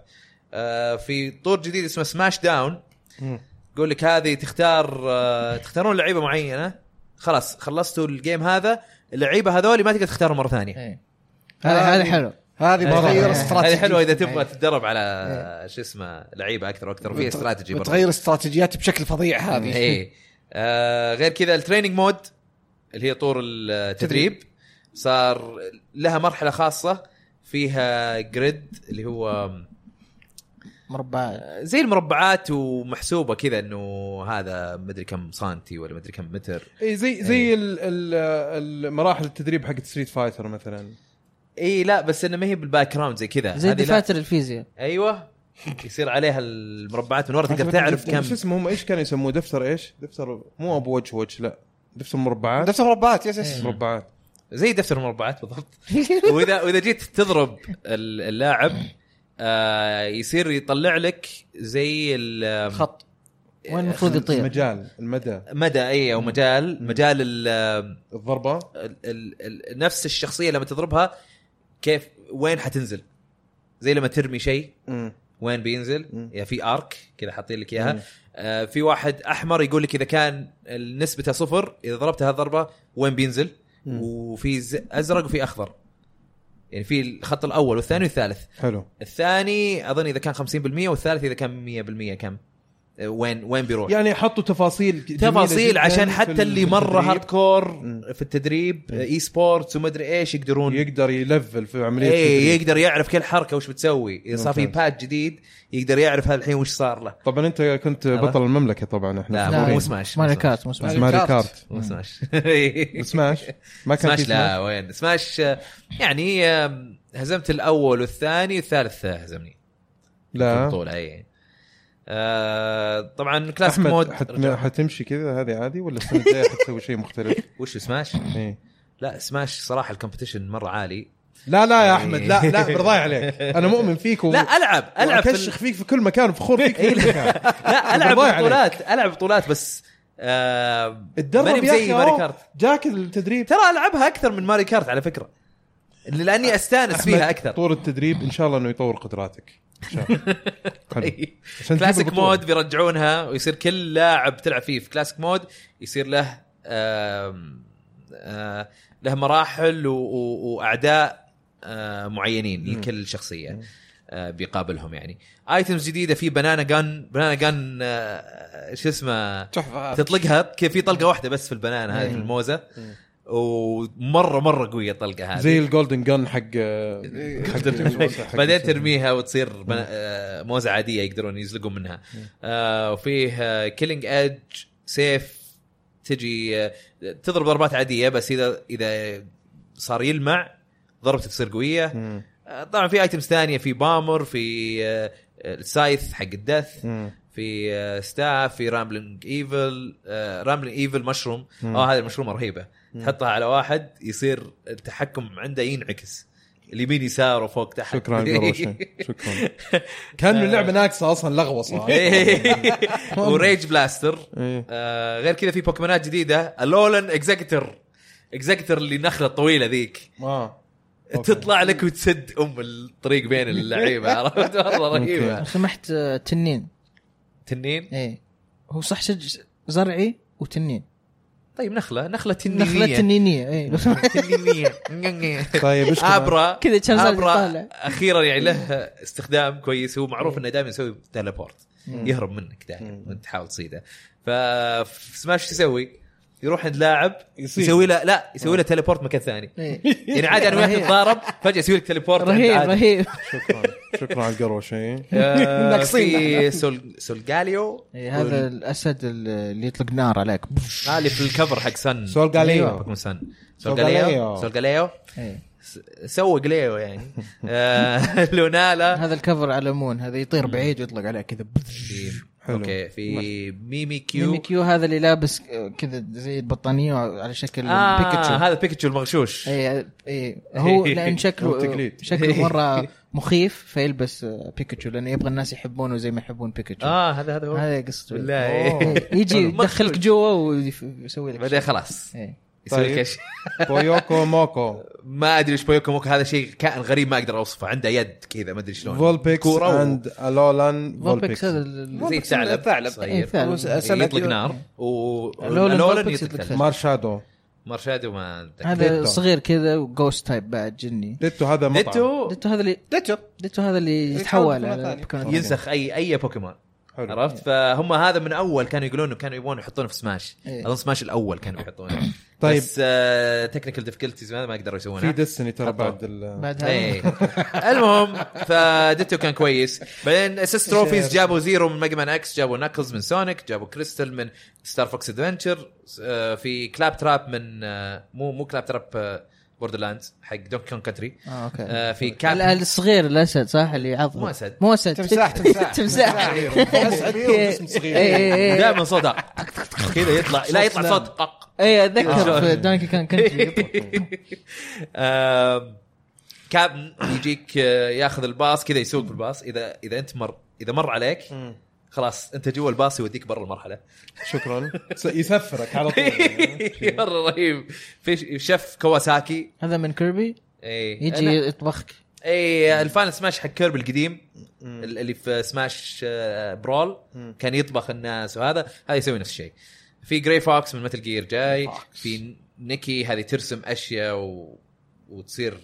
S2: آه، في طور جديد اسمه سماش داون
S1: مم.
S2: يقول لك هذه تختار آه، تختارون لعيبه معينه خلاص خلصتوا الجيم هذا اللعيبه هذول ما تقدر تختارهم مره ثانيه
S3: إيه. هذا هذا
S4: هذه-
S3: حلو
S4: هذه بتغير
S2: هذه
S4: استراتيجيات
S2: حلوه اذا تبغى تتدرب على شو اسمه لعيبه اكثر واكثر في استراتيجي برضه.
S4: بتغير استراتيجيات بشكل فظيع هذه
S2: ايه آه غير كذا التريننج مود اللي هي طور التدريب صار لها مرحله خاصه فيها جريد اللي هو
S3: مربع
S2: زي المربعات ومحسوبه كذا انه هذا مدري كم سنتي ولا مدري كم متر
S1: اي إيه، زي زي ال- ال- المراحل التدريب حقت ستريت فايتر مثلا
S2: اي لا بس انه ما هي بالباك جراوند زي كذا
S3: زي
S2: هذه لا.
S3: دفاتر الفيزياء
S2: ايوه يصير عليها المربعات من ورا تقدر تعرف كم
S1: شو اسمه هم ايش كانوا يسموه دفتر ايش؟ دفتر مو ابو وجه وجه لا دفتر مربعات
S4: دفتر مربعات يس يس
S1: مربعات
S2: زي دفتر المربعات بالضبط واذا واذا جيت تضرب ال- اللاعب آه يصير يطلع لك زي ال-
S4: خط
S3: وين المفروض
S2: طيب.
S3: يطير
S1: المجال المدى
S2: مدى اي او مجال مجال ال
S1: الضربه
S2: ال ال ال نفس الشخصيه لما تضربها كيف وين حتنزل زي لما ترمي شيء
S1: مم.
S2: وين بينزل
S1: مم.
S2: يعني في ارك كذا حاطين لك
S1: مم.
S2: اياها آه في واحد احمر يقول لك اذا كان نسبته صفر اذا ضربت هالضربه وين بينزل
S1: مم.
S2: وفي ز- ازرق وفي اخضر يعني في الخط الاول والثاني والثالث
S1: حلو
S2: الثاني اظن اذا كان 50% والثالث اذا كان 100% كم آه، وين وين بيروح
S1: يعني حطوا تفاصيل جميلة
S2: تفاصيل
S1: جداً
S2: عشان
S1: في
S2: حتى اللي
S1: التدريب.
S2: مره هارد كور
S1: مم.
S2: في التدريب اي سبورتس وما ادري ايش يقدرون
S1: يقدر يلفل في عمليه
S2: اي
S1: التدريب.
S2: يقدر يعرف كل حركه وش بتسوي اذا صار في
S1: ممتاز.
S2: باد جديد يقدر يعرف هالحين وش صار له
S1: طبعا انت كنت
S2: عرفت؟
S1: بطل المملكه طبعا احنا
S2: لا،
S1: فخورين.
S2: مو سماش، مو
S3: ماري
S2: سماش.
S3: كارت مو سماش
S1: بس ماري كارت
S2: مو سماش
S1: سماش ما كان في
S2: سماش لا وين سماش آه، يعني آه، هزمت الاول والثاني والثالث آه، هزمني في
S1: لا
S2: البطوله اي آه، طبعا كلاسيك
S1: احمد
S2: مود
S1: حت...
S2: رجع.
S1: حتمشي كذا هذه عادي ولا السنه الجايه حتسوي شيء مختلف؟
S2: وش سماش؟
S1: إيه.
S2: لا سماش صراحه الكومبتيشن مره عالي
S1: لا لا يا احمد لا لا برضاي عليك انا مؤمن فيك و...
S2: إيه. لا العب العب في ال-
S1: اكشخ فيك في كل مكان فخور فيك في
S2: إيه،
S1: كل مكان
S2: لا العب
S1: برضاي عليك.
S2: بطولات العب بطولات بس آه
S1: اتدرب
S2: ماني
S1: يا
S2: زي
S1: اخي
S2: ماري
S1: أهو.
S2: كارت
S1: جاك التدريب
S2: ترى العبها اكثر من ماري كارت على فكره لاني استانس
S1: أحمد،
S2: فيها اكثر
S1: طور التدريب ان شاء الله انه يطور قدراتك ان شاء الله حلو.
S2: إيه.
S1: عشان تجيب
S2: كلاسيك
S1: البطولة.
S2: مود بيرجعونها ويصير كل لاعب تلعب فيه في كلاسيك مود يصير له آم، آه، له مراحل و- و- واعداء آه، معينين لكل شخصيه آه، بيقابلهم يعني ايتمز جديده في بنانا جن بنانا جن آه، شو اسمه
S4: تحفه هذه.
S1: إيه.
S2: تطلقها كيف في طلقه واحده بس في البنانا هذه في الموزه ومره مره قويه الطلقه هذه
S1: زي الجولدن جن حق آه، حق حق- إيه.
S2: بعدين ترميها وتصير بنا... آه، موزه عاديه يقدرون يزلقون منها آه، وفيه كيلينج ايدج سيف تجي آه، تضرب ضربات عاديه بس اذا اذا صار يلمع ضربته تصير قويه
S1: مم.
S2: آه، طبعا في ايتمز ثانيه في بامر في آه، السايث حق الدث
S1: مم.
S2: في آه، ستاف في آه، رامبلينج ايفل رامبلينج ايفل مشروم اه هذه المشرومه رهيبه تحطها على واحد يصير التحكم عنده ينعكس اليمين يسار وفوق تحت
S1: شكرا قروشن شكرا كانه اللعبه ناقصه اصلا لغوصه
S4: إيه.
S2: وريج بلاستر
S1: إيه.
S2: آه، غير كذا في بوكيمونات جديده اللولن اكزكتر اكزكتر اللي نخله الطويله ذيك
S1: اه أوكي.
S2: تطلع لك وتسد ام الطريق بين اللعيبه عرفت مره رهيبه
S3: لو سمحت آه، تنين
S2: تنين
S3: ايه هو صح شج زرعي وتنين
S2: طيب نخله نخله تنينيه
S3: نخله تنينيه ايه لو سمحت
S2: تنينيه
S1: طيب ايش كمان؟
S2: ابرا
S3: كذا تشارزارد
S2: ابرا
S3: يطالع.
S2: اخيرا يعني له استخدام كويس هو معروف انه دائما يسوي تليبورت
S1: مم.
S2: يهرب منك دائما
S1: مم.
S2: وانت تحاول تصيده ففي سماش يسوي يروح عند لاعب
S1: يصيد.
S2: يسوي له لا يسوي له تليبورت مكان ثاني
S3: إيه.
S2: يعني عادي انا وياك
S3: رهيب.
S2: نتضارب فجاه يسوي لك تليبورت عند
S3: رهيب
S2: عادل.
S3: رهيب
S1: شكرا شكرا على إيه. القروشين
S2: آه،
S4: ناقصين
S2: في سول سولجاليو
S3: إيه، هذا الاسد اللي يطلق نار عليك
S2: آه، اللي في الكفر حق سن
S1: سولجاليو.
S2: أيوة، بوكيمون سن
S1: سولجاليو.
S2: سولجاليو سولجاليو
S3: إيه.
S2: س- سوى جليو يعني آه، لونالا
S3: هذا الكفر على مون هذا يطير بعيد ويطلق عليه كذا
S2: في-
S1: حلو.
S2: اوكي في ميمي كيو
S3: ميمي كيو هذا اللي لابس آه، كذا زي البطانيه على شكل
S2: آه
S3: بيكاتشو
S2: هذا بيكاتشو المغشوش
S3: اي اي هو لان
S1: هو
S3: شكله
S1: تقليد.
S3: شكله مره مخيف فيلبس آه، بيكاتشو لانه يبغى الناس يحبونه زي ما يحبون بيكاتشو
S2: اه هذا هذا هو
S3: هذا قصته
S2: بالله
S3: إيه، يجي يدخلك جوا ويسوي لك
S2: بعدين خلاص
S3: شيء. إيه.
S2: يسوي
S1: طيب.
S2: لك إيش.
S1: بويوكو موكو
S2: ما ادري ايش بويوكو موكو هذا شيء كائن غريب ما اقدر اوصفه عنده يد كذا ما ادري شلون
S1: فولبيكس
S2: كورة و-
S1: اند الولان فولبيكس
S3: فولبكس هذا ال-
S2: زي الثعلب
S4: ثعلب.
S3: إيه،
S2: صغير
S3: ثعلب.
S2: يطلق نار و
S3: لولا
S2: لولا
S3: فولبيكس
S2: يطلق
S3: يطلق
S2: ثلج.
S1: مارشادو
S2: مرشاد وما أتذكر.
S3: هذا
S1: ديتو.
S3: صغير كذا وجوست تايب بعد جني
S1: ديتو هذا مطعم
S2: نتو
S3: ديتو هذا اللي
S4: ديتشو
S3: ديتو هذا اللي
S4: يتحول
S3: يتحول
S4: مرة
S3: على
S4: ثانية.
S3: بوكيمون.
S2: ينسخ اي اي بوكيمون
S1: حلو.
S2: عرفت فهم هذا من اول كانوا يقولون انه كانوا يبغون يحطونه في سماش
S3: إيه.
S2: اظن سماش الاول كانوا يحطونه
S1: طيب.
S2: طيب بس آه تكنيكال ديفيكولتيز هذا ما قدروا يسوونها
S1: في ديستني ترى
S2: حطه.
S1: بعد ال
S3: بعد هذا
S2: ايه المهم فديتو كان كويس بعدين اساس تروفيز جابوا زيرو من ميجا مان اكس جابوا ناكلز من سونيك جابوا كريستال من ستار فوكس ادفنتشر آه، في كلاب تراب من آه، مو مو كلاب تراب بوردر لاندز حق دونكي كونج كنتري
S3: اه اوكي
S2: في
S3: ال-
S2: كاب
S3: الصغير الاسد صح اللي يعض
S2: آه، مو أسد.
S3: مو اسد
S4: تمساح، تمساح.
S3: تمساح إيه،
S4: اسعد
S3: اسم صغير اي
S2: دائما صوت كذا يطلع لا يطلع صوت قق
S3: اي اتذكر
S2: آه.
S3: إيه، في دانكي كان كنتري
S2: آم، كاب يجيك آه، ياخذ الباص كذا يسوق بالباص اذا اذا انت مر اذا مر عليك خلاص انت جوا الباص يوديك برا المرحله
S1: شكرا س- يسفرك على طول
S2: مره رهيب في شيف كواساكي إيه،
S3: هذا من كيربي
S2: اي
S3: يجي يطبخك
S2: اي الفاينل إيه، سماش حق كيرب القديم ال- اللي في سماش آه، برول كان يطبخ الناس وهذا هذا يسوي نفس الشيء في جراي فوكس من متل جير جاي في نيكي هذه ترسم اشياء و... وتصير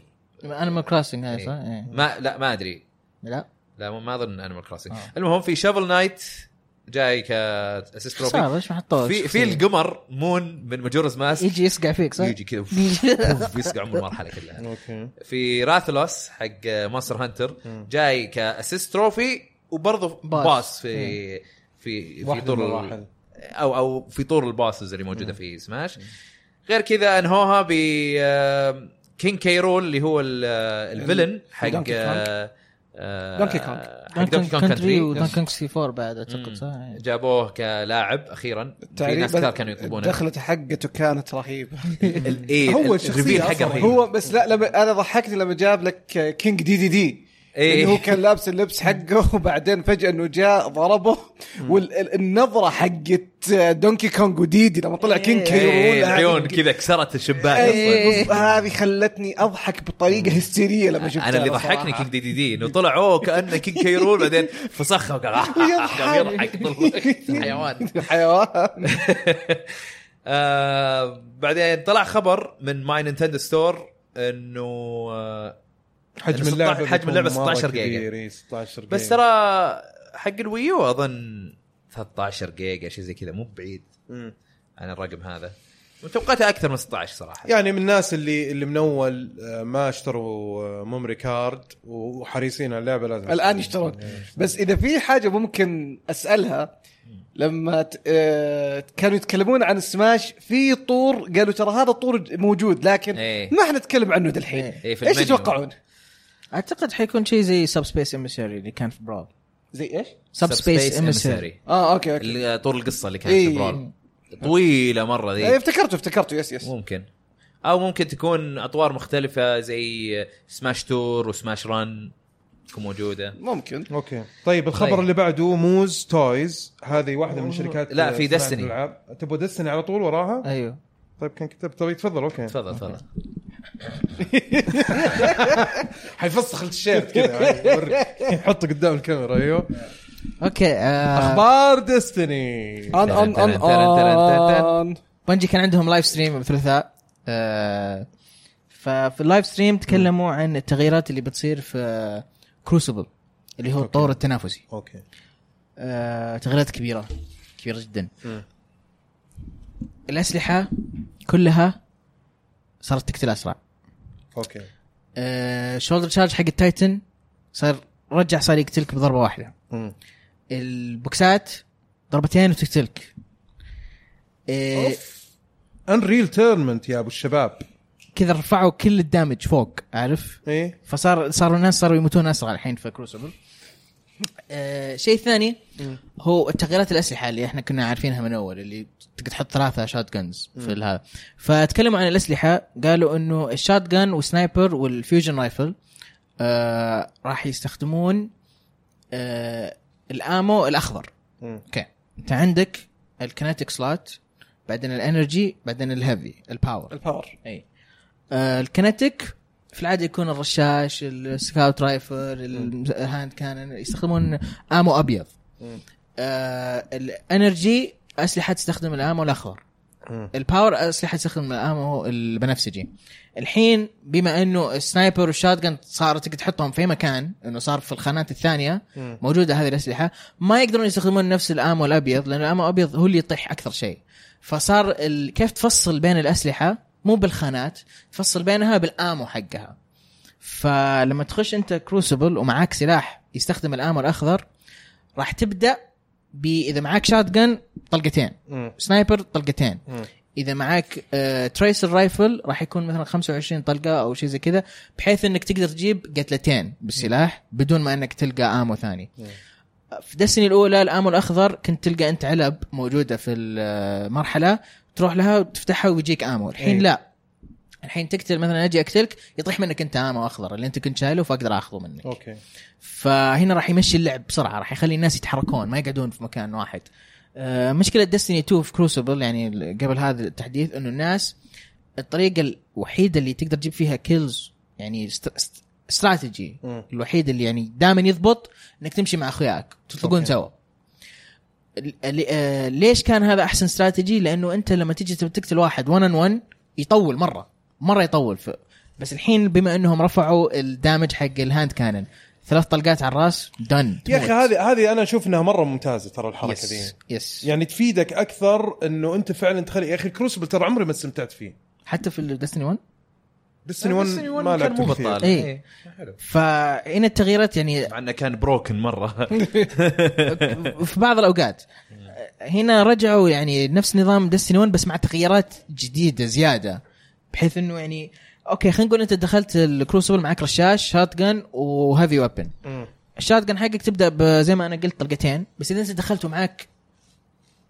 S3: انيمال كروسنج هذا
S2: إيه.
S3: صح؟ إيه.
S2: ما لا ما ادري
S3: لا
S2: لا ما- ما اظن انيمال كروسنج
S3: آه.
S2: المهم في شافل نايت جاي كاسيست
S3: صعب
S2: تروفي
S3: ليش ما حطوه
S2: في في القمر مون من ماجورز ماسك
S3: يجي يسقع فيك صح؟
S2: يجي كذا وف- يسقع ام المرحله كلها
S1: اوكي
S2: في راثلوس حق ماستر هانتر جاي كاسيست تروفي وبرضه
S3: باس.
S2: باس في في في
S1: واحد من
S2: طور
S1: المراحل.
S2: ال- او او في طور الباسز اللي موجوده في سماش غير كذا انهوها ب كينج كيرول اللي هو ال- آه، الفيلن حق
S4: دونكي
S2: دونكي
S4: كونغ. دونكي كونغ.
S2: حق دونكي
S3: دانكي كونج
S2: كونغ
S3: كنتري
S2: كنتري
S3: ودانكي كونج 64 بعد اعتقد صح؟ إيه.
S2: جابوه كلاعب اخيرا في ناس كثار كانوا يطلبونه
S4: دخلته حقته كانت رهيبه
S2: ال- إيه،
S1: هو
S2: ال-
S1: الشخصية
S2: الريفيل حقه
S1: أصلاً.
S2: رهيب.
S4: هو بس لا لما انا ضحكني لما جاب لك كينج دي دي دي
S2: إيه.
S4: إيه. انه هو كان لابس اللبس حقه وبعدين فجاه انه جاء ضربه والنظره حقت دونكي كونغ وديدي لما طلع كينج كيرول
S2: إيه،
S4: هذه-
S2: العيون كذا كسرت الشباك أصلاً.
S4: يعني إيه، بص، هذه خلتني اضحك بطريقه هستيريه لما شفتها
S2: انا اللي ضحكني كينج دي دي دي انه طلع اوه كانه كينج كيرول بعدين فسخه وقال آه، قام يضحك طول الوقت. حيوان
S4: حيوان
S2: آه بعدين طلع خبر من ماي نينتندو ستور انه آه
S1: حجم
S2: 16
S1: اللعبه
S2: حجم
S1: بيكون
S2: اللعبة
S1: مرة
S2: 16 جيجا.
S1: كبير، إيه، 16 جيجا
S2: بس ترى حق الويو اظن 13 جيجا شيء زي كذا مو بعيد
S1: مم.
S2: عن الرقم هذا توقعتها اكثر من 16 صراحه
S1: يعني من الناس اللي اللي من اول آه، ما اشتروا آه، ميموري كارد وحريصين على اللعبه لازم
S4: الان يشترون بس اذا في حاجه ممكن اسالها لما ت... آه... كانوا يتكلمون عن سماش في طور قالوا ترى هذا الطور موجود لكن
S2: إيه.
S4: ما حنتكلم عنه دحين
S2: إيه، في
S4: ايش
S2: المنيو.
S4: تتوقعون؟
S3: اعتقد حيكون شيء زي سب سبيس اميساري اللي كان في براول
S4: زي ايش؟
S3: سب سبيس اميساري
S4: اه اوكي اوكي
S2: اللي- آه، طول القصه اللي كانت
S4: إيه.
S2: في براول طويله مره
S4: إيه،
S2: ذي
S4: افتكرته افتكرته يس يس
S2: ممكن او ممكن تكون اطوار مختلفه زي آه، سماش تور وسماش ران تكون موجوده
S4: ممكن
S1: اوكي طيب الخبر
S2: طيب.
S1: اللي بعده موز تويز هذه واحده من الشركات
S2: لا، في
S1: صناعة
S2: Destiny. أه.
S1: الألعاب. تبغى دستني على طول وراها
S3: ايوه
S1: طيب كان كتب طيب تفضل اوكي
S2: تفضل تفضل
S1: حيفسخ التيشيرت كذا يعني، وري- يحطه قدام الكاميرا ايوه
S2: أه.
S3: اوكي آه
S1: اخبار ديستني
S4: ان ان ان ان
S3: بنجي كان عندهم لايف ستريم الثلاثاء آه ففي اللايف ستريم تكلموا عن التغييرات اللي بتصير في كروسبل اللي هو الطور التنافسي
S1: اوكي
S3: آه، تغييرات كبيره كبيره جدا الاسلحه كلها صارت تقتل اسرع
S1: اوكي
S3: شولدر تشارج حق التايتن صار رجع صار يقتلك بضربه واحده
S1: مم.
S3: البوكسات ضربتين وتقتلك آه،
S1: انريل تيرمنت يا ابو الشباب
S3: كذا رفعوا كل الدامج فوق عارف
S1: ايه
S3: فصار صاروا الناس صاروا يموتون اسرع الحين في كروسبل آه شيء ثاني هو التغييرات الاسلحه اللي احنا كنا عارفينها من اول اللي تقدر تحط ثلاثه شوت جنز في هذا فتكلموا عن الاسلحه قالوا انه الشوت جن والسنايبر والفيوجن رايفل آه راح يستخدمون آه الامو الاخضر
S1: مم.
S3: اوكي انت عندك الكناتيك سلوت بعدين الانرجي بعدين الهيفي الباور
S4: الباور
S3: اي آه الكنتيك في العاده يكون الرشاش السكاوت رايفل الهاند كانن يستخدمون امو ابيض آه الانرجي اسلحه تستخدم الامو الاخضر
S1: مم.
S3: الباور اسلحه تستخدم الامو البنفسجي الحين بما انه السنايبر والشات جن صارت تقدر تحطهم في مكان انه صار في الخانات الثانيه
S1: مم.
S3: موجوده هذه الاسلحه ما يقدرون يستخدمون نفس الامو الابيض لان الامو الابيض هو اللي يطيح اكثر شيء فصار ال... كيف تفصل بين الاسلحه مو بالخانات تفصل بينها بالامو حقها فلما تخش انت كروسبل ومعاك سلاح يستخدم الامو الاخضر راح تبدا ب اذا معاك شات جن طلقتين
S1: مم.
S3: سنايبر طلقتين
S1: مم.
S3: اذا معاك آه، تريسر رايفل راح يكون مثلا 25 طلقه او شيء زي كذا بحيث انك تقدر تجيب قتلتين بالسلاح بدون ما انك تلقى امو ثاني في دسني الاولى الامو الاخضر كنت تلقى انت علب موجوده في المرحله تروح لها وتفتحها ويجيك امو الحين
S1: إيه.
S3: لا الحين تقتل مثلا اجي اقتلك يطيح منك انت امو اخضر اللي انت كنت شايله فاقدر اخذه منك
S1: اوكي
S3: فهنا راح يمشي اللعب بسرعه راح يخلي الناس يتحركون ما يقعدون في مكان واحد آه، مشكله ديستني 2 في كروسبل يعني ال- قبل هذا التحديث انه الناس الطريقه الوحيده اللي تقدر تجيب فيها كيلز يعني است- است- استراتيجي
S1: مم.
S3: الوحيد اللي يعني دائما يضبط انك تمشي مع اخوياك تطلقون
S1: أوكي.
S3: سوا ال- ال- آه، ليش كان هذا احسن استراتيجي لانه انت لما تجي تبي تقتل واحد 1 ان 1 يطول مره مره يطول ف... بس الحين بما انهم رفعوا الدامج حق الهاند كانن ثلاث طلقات على الراس دن
S1: يا اخي هذه هذه انا اشوف انها مره ممتازه ترى الحركه ذي
S3: يس يس
S1: يعني تفيدك اكثر انه انت فعلا تخلي يا اخي الكروسبل ترى عمري ما استمتعت فيه
S3: حتى في دستني 1
S1: دستني 1
S2: Destiny one
S1: ما
S2: كان
S1: لعبته
S2: مو
S1: كثير.
S2: بطال.
S3: اي
S2: إيه.
S3: فهنا التغييرات يعني
S2: مع انه كان بروكن مره
S3: في بعض الاوقات هنا رجعوا يعني نفس نظام دستني 1 بس مع تغييرات جديده زياده بحيث انه يعني اوكي خلينا نقول انت دخلت الكروسبل معك رشاش شات جن وهيفي ويبن
S1: مم.
S3: الشات جن حقك تبدا ب- زي ما انا قلت طلقتين بس اذا انت دخلت ومعك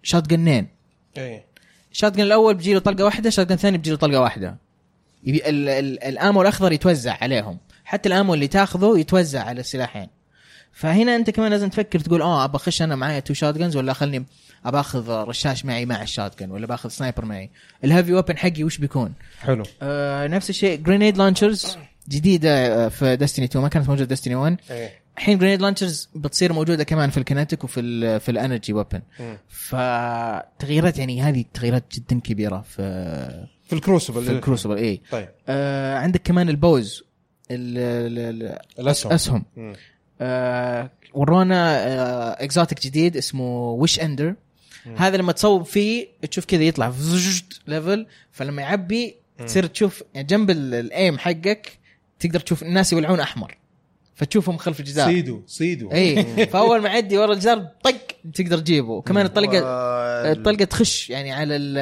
S3: شات جنين
S1: اي
S3: الشات جن الاول بيجي له طلقه واحده الشات جن الثاني بيجي له طلقه واحده يبي ال- ال- الامو الاخضر يتوزع عليهم حتى الامو اللي تاخذه يتوزع على السلاحين فهنا انت كمان لازم تفكر تقول اه ابى اخش انا معايا تو شات جنز ولا خلني ابى اخذ رشاش معي مع الشات جن ولا باخذ سنايبر معي الهيفي ويبن حقي وش بيكون
S1: حلو
S3: آه نفس الشيء جرينيد لانشرز جديده آه، في دستني 2 ما كانت موجوده دستني 1
S1: ايه
S3: الحين جرينيد لانشرز بتصير موجوده كمان في الكناتيك وفي ال في الانرجي ويبن
S1: مم.
S3: فتغييرات يعني هذه تغييرات جدا كبيره في
S1: في الكروسبل
S3: في الكروسبل اي
S1: طيب
S3: آه عندك كمان البوز ال- ال- ال-
S1: الاسهم
S3: الاسهم
S1: مم.
S3: آه ورونا آه اكزوتيك جديد اسمه ويش اندر هذا لما تصوب فيه تشوف كذا يطلع ليفل فلما يعبي تصير تشوف يعني جنب ال- الايم حقك تقدر تشوف الناس يولعون احمر فتشوفهم خلف الجدار
S1: صيدوا صيدوا
S3: اي فاول إيه، ما يعدي ورا الجدار طق تقدر تجيبه كمان الطلقه الطلقه تخش يعني على ال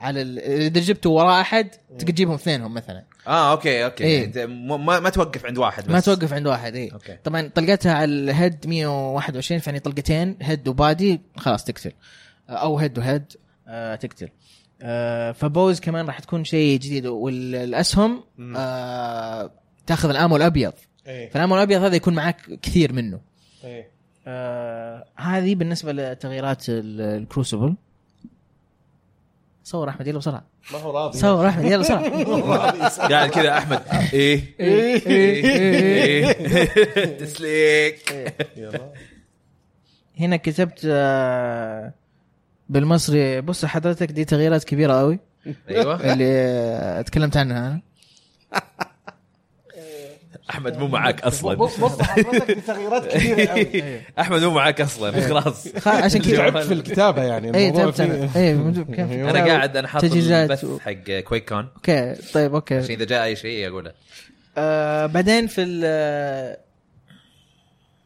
S3: على ال اذا جبته وراه احد تقدر تجيبهم اثنينهم مثلا
S2: اه اوكي اوكي
S3: إيه.
S2: انت م- ما, ما توقف عند واحد بس
S3: ما توقف عند واحد اي
S2: أوكي.
S3: طبعا طلقتها على الهيد 121 فيعني طلقتين هيد وبادي خلاص تقتل او هيد وهيد آه تقتل آه فبوز كمان راح تكون شيء جديد والاسهم آه تاخذ الامو الابيض
S1: اي
S3: فالامو الابيض هذا يكون معك كثير منه
S1: اي
S3: آه هذه بالنسبه لتغييرات ال- الكروسبل صور احمد يلا بسرعه
S1: ما هو راضي
S3: صور احمد يلا بسرعه
S2: قاعد يعني كذا احمد ايه
S3: إيه، إيه، إيه، إيه.
S2: إيه. تسليك
S1: يلا
S3: هنا كتبت آه، بالمصري بص حضرتك دي تغييرات كبيره قوي
S2: ايوه
S3: اللي آه، تكلمت عنها انا
S2: احمد مو معاك اصلا
S4: بص حضرتك بتغييرات كثيره قوي
S2: احمد مو معك
S3: إيه.
S2: اصلا خلاص
S3: خ- عشان إيه، طيب، كذا
S1: تعبت في الكتابه يعني
S3: اي
S1: الموضوع
S3: تعبت انا
S1: فيه-
S3: اي مدو- كان في
S2: انا قاعد انا حاطط
S3: تجهيزات
S2: البث
S3: و-
S2: حق كويك كون
S3: اوكي طيب
S2: عشان
S3: اوكي
S2: اذا جاء اي شيء اقوله
S3: آه بعدين في ال آه،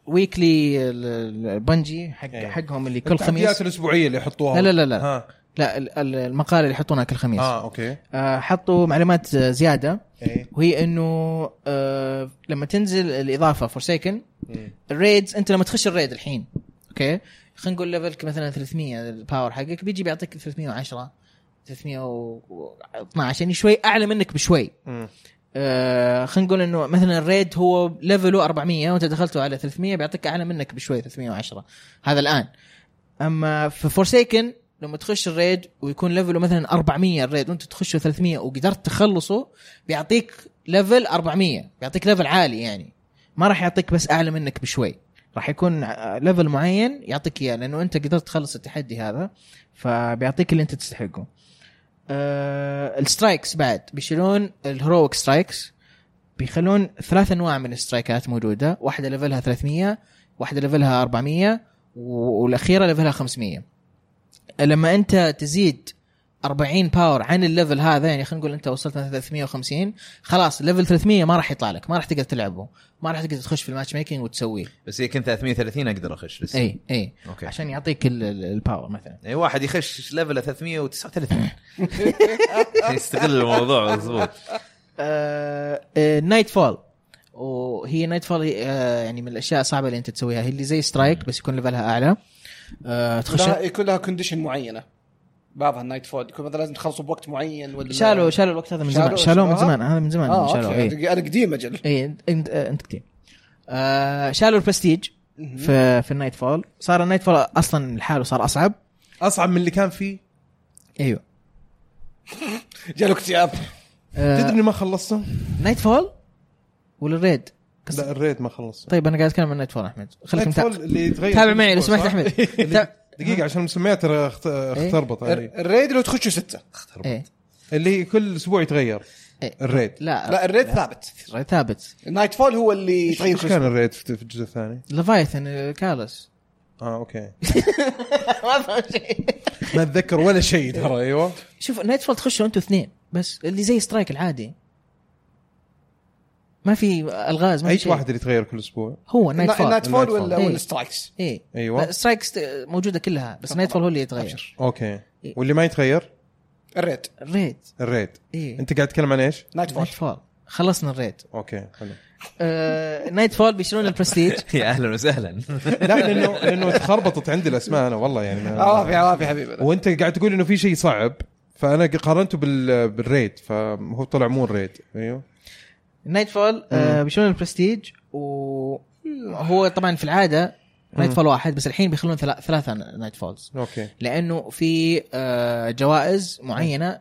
S3: ويكلي البنجي حق
S1: إيه.
S3: حقهم اللي كل
S1: التحديات
S3: خميس
S1: الاسبوعيه اللي يحطوها
S3: لا لا لا لا
S1: ها
S3: لا ال- ال- المقاله اللي يحطونها كل خميس
S1: اه اوكي
S3: آه، حطوا معلومات آه، زياده
S1: اي
S3: وهي انه آه لما تنزل الاضافه فورسيكن
S1: إيه.
S3: الريدز انت لما تخش الريد الحين اوكي خلينا نقول ليفلك مثلا 300 الباور حقك بيجي بيعطيك 310 312 يعني شوي اعلى منك بشوي آه خلينا نقول انه مثلا الريد هو ليفله 400 وانت دخلته على 300 بيعطيك اعلى منك بشوي 310 هذا الان اما في فورسيكن لما تخش الريد ويكون ليفله مثلا 400 الريد وانت تخشه 300 وقدرت تخلصه بيعطيك ليفل 400 بيعطيك ليفل عالي يعني ما راح يعطيك بس اعلى منك بشوي راح يكون آه، ليفل معين يعطيك اياه لانه انت قدرت تخلص التحدي هذا فبيعطيك اللي انت تستحقه آه السترايكس بعد بيشيلون الهيرويك سترايكس بيخلون ثلاث انواع من السترايكات موجوده واحده ليفلها 300 واحده ليفلها 400 و- والاخيره ليفلها 500 لما انت تزيد 40 باور عن الليفل هذا يعني خلينا نقول انت وصلت مثلا 350 خلاص ليفل 300 ما راح يطلع لك ما راح تقدر تلعبه ما راح تقدر تخش في الماتش ميكنج وتسويه
S2: بس هي كنت 330 اقدر اخش لسه
S3: اي اي
S2: اوكي عشان
S3: عشان يعطيك ال- ال- الباور مثلا
S2: اي إيه، واحد يخش ليفل 339 يستغل الموضوع مضبوط
S3: نايت فول آه، وهي نايت فول يعني من الاشياء الصعبه اللي انت تسويها هي اللي زي سترايك بس يكون ليفلها اعلى آه، تخش
S4: لها- يكون لها كونديشن معينه بعضها النايت فول يكون مثلا لازم تخلصوا بوقت معين ولا
S3: شالوا شالوا الوقت هذا من زمان
S4: شالوا-
S3: شالوه من
S4: شالوها؟
S3: زمان هذا من زمان
S4: اه
S3: شالوه إيه.
S4: اوكي انا قديم اجل
S3: اي انت انت, انت كتير آه شالوا البرستيج في في النايت فول صار النايت فول اصلا لحاله صار اصعب
S1: اصعب من اللي كان فيه
S3: ايوه
S4: جاله اكتئاب
S1: تدري
S3: آه
S1: إني ما خلصته؟
S3: نايت فول ولا الريد قصة-
S1: لا الريد ما خلصته
S3: طيب انا قاعد اتكلم عن نايت فول احمد خليك
S1: نايت فول
S3: متابع
S1: اللي يتغير
S3: تابع
S1: كل
S3: معي لو
S1: أسبوع،
S3: سمحت
S1: صح؟
S3: احمد
S1: اللي-
S3: تا-
S1: دقيقة عشان المسميات ترى اخت- اختربط يعني.
S4: الريد لو تخشوا سته
S3: إيه.
S1: اللي كل اسبوع يتغير
S3: إيه.
S1: الريد
S3: لا
S4: لا الريد ثابت
S3: الريد ثابت
S4: النايت فول هو اللي يتغير
S1: ايش
S4: كل
S1: كان الريد في في الجزء الثاني؟
S3: لفايثن آه، كالس
S1: اه اوكي
S3: ما فهم شيء
S1: ما اتذكر ولا شيء ترى
S3: إيه.
S1: ايوه
S3: شوف نايت فول تخشوا انتوا اثنين بس اللي زي سترايك العادي ما في الغاز ما في
S1: اي
S3: شيء.
S1: واحد اللي يتغير كل اسبوع
S3: هو نايت فول
S4: النايت فول ولا
S3: إيه.
S4: ولا سترايكس
S3: ايه
S1: أيوة.
S3: لا، سترايكس ت- موجوده كلها بس نايت فول هو اللي يتغير
S1: اوكي
S3: إيه.
S1: واللي ما يتغير
S4: الريد
S3: الريد
S1: الريد
S3: ايه
S1: انت قاعد تتكلم عن ايش؟
S4: نايت فول
S3: نايت فول خلصنا الريد
S1: اوكي حلو
S3: آه، نايت فول بيشيلون البرستيج
S2: يا اهلا وسهلا
S1: لا لانه لانه تخربطت عندي الاسماء انا والله يعني
S3: آه.
S1: ما-
S4: عوافي عوافي حبيبنا
S1: وانت قاعد تقول انه في شيء صعب فانا قارنته بال... بالريد فهو طلع مو الريد ايوه
S3: نايت فول آه، بيشيلون البرستيج وهو طبعا في العاده نايت فول واحد بس الحين بيخلون ثلا- ثلاثه نايت فولز
S1: اوكي
S3: لانه في آه، جوائز معينه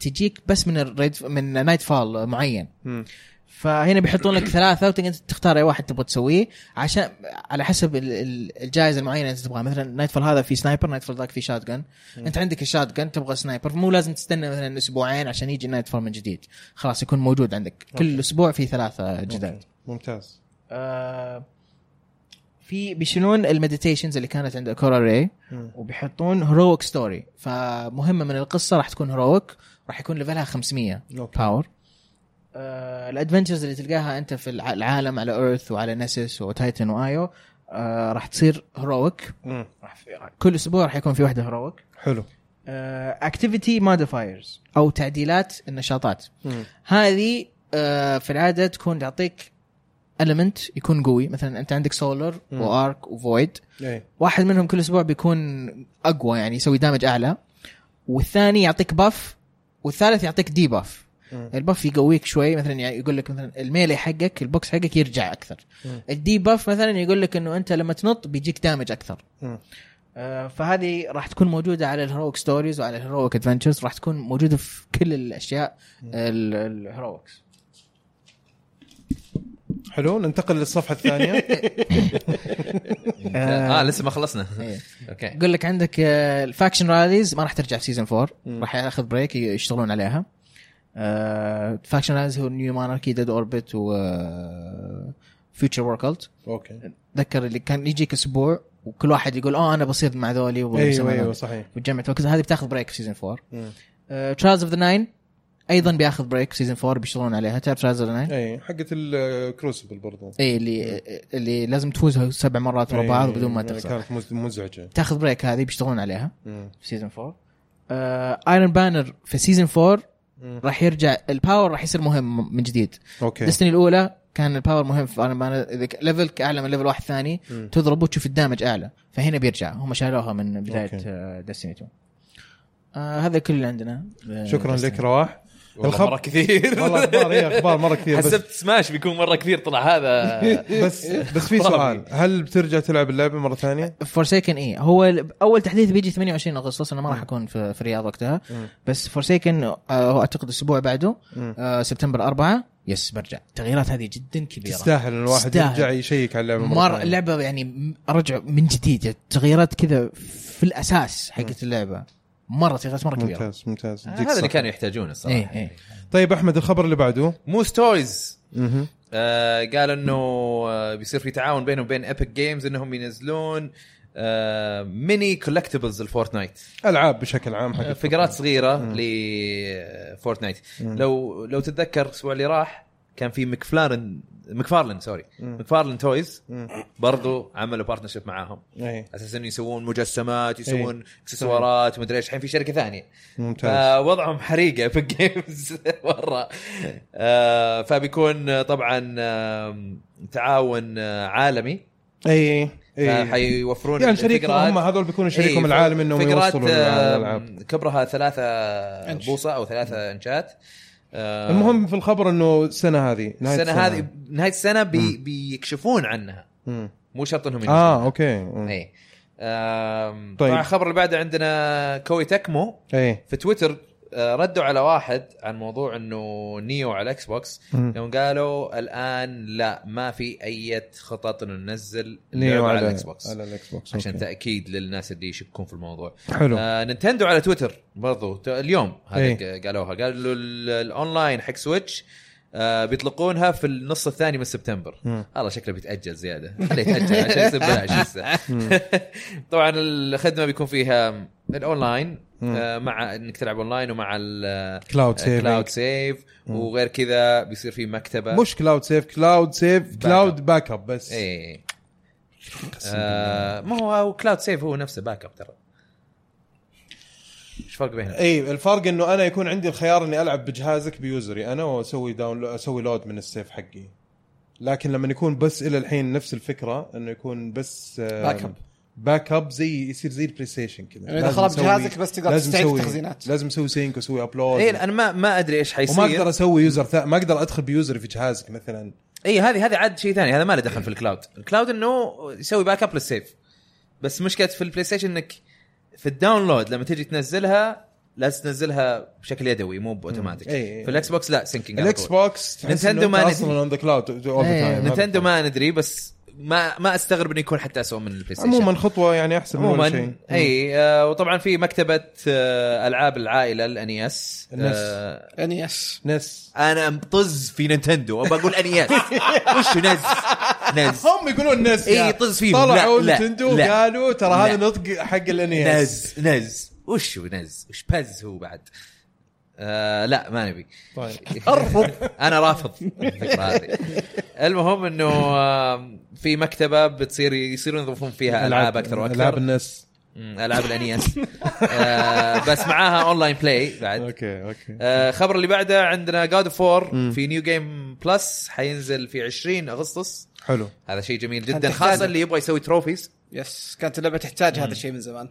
S3: تجيك بس من الريد من نايت فول معين
S1: مم.
S3: فهنا بيحطون لك ثلاثه وتقدر تختار اي واحد تبغى تسويه عشان على حسب ال- ال- الجائزه المعينه اللي انت تبغاها مثلا نايت فول هذا في سنايبر نايت فول ذاك في شات جن انت عندك الشات جن تبغى سنايبر مو لازم تستنى مثلا اسبوعين عشان يجي نايت فول من جديد خلاص يكون موجود عندك كل اسبوع في ثلاثه جداد
S1: ممتاز
S3: آه، في بيشيلون المديتيشنز اللي كانت عند كورا ري وبيحطون هيرويك ستوري فمهمه من القصه راح تكون هيرويك راح يكون ليفلها 500
S1: أوكي.
S3: باور آه، الادفنتشرز اللي تلقاها انت في الع- العالم على ايرث وعلى نسس وتايتن وايو آه، راح تصير هيرويك
S1: مم.
S3: راح في- كل اسبوع راح يكون في آه، واحده هيرويك
S1: حلو
S3: اكتيفيتي موديفايرز او تعديلات النشاطات
S1: مم.
S3: هذه آه، في العاده تكون تعطيك المنت يكون قوي مثلا انت عندك سولر
S1: مم.
S3: وارك وفويد
S1: ايه
S3: واحد منهم كل اسبوع بيكون اقوى يعني يسوي دامج اعلى والثاني يعطيك باف والثالث يعطيك دي باف
S1: مم.
S3: الباف يقويك شوي مثلا يعني يقول لك مثلا الميلي حقك البوكس حقك يرجع اكثر
S1: مم.
S3: الدي باف مثلا يقول لك انه انت لما تنط بيجيك دامج اكثر
S1: مم.
S3: آه، فهذه راح تكون موجوده على الهيرويك ستوريز وعلى الهيرويك ادفنتشرز راح تكون موجوده في كل الاشياء ال- الهيرويكس
S1: حلو ننتقل للصفحه الثانيه
S3: آه.
S2: اه لسه ما خلصنا
S3: إيه.
S2: اوكي
S3: يقول لك عندك آه، الفاكشن راليز ما راح ترجع في سيزون 4 راح ياخذ بريك ي- يشتغلون عليها آه، فاكشن راليز هو نيو ماناركي ديد اوربت و آه، فيوتشر ورك الت
S1: اوكي
S3: تذكر اللي كان يجيك اسبوع وكل واحد يقول اه انا بصير مع ذولي وبسوي مع
S1: ايوه
S3: ذولي.
S1: ايوه صحيح
S3: وتجمع توكنز هذه بتاخذ بريك في آه، سيزون 4
S1: مم.
S3: ترايلز اوف ذا ناين ايضا بياخذ بريك سيزون 4 بيشتغلون عليها تعرف ترايلز اوف ذا ناين؟
S1: اي حقت الكروسبل برضو
S3: اي إيه، اللي اللي لازم تفوزها سبع مرات ورا أيوة، بعض
S1: إيه،
S3: بدون ما
S1: إيه،
S3: تخسر
S1: كانت مز- مزعجه
S3: تاخذ بريك هذه بيشتغلون عليها
S1: مم.
S3: في سيزون 4 ايرون بانر آه، في سيزون 4
S1: مم.
S3: راح يرجع الباور راح يصير مهم من جديد
S1: اوكي
S3: ديستني الاولى كان الباور مهم في ايرون بانر اذا ك- ليفل اعلى من ليفل واحد ثاني
S1: مم.
S3: تضربه تشوف الدامج اعلى فهنا بيرجع هم شالوها من
S1: أوكي.
S3: بدايه ديستني 2 آه هذا كل اللي عندنا آه،
S1: شكرا
S3: Destiny.
S1: لك رواح
S2: والله
S1: الخب-
S2: مره كثير
S1: والله اخبار هي اخبار مره كثير بس
S2: حسبت سماش بيكون مره كثير طلع هذا
S1: بس بس في سؤال هل بترجع تلعب اللعبه مره ثانيه؟
S3: فورسيكن اي إيه. هو ال- اول تحديث بيجي 28 اغسطس انا ما راح
S1: مم.
S3: اكون في, في الرياض وقتها
S1: مم.
S3: بس فورسيكن هو اعتقد الاسبوع بعده
S1: مم.
S3: آه سبتمبر 4 يس برجع التغييرات هذه جدا كبيره
S1: تستاهل ان الواحد
S3: تستاهل.
S1: يرجع يشيك على اللعبه مره
S3: مر
S1: ثانيه
S3: اللعبه يعني م- ارجع من جديد التغييرات كذا في الاساس حقت اللعبه مره تغييرات إيه، مره كبيره
S1: ممتاز ممتاز
S3: آه،
S1: يديك
S2: هذا اللي
S1: الصحة.
S2: كانوا يحتاجونه
S3: اي
S2: الصراحه
S3: اي
S1: طيب احمد الخبر اللي بعده
S2: موس تويز
S1: مهم.
S2: آه، قال انه آه، بيصير في تعاون بينهم وبين ايبك جيمز انهم ينزلون آه، ميني كولكتبلز الفورتنايت
S1: العاب بشكل عام حق
S2: آه، فقرات صغيره لفورتنايت لو لو تتذكر الاسبوع اللي راح كان في مكفلارن مكفارلن سوري مكفارلن تويز برضو عملوا بارتنرشيب معاهم
S3: آه.
S1: اي
S2: اساس انه يسوون مجسمات يسوون اكسسوارات مدري ايش الحين في شركه ثانيه
S3: آه.
S1: ممتاز
S2: فوضعهم حريقه آه، في الجيمز مره آه، فبيكون طبعا آم، تعاون آه، عالمي
S1: اي اي
S2: فحيوفرون
S1: يعني شريكهم
S2: الفقرات.
S1: هم هذول بيكونوا شريكهم
S2: إيه،
S1: العالم انهم
S2: فقرات
S1: يوصلوا الالعاب
S2: آم، كبرها ثلاثة بوصة أو ثلاثة إنشات آه،
S1: المهم في الخبر انه السنه هذه نهاية
S2: السنة هذه نهاية السنة بي بيكشفون عنها
S1: مم.
S2: مو شرط أنهم
S1: اه اوكي مم.
S2: إي آم،
S1: طيب.
S2: طبعا الخبر اللي بعده عندنا كوي تكمو
S1: اي
S2: في تويتر آه، ردوا على واحد عن موضوع انه نيو على الاكس بوكس
S1: مم.
S2: يوم قالوا الان لا ما في اي خطط انه ننزل
S1: نيو
S2: اللعبه على
S1: على
S2: الاكس بوكس
S1: على الاكس بوكس
S2: عشان
S1: أوكي.
S2: تاكيد للناس اللي يشكون في الموضوع
S1: حلو
S2: آه نينتندو على تويتر برضو ت- اليوم هذا
S1: إيه.
S2: ق- قالوها قالوا ال- الاونلاين حق سويتش آه بيطلقونها في النص الثاني من سبتمبر
S1: مم.
S2: الله شكله بيتاجل زياده خليه يتاجل عشان يصير بلاش لسه طبعا الخدمه بيكون فيها الاونلاين
S1: مم.
S2: آه مع انك تلعب اونلاين ومع الكلاود
S1: كلاود سيف
S2: سيف
S1: مم.
S2: وغير كذا بيصير في مكتبه
S1: مش كلاود سيف كلاود سيف كلاود باك اب بس
S2: ايه آه ما هو كلاود سيف هو نفسه باك اب ترى ايش الفرق بينهم؟
S1: اي إيه، الفرق انه انا يكون عندي الخيار اني العب بجهازك بيوزري انا واسوي داون اسوي لود من السيف حقي لكن لما يكون بس الى الحين نفس الفكره انه يكون بس آه،
S4: باك أب.
S1: باك اب زي يصير زي البلاي ستيشن كذا
S4: يعني اذا
S1: لازم
S4: خرب
S1: أسوي-
S4: جهازك بس تقدر
S1: لازم
S4: تستعيد
S1: أسوي-
S4: تخزينات
S1: لازم اسوي سينك واسوي ابلود
S2: اي انا إيه، ما ما ادري ايش
S1: وما اقدر
S2: حيصير
S1: اسوي يوزر ثا... ما اقدر ادخل بيوزري في جهازك مثلا
S2: اي إيه، هذه هذه عاد شيء ثاني هذا ما له دخل
S1: إيه.
S2: في الكلاود الكلاود انه يسوي باك اب للسيف بس مشكله في البلاي ستيشن انك في الداونلود لما تجي تنزلها لازم تنزلها بشكل يدوي مو باوتوماتيك
S1: إي، إي، إي.
S2: في الاكس
S1: إيه.
S2: بوكس لا سينكينج
S1: الاكس بوكس تحس
S2: نينتندو
S1: إنه
S2: ما
S1: أنت
S2: ندري.
S1: اصلا اون ذا كلاود
S3: إيه،
S2: نينتندو ما ندري بس ما ما استغرب انه يكون حتى اسوء من البلاي ستيشن
S1: عموما خطوه يعني احسن من ولا
S2: عموما
S1: شيء
S2: اي آه وطبعا في مكتبه آه العاب العائله الاني اس
S1: النس.
S2: آه
S4: يعني يس
S1: نس
S2: انا مطز في نينتندو ابى اقول اني اس E وش نز نز
S1: هم يقولون نس
S2: إي،
S1: يا.
S2: طز فيهم.
S1: طلعوا
S2: لا، لا،
S1: نتندو
S2: لا.
S1: قالوا ترى هذا
S2: لا.
S1: نطق حق E الانيس
S2: نز نز وش هو نز وش بز هو بعد آه لا ما نبي
S1: طيب
S2: انا رافض الفكره هذه المهم انه آه، في مكتبه بتصير يصيرون يضيفون فيها العاب اكثر
S1: العاب
S2: واكثر
S1: النس
S2: مم، العاب الانيس بس معاها اونلاين بلاي بعد
S1: اوكي اوكي
S2: آه، الخبر اللي بعده عندنا جاد اوف 4 في نيو جيم بلس حينزل في 20 اغسطس
S1: حلو
S2: هذا شيء جميل جدا
S4: هتحتاج.
S2: خاصه اللي يبغى يسوي تروفيز
S4: يس كانت اللعبه تحتاج هذا الشيء من زمان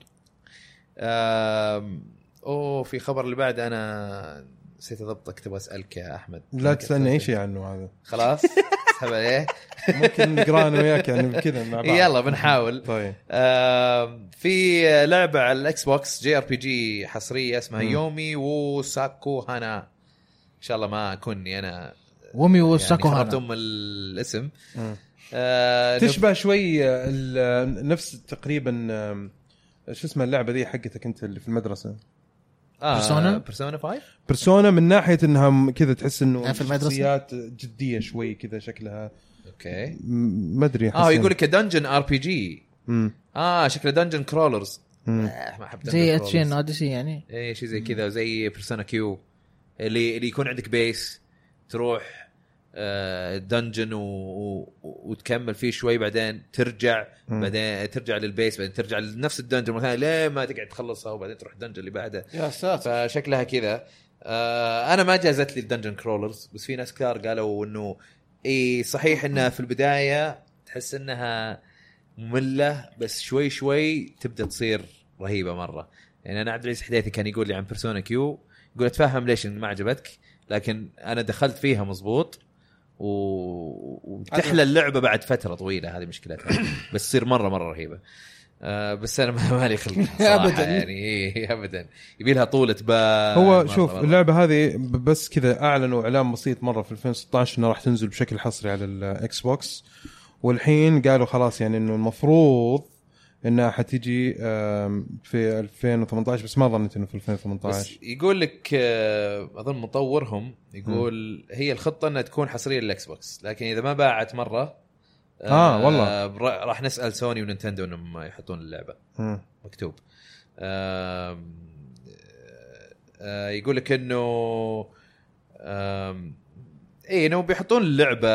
S2: آم، اوه في خبر اللي بعده انا نسيت اضبطك تبغى اسالك يا احمد
S1: لا تسالني اي شيء عنه هذا
S2: خلاص اسحب عليه
S1: ممكن نقرا انا وياك يعني كذا مع بعض
S2: يلا بنحاول
S1: طيب
S2: آم، في لعبه على الاكس بوكس جي ار بي جي حصريه اسمها يومي وساكو هانا ان شاء الله ما اكوني انا
S3: ومي
S2: يعني
S3: وساكو
S2: خربت
S3: هانا
S2: ام الاسم
S1: مم.
S2: آه،
S1: تشبه شوي آه، ال- آه، نفس تقريبا آم، شو اسمها اللعبه ذي حقتك انت اللي في المدرسه
S2: آه،
S3: Persona؟
S2: بيرسونا 5
S1: بيرسونا من ناحيه انها م- كذا تحس انه
S3: أنا آه، في المدرسة.
S1: شخصيات جديه شوي كذا شكلها
S2: اوكي
S1: م- ما ادري
S3: آه،
S2: اه
S1: أحس
S2: يقول لك دنجن ار بي جي
S1: مم.
S2: اه شكله دنجن كرولرز
S1: مم.
S2: آه ما احب
S3: زي اتشين اوديسي يعني
S2: اي إيه، شيء زي كذا زي بيرسونا كيو اللي اللي يكون عندك بيس تروح آه، دنجن و... و... وتكمل فيه شوي بعدين ترجع
S1: مم.
S2: بعدين ترجع للبيس بعدين ترجع لنفس الدنجن مثلا ليه ما تقعد تخلصها وبعدين تروح الدنجن اللي بعده
S4: يا ساتر
S2: فشكلها كذا آه انا ما جازت لي الدنجن كرولرز بس في ناس كثار قالوا انه اي صحيح انها في البدايه تحس انها ممله بس شوي شوي تبدا تصير رهيبه مره يعني انا عبد العزيز حديثي كان يقول لي عن بيرسونا كيو يقول اتفهم ليش إن ما عجبتك لكن انا دخلت فيها مزبوط و... وتحلى اللعبه بعد فتره طويله هذه مشكلتها بس تصير مره مره رهيبه آه بس انا ما- مالي خلق صراحة
S4: أبداً.
S2: يعني إيه، ابدا يبي لها طوله بال
S1: يعني.
S3: آه،
S1: هو
S2: مرة-
S1: شوف
S2: مرة.
S1: اللعبه هذه ب- بس كذا اعلنوا اعلان بسيط مره في 2016 انها راح تنزل بشكل حصري على الاكس بوكس والحين قالوا خلاص يعني انه المفروض انها حتيجي آم، في 2018 بس ما ظنيت انه في 2018
S2: بس يقول لك آه، اظن مطورهم يقول هي الخطه انها تكون حصريه للاكس بوكس لكن اذا ما باعت مره
S1: آه، والله.
S2: بر- راح نسال سوني ونينتندو انهم يحطون اللعبه
S1: مم.
S2: مكتوب آم، آه، يقول لك انه آم، اي انه بيحطون اللعبه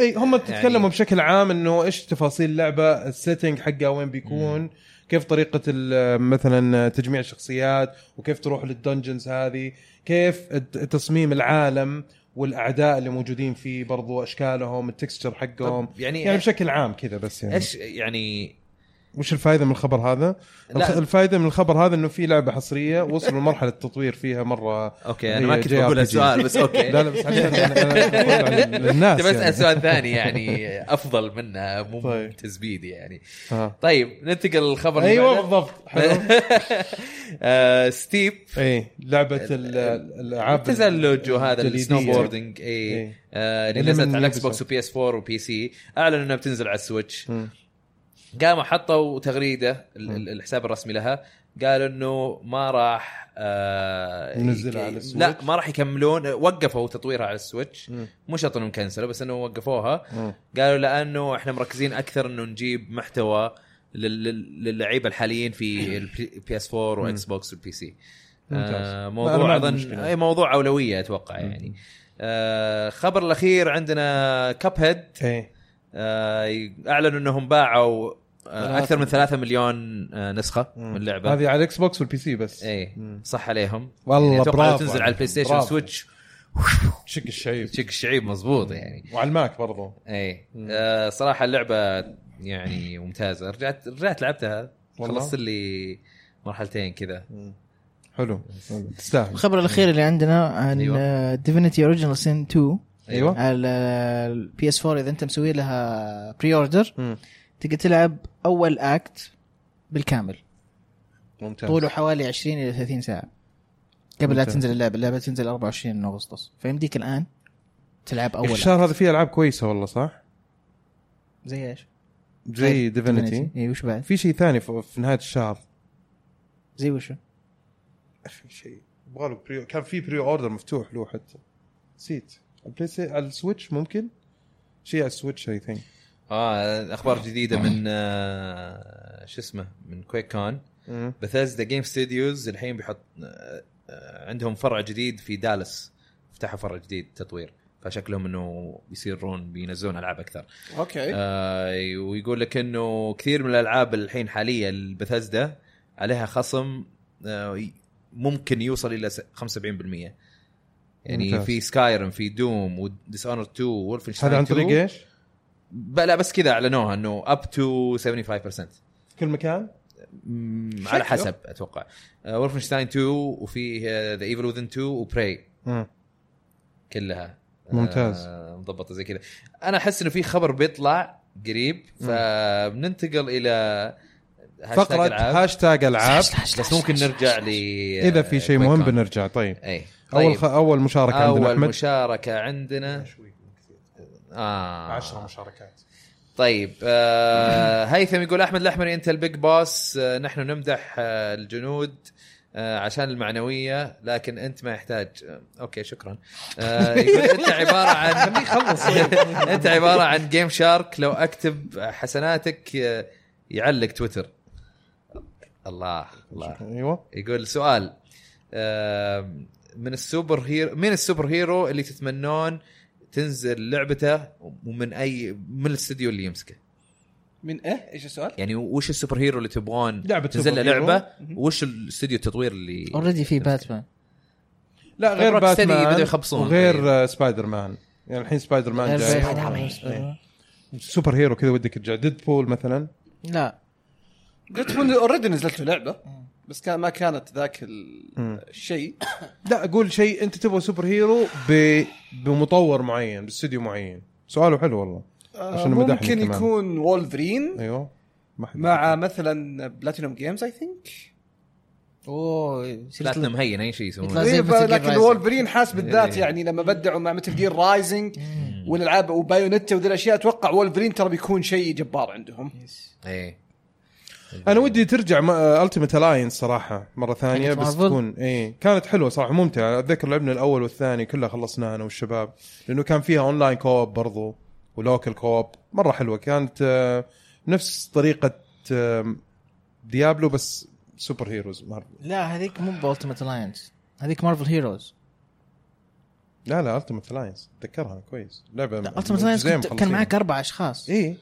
S1: اي هم تتكلموا
S2: يعني-
S1: يعني بشكل عام انه ايش تفاصيل اللعبه السيتنج حقها وين بيكون
S2: مم.
S1: كيف طريقه ال- مثلا تجميع الشخصيات وكيف تروح للدنجنز هذه كيف الت- تصميم العالم والاعداء اللي موجودين فيه برضو اشكالهم التكستشر حقهم
S2: طب يعني,
S1: يعني بشكل عام كذا بس يعني
S2: ايش يعني
S1: وش الفائده من الخبر هذا الخ-
S2: لا
S1: الفائده من الخبر هذا انه في لعبه حصريه وصلوا لمرحله التطوير فيها مره
S2: اوكي انا ما
S1: هي
S2: كنت
S1: JRPG.
S2: بقول السؤال بس اوكي
S1: لا لا بس عشان أنا- أنا أقول عن الناس
S2: تبي اسال
S1: يعني.
S2: سؤال ثاني يعني افضل منها مو
S1: طيب.
S2: تزبيد يعني
S1: آه.
S2: طيب ننتقل للخبر اللي
S1: ايوه
S2: بعده.
S1: بالضبط حلو
S2: آه، ستيب
S1: اي لعبه إيه، ال- الالعاب
S2: التزلج وهذا
S1: الجليدية.
S2: السنو بوردنج اي
S1: إيه.
S2: آه، اللي
S1: اللي
S2: نزلت
S1: من
S2: على الاكس
S1: Ubisoft.
S2: بوكس وبي اس 4 وبي سي اعلنوا انها بتنزل على السويتش
S1: مم.
S2: قاموا حطوا تغريده ال-
S1: مم.
S2: ال- الحساب الرسمي لها قالوا انه ما راح آه
S1: ننزلها على
S2: لا
S1: السويتش.
S2: ما راح يكملون وقفوا تطويرها على السويتش
S1: مم.
S2: مو شرط انهم كنسلوا بس انه وقفوها
S1: مم.
S2: قالوا لانه احنا مركزين اكثر انه نجيب محتوى لل- لل- للعيبه الحاليين في البي اس 4 واكس بوكس والبي سي آه
S1: ممتاز. أنا ما
S2: موضوع
S1: عندي
S2: اظن
S1: مشكلة.
S2: اي موضوع اولويه اتوقع يعني آه خبر الاخير عندنا كاب هيد
S1: اي
S2: آه اعلنوا انهم باعوا آه اكثر من 3 مليون آه نسخه من اللعبه
S1: هذه على الاكس بوكس والبي سي بس
S2: اي
S1: مم.
S2: صح عليهم
S1: والله
S2: يعني أتوقع لو
S1: برافو
S2: تنزل على
S1: عليهم.
S2: البلاي ستيشن
S1: برافو.
S2: سويتش
S1: شق الشعيب
S2: تشيك الشعيب مضبوط يعني
S1: وعلى الماك برضو
S2: اي آه صراحه اللعبه يعني ممتازه رجعت رجعت لعبتها
S1: والله؟
S2: خلصت لي مرحلتين كذا
S1: حلو حلو. تستاهل
S3: الخبر الاخير اللي عندنا
S1: أيوه.
S2: أيوة.
S3: عن ديفينيتي اوريجينال سين 2
S1: ايوه
S3: على البي اس 4 اذا انت مسوي لها بري اوردر
S1: مم.
S3: تقدر تلعب اول اكت بالكامل
S1: ممتاز
S3: طوله حوالي 20 الى 30 ساعه قبل لا
S1: ممتاز.
S3: تنزل اللعبه اللعبه تنزل 24 من اغسطس فيمديك الان تلعب
S1: يا أخي
S3: اول
S1: الشهر هذا فيه العاب كويسه والله صح؟
S3: أكت. زي ايش
S1: زي ديفينيتي
S3: اي طيب، إيه، وش بعد؟
S1: في شيء ثاني في في نهايه الشهر
S3: زي وشو؟
S1: اخي شيء يبغى له بري كان في بري اوردر مفتوح له حتى نسيت البلاي سي... على السويتش ممكن شيء على السويتش اي ثينك
S2: اه اخبار جديده من آه شو اسمه من كويك كون بثيزدا جيم ستوديوز الحين بيحط آه، آه، عندهم فرع جديد في دالاس فتحوا فرع جديد تطوير فشكلهم انه بيصيرون بينزلون العاب اكثر
S4: اوكي
S2: آه ويقول لك انه كثير من الالعاب الحين حاليا البثزدا عليها خصم آه ي- ممكن يوصل الى س- 75% يعني
S1: ممتاز.
S2: في سكايرم في دوم وديس اونر 2 وولفنشتاين
S1: هذا عن طريق ايش؟
S2: لا بس كذا اعلنوها انه اب تو 75%
S1: في كل مكان
S2: مم، على حسب اتوقع ولفنشتاين 2 وفي آه، ذا ايفل وذن 2 وبراي كلها
S1: ممتاز.
S2: آه، مضبطه زي كذا انا احس انه في خبر بيطلع قريب فبننتقل الى هاشتاج
S1: فقره
S2: ألعاب.
S1: هاشتاج العاب
S2: بس ممكن نرجع آه، ل
S1: اذا في شيء مهم بنرجع طيب
S2: اي
S1: اول خ... اول مشاركه عندنا
S2: اول
S1: احمد
S2: مشاركه عندنا آه.
S1: مشاركات
S2: طيب آه هيثم يقول احمد الاحمري انت البيج باس آه نحن نمدح آه الجنود آه عشان المعنويه لكن انت ما يحتاج آه اوكي شكرا آه يقول انت عباره عن خلص انت عباره عن جيم شارك لو اكتب حسناتك آه يعلق تويتر الله الله
S1: ايوه
S2: يقول سؤال آم، من السوبر هيرو من السوبر هيرو اللي تتمنون تنزل لعبته ومن اي من الاستديو اللي يمسكه
S4: من ايه ايش السؤال؟
S2: يعني وش السوبر هيرو اللي تبغون
S1: لعبة
S2: تنزل له
S1: سوبر هيرو.
S2: لعبه وش الاستديو التطوير اللي
S3: اوريدي في باتمان
S1: لا غير
S2: روكستدي بدوا
S1: باتمان
S2: يخبصون.
S1: وغير آه، سبايدر مان يعني الحين سبايدر مان جاي إيه. سوبر هيرو كذا ودك ترجع ديد بول مثلا
S3: لا
S4: قلت من اوريدي نزلت له لعبه بس كان ما كانت ذاك ال- الشيء
S1: لا اقول شيء انت تبغى سوبر هيرو ب... بمطور معين باستديو معين سؤاله حلو والله
S4: آه،
S1: عشان مدحني
S4: ممكن
S1: كمان.
S4: يكون وولفرين
S1: ايوه ما حد
S4: مع مثلا بلاتينوم جيمز اي ثينك
S3: اوه
S2: بلاتنم هين اي شيء يسوونه
S3: يطلع زي
S4: إيه،
S3: Metal Gear
S4: لكن
S3: Rising.
S4: وولفرين حاس بالذات
S2: إيه.
S4: يعني لما بدعوا مع متل جير رايزنج والالعاب وبايونيتا وذي الاشياء اتوقع وولفرين ترى بيكون شيء جبار عندهم
S2: ايه
S1: انا ودي ترجع التيمت الاينس صراحه مره ثانيه
S3: حقت
S1: بس
S3: مارفل؟
S1: تكون اي كانت حلوه صراحه ممتعه اتذكر لعبنا الاول والثاني كلها خلصناها انا والشباب لانه كان فيها اونلاين كوب برضو ولوكال كوب مره حلوه كانت آه، نفس طريقه آه، ديابلو بس سوبر هيروز مارفل
S3: لا هذيك مو بالتيمت الاينس هذيك مارفل هيروز
S1: لا لا التيمت الاينس اتذكرها أنا كويس لعبه
S3: التيمت الاينس كان معك اربع اشخاص
S1: اي
S3: اي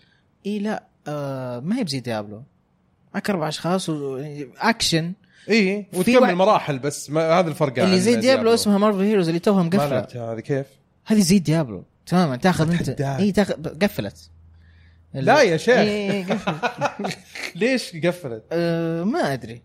S3: إيه، لا آه ما هي بزي ديابلو معك اربع اشخاص و... اكشن
S1: اي
S3: في
S1: إيه، وتكمل
S3: واحد-
S1: مراحل بس ما هذا الفرق عن
S3: اللي زي ديابلو اسمها مارفل هيروز اللي توها
S1: ما
S3: مقفله
S1: لعبتها هذه كيف؟
S3: هذه زي ديابلو تماما تاخذ انت
S1: أتحداك.
S3: اي تاخذ قفلت إيه،
S1: لا يا شيخ.
S3: إي، إي، قفلت.
S1: ليش قفلت؟
S3: أه ما ادري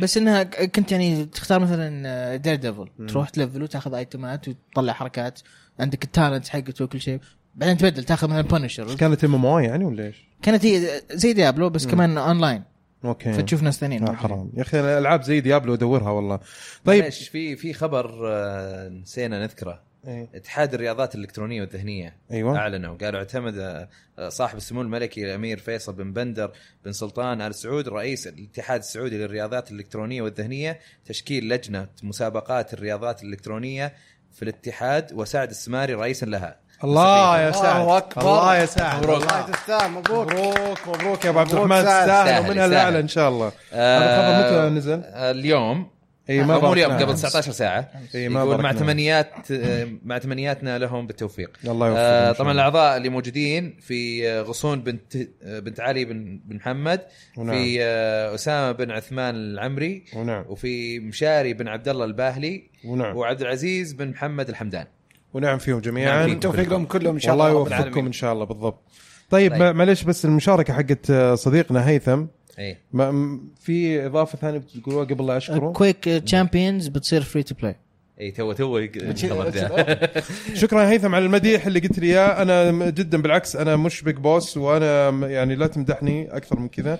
S3: بس انها ك- كنت يعني تختار مثلا دير ديفل تروح تلفله تاخذ ايتمات وتطلع حركات عندك التالنت حقته وكل شيء بعدين تبدل تاخذ مثلا بانشر
S1: كانت ام ام او يعني ولا ايش؟
S3: كانت هي زي ديابلو بس كمان اونلاين
S1: اوكي
S3: فتشوف ناس ثانيين أه،
S1: آه حرام يا اخي أنا العاب زي ديابلو ادورها والله طيب
S2: معلش، في في خبر آه، نسينا نذكره
S1: إيه.
S2: اتحاد الرياضات الالكترونيه والذهنيه
S1: أيوة.
S2: اعلنوا قالوا اعتمد آه، آه، صاحب السمو الملكي الامير فيصل بن بندر بن سلطان ال سعود رئيس الاتحاد السعودي للرياضات الالكترونيه والذهنيه تشكيل لجنه مسابقات الرياضات الالكترونيه في الاتحاد وسعد السماري رئيسا لها
S1: الله يا
S2: صحيح.
S1: سعد
S4: الله أكبر.
S1: الله يا سعد
S2: مبروك.
S1: والله.
S4: تستاهل مبروك
S1: مبروك مبروك يا ابو عبد الرحمن
S4: مبروك سعد.
S1: تستاهل
S2: سهل،
S1: ومنها
S2: سهل.
S1: الاعلى ان شاء الله
S2: آه،
S1: هذا الخبر متى نزل؟
S2: آه، اليوم
S1: اي
S2: أو
S1: ما
S2: آه،
S1: نعم.
S2: مو اليوم
S1: باركنا.
S2: قبل 19 ساعه
S1: إي، ما
S2: يقول مع
S1: باركنا.
S2: تمنيات آه، مع تمنياتنا لهم بالتوفيق
S1: الله يوفقهم إن
S2: آه،
S1: شاء
S2: طبعا
S1: الله.
S2: الاعضاء اللي موجودين في آه، غصون بنت آه، بنت علي بن بن محمد
S1: ونعم.
S2: في آه، اسامه بن عثمان العمري
S1: ونعم
S2: وفي مشاري بن عبد الله الباهلي
S1: ونعم
S2: وعبد العزيز بن محمد الحمدان
S1: ونعم فيهم
S2: نعم
S1: جميعا
S2: فيهم.
S4: بالتوفيق لهم كلهم ان شاء
S1: والله
S4: الله رب
S1: يوفقكم
S4: العالمين.
S1: ان شاء الله بالضبط طيب,
S2: طيب.
S1: ما- معليش بس المشاركه حقت آه، صديقنا هيثم
S2: اي
S3: آه،
S1: ما م- في اضافه ثانيه بتقولوها قبل لا اشكره
S3: كويك تشامبيونز بتصير فري تو بلاي
S2: اي إيه، تو تو يق- خبر ذا.
S1: شكرا يا هيثم على المديح اللي قلت لي اياه انا م- جدا بالعكس انا مش بيج بوس وانا م- يعني لا تمدحني اكثر من كذا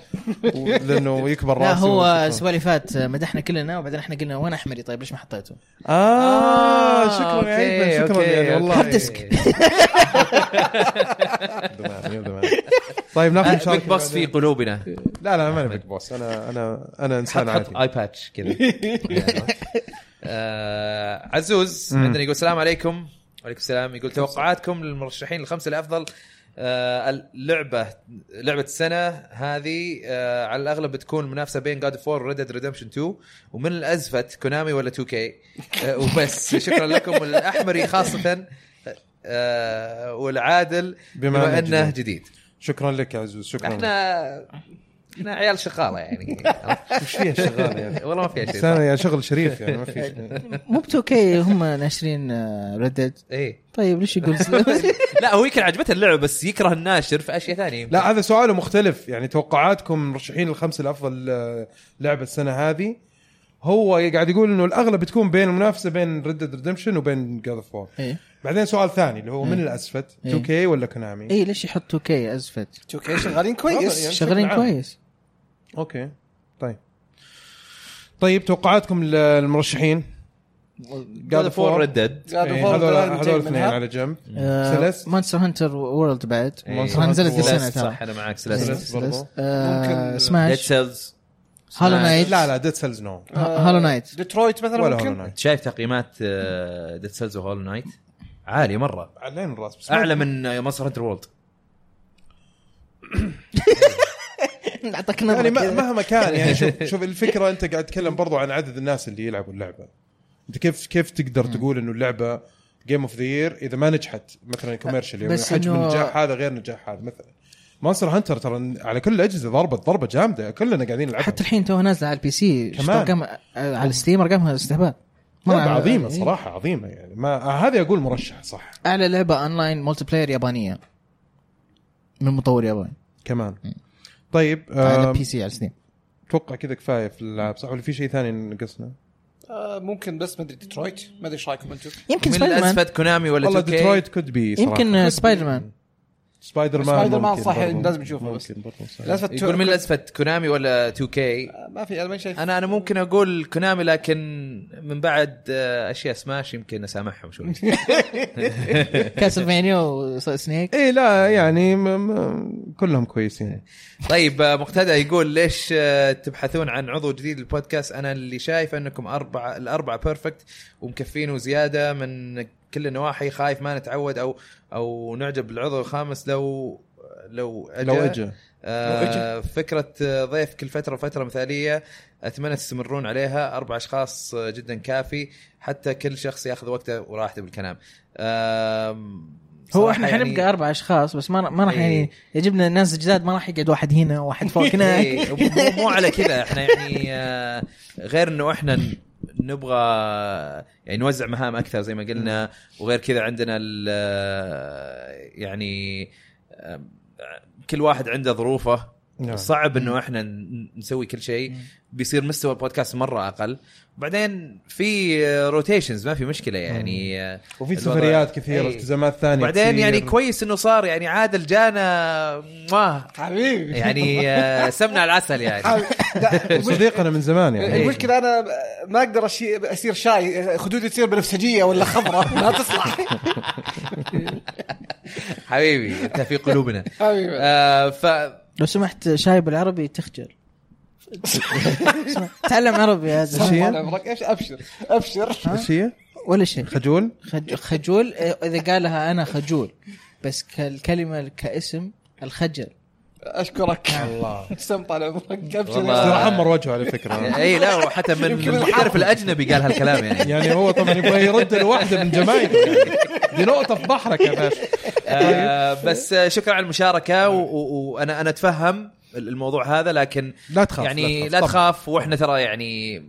S1: و- لانه يكبر
S3: لا
S1: راسي
S3: هو
S1: وشكراً.
S3: الاسبوع اللي فات آه، مدحنا كلنا وبعدين احنا قلنا وين احمري طيب ليش ما حطيته؟
S1: اه شكرا آه، يا
S2: آه، أوكي،
S1: هيثم شكرا
S2: أوكي،
S1: يعني والله
S3: هارد ديسك.
S1: يبدو معنا، يبدو معنا. طيب ناخذ
S2: آه،
S1: مشاركه
S2: بيج بوس في
S1: بعدين.
S2: قلوبنا
S1: لا لا ما انا بيج بوس انا انا انا انسان
S2: حط حط
S1: عادي
S2: اي باتش كذا آه، عزوز عندنا يقول السلام عليكم وعليكم السلام يقول توقعاتكم للمرشحين الخمسه الافضل آه، اللعبه لعبه السنه هذه آه، على الاغلب بتكون منافسه بين جاد فور وريد ديد ريدمشن 2 ومن الازفت كونامي ولا 2 كي وبس شكرا لكم والاحمري خاصه آه، والعادل
S1: بما أنه
S2: بما انه
S1: جديد.
S2: جديد
S1: شكرا لك يا عزوز شكرا لك.
S2: احنا احنا عيال شغاله يعني
S1: ايش فيها شغال يعني
S2: والله ما فيها شيء
S1: بس أنا يعني شغل شريف يعني ما في شيء.
S3: مو بتوكي هم ناشرين ردد
S2: ايه
S3: طيب ليش يقول
S2: لا هو يمكن عجبته اللعبه بس يكره الناشر في اشياء ثانيه
S1: لا هذا سؤاله مختلف يعني توقعاتكم مرشحين الخمسه الافضل آه، لعبه السنه هذه هو قاعد يقول انه الاغلب بتكون بين المنافسه بين ريد ديد ريدمشن وبين جاد اوف وور
S3: ايه
S1: بعدين سؤال ثاني اللي هو من الاسفت 2 كي ولا كونامي؟
S3: ايه ليش يحط 2 كي ازفت؟
S4: اوكي شغالين كويس
S1: يعني
S3: شغالين
S1: بشكل عام.
S3: كويس
S1: اوكي طيب طيب توقعاتكم للمرشحين؟ God of War.
S2: ردد
S4: God of
S1: إيه،
S4: War
S1: هذول
S4: طلع نتيجة
S1: هذول اثنين
S4: منها.
S1: على جنب
S3: آه،
S1: سلست؟
S3: مانستر هانتر وورلد بعد
S1: Monster
S3: ترى نزلت
S1: Hunter
S3: السنه ترى
S2: إيه.
S3: آه،
S2: صح انا معك
S1: Celeste.
S2: سلسلة
S1: Celeste. برضو.
S4: ممكن-
S2: ديد
S3: سماش
S2: سيلز
S3: هالو نايت
S1: لا لا ديد سيلز نو
S3: هالو نايت
S4: ديترويت مثلا
S1: ولا
S4: ممكن
S1: هولو نايت
S2: شايف تقييمات آه، ديد سيلز وهول نايت عاليه مره
S1: علين الراس بس ما-
S2: اعلى من آه، مصر هنتر وورلد
S3: اعطاك
S1: يعني
S3: نظره
S1: ما-
S3: كذا.
S1: مهما كان يعني شوف شوف الفكره انت قاعد تتكلم برضو عن عدد الناس اللي يلعبوا اللعبه انت كيف كيف تقدر تقول انه اللعبه جيم اوف ذا يير اذا ما نجحت مثلا كوميرشلي
S3: بس
S1: حجم
S3: إنه-
S1: النجاح هذا غير نجاح هذا مثلا مانستر هانتر ترى على كل الاجهزه ضربت ضربه جامده كلنا قاعدين نلعبها
S3: حتى الحين توها نازله على البي سي شفت
S1: كمان.
S3: أرقام- آه، على الستيم ارقامها استهبال
S1: لعبة
S3: أعلى-
S1: عظيمه
S3: إيه.
S1: صراحه عظيمه يعني ما هذه اقول مرشح صح
S3: اعلى لعبه اونلاين مولتي بلاير يابانيه من مطور ياباني
S1: كمان طيب
S3: على
S1: آم،
S3: بي سي على ستيم
S1: اتوقع كذا كفايه في الالعاب صح ولا في شيء ثاني نقصنا؟
S4: آه، ممكن بس ما ادري ديترويت ما ادري ايش رايكم انتم
S3: يمكن
S2: من
S3: سبايدر مان
S2: الازفت كونامي ولا
S1: والله
S2: 2K.
S1: ديترويت كود بي صراحة.
S3: يمكن آه، سبايدر مان
S1: سبايدر مان
S4: سبايدر مان
S1: ممكن
S4: صح،
S1: برضو.
S4: لازم نشوفه بس.
S1: ممكن برضو صح.
S4: للاسف
S2: يقول من الازفت كونامي ولا 2 كي
S4: آه، ما في انا ما شايف
S2: انا انا ممكن اقول كونامي لكن من بعد آه، اشياء سماش يمكن اسامحهم شوي
S3: كاسلفينيا وسنيك
S1: ايه لا يعني م م كلهم كويسين
S2: طيب آه، مقتدى يقول ليش آه، تبحثون عن عضو جديد للبودكاست انا اللي شايف انكم اربعه الاربعه بيرفكت ومكفين وزياده من كل النواحي خايف ما نتعود او او نعجب بالعضو الخامس لو لو أجا.
S1: لو اجى
S2: آه فكره آه، ضيف كل فتره وفتره مثاليه اتمنى تستمرون عليها اربع اشخاص آه، جدا كافي حتى كل شخص ياخذ وقته وراحته بالكلام آم،
S3: هو
S2: صراحة
S3: احنا
S2: يعني-
S3: حنبقى اربع اشخاص بس ما ما راح
S2: إيه.
S3: يعني يجبنا ناس جداد ما راح يقعد واحد هنا وواحد فوق هناك
S2: إيه، مو- مو على كذا احنا يعني آه، غير انه احنا ن- نبغى يعني نوزع مهام اكثر زي ما قلنا وغير كذا عندنا ال- آه، يعني آه، كل واحد عنده ظروفه
S1: نعم.
S2: صعب انه احنا ن- نسوي كل شيء بيصير مستوى البودكاست مره اقل بعدين في روتيشنز ما في مشكله يعني آه،
S1: وفي
S2: الوضع-
S1: سفريات كثيره
S2: إيه.
S1: التزامات ثانيه
S2: بعدين يعني
S1: كثير.
S2: كويس انه صار يعني عادل جانا ما
S4: حبيبي
S2: يعني آه، سمنه على العسل يعني
S1: وصديقنا من زمان
S2: إيه.
S1: يعني
S4: المشكله انا ما اقدر أشي- اصير شاي خدودي تصير بنفسجيه ولا خضراء ما تصلح
S2: حبيبي انت في قلوبنا
S4: حبيبي
S2: آه ف
S3: لو سمحت شاي بالعربي تخجل تعلم عربي يا زلمه
S1: شيء؟
S4: طال عمرك ايش ابشر ابشر
S1: ايش هي؟
S3: ولا شيء
S1: خجول؟
S3: خج- خجول إيه، اذا قالها انا خجول بس كالكلمه كاسم الخجل
S4: اشكرك الله سم طال عمرك
S2: والله.
S4: ابشر
S1: ترى حمر وجهه على فكره
S2: اي لا وحتى من المحارب الاجنبي قال هالكلام يعني
S1: يعني هو طبعا يبغى يرد لواحده من جمايله يعني. دي نقطه في بحرك يا باشا
S2: آه بس آه، شكرا على المشاركه و- و- وانا انا اتفهم الموضوع هذا لكن
S1: لا تخاف
S2: يعني لا
S1: طبعاً.
S2: تخاف واحنا ترى يعني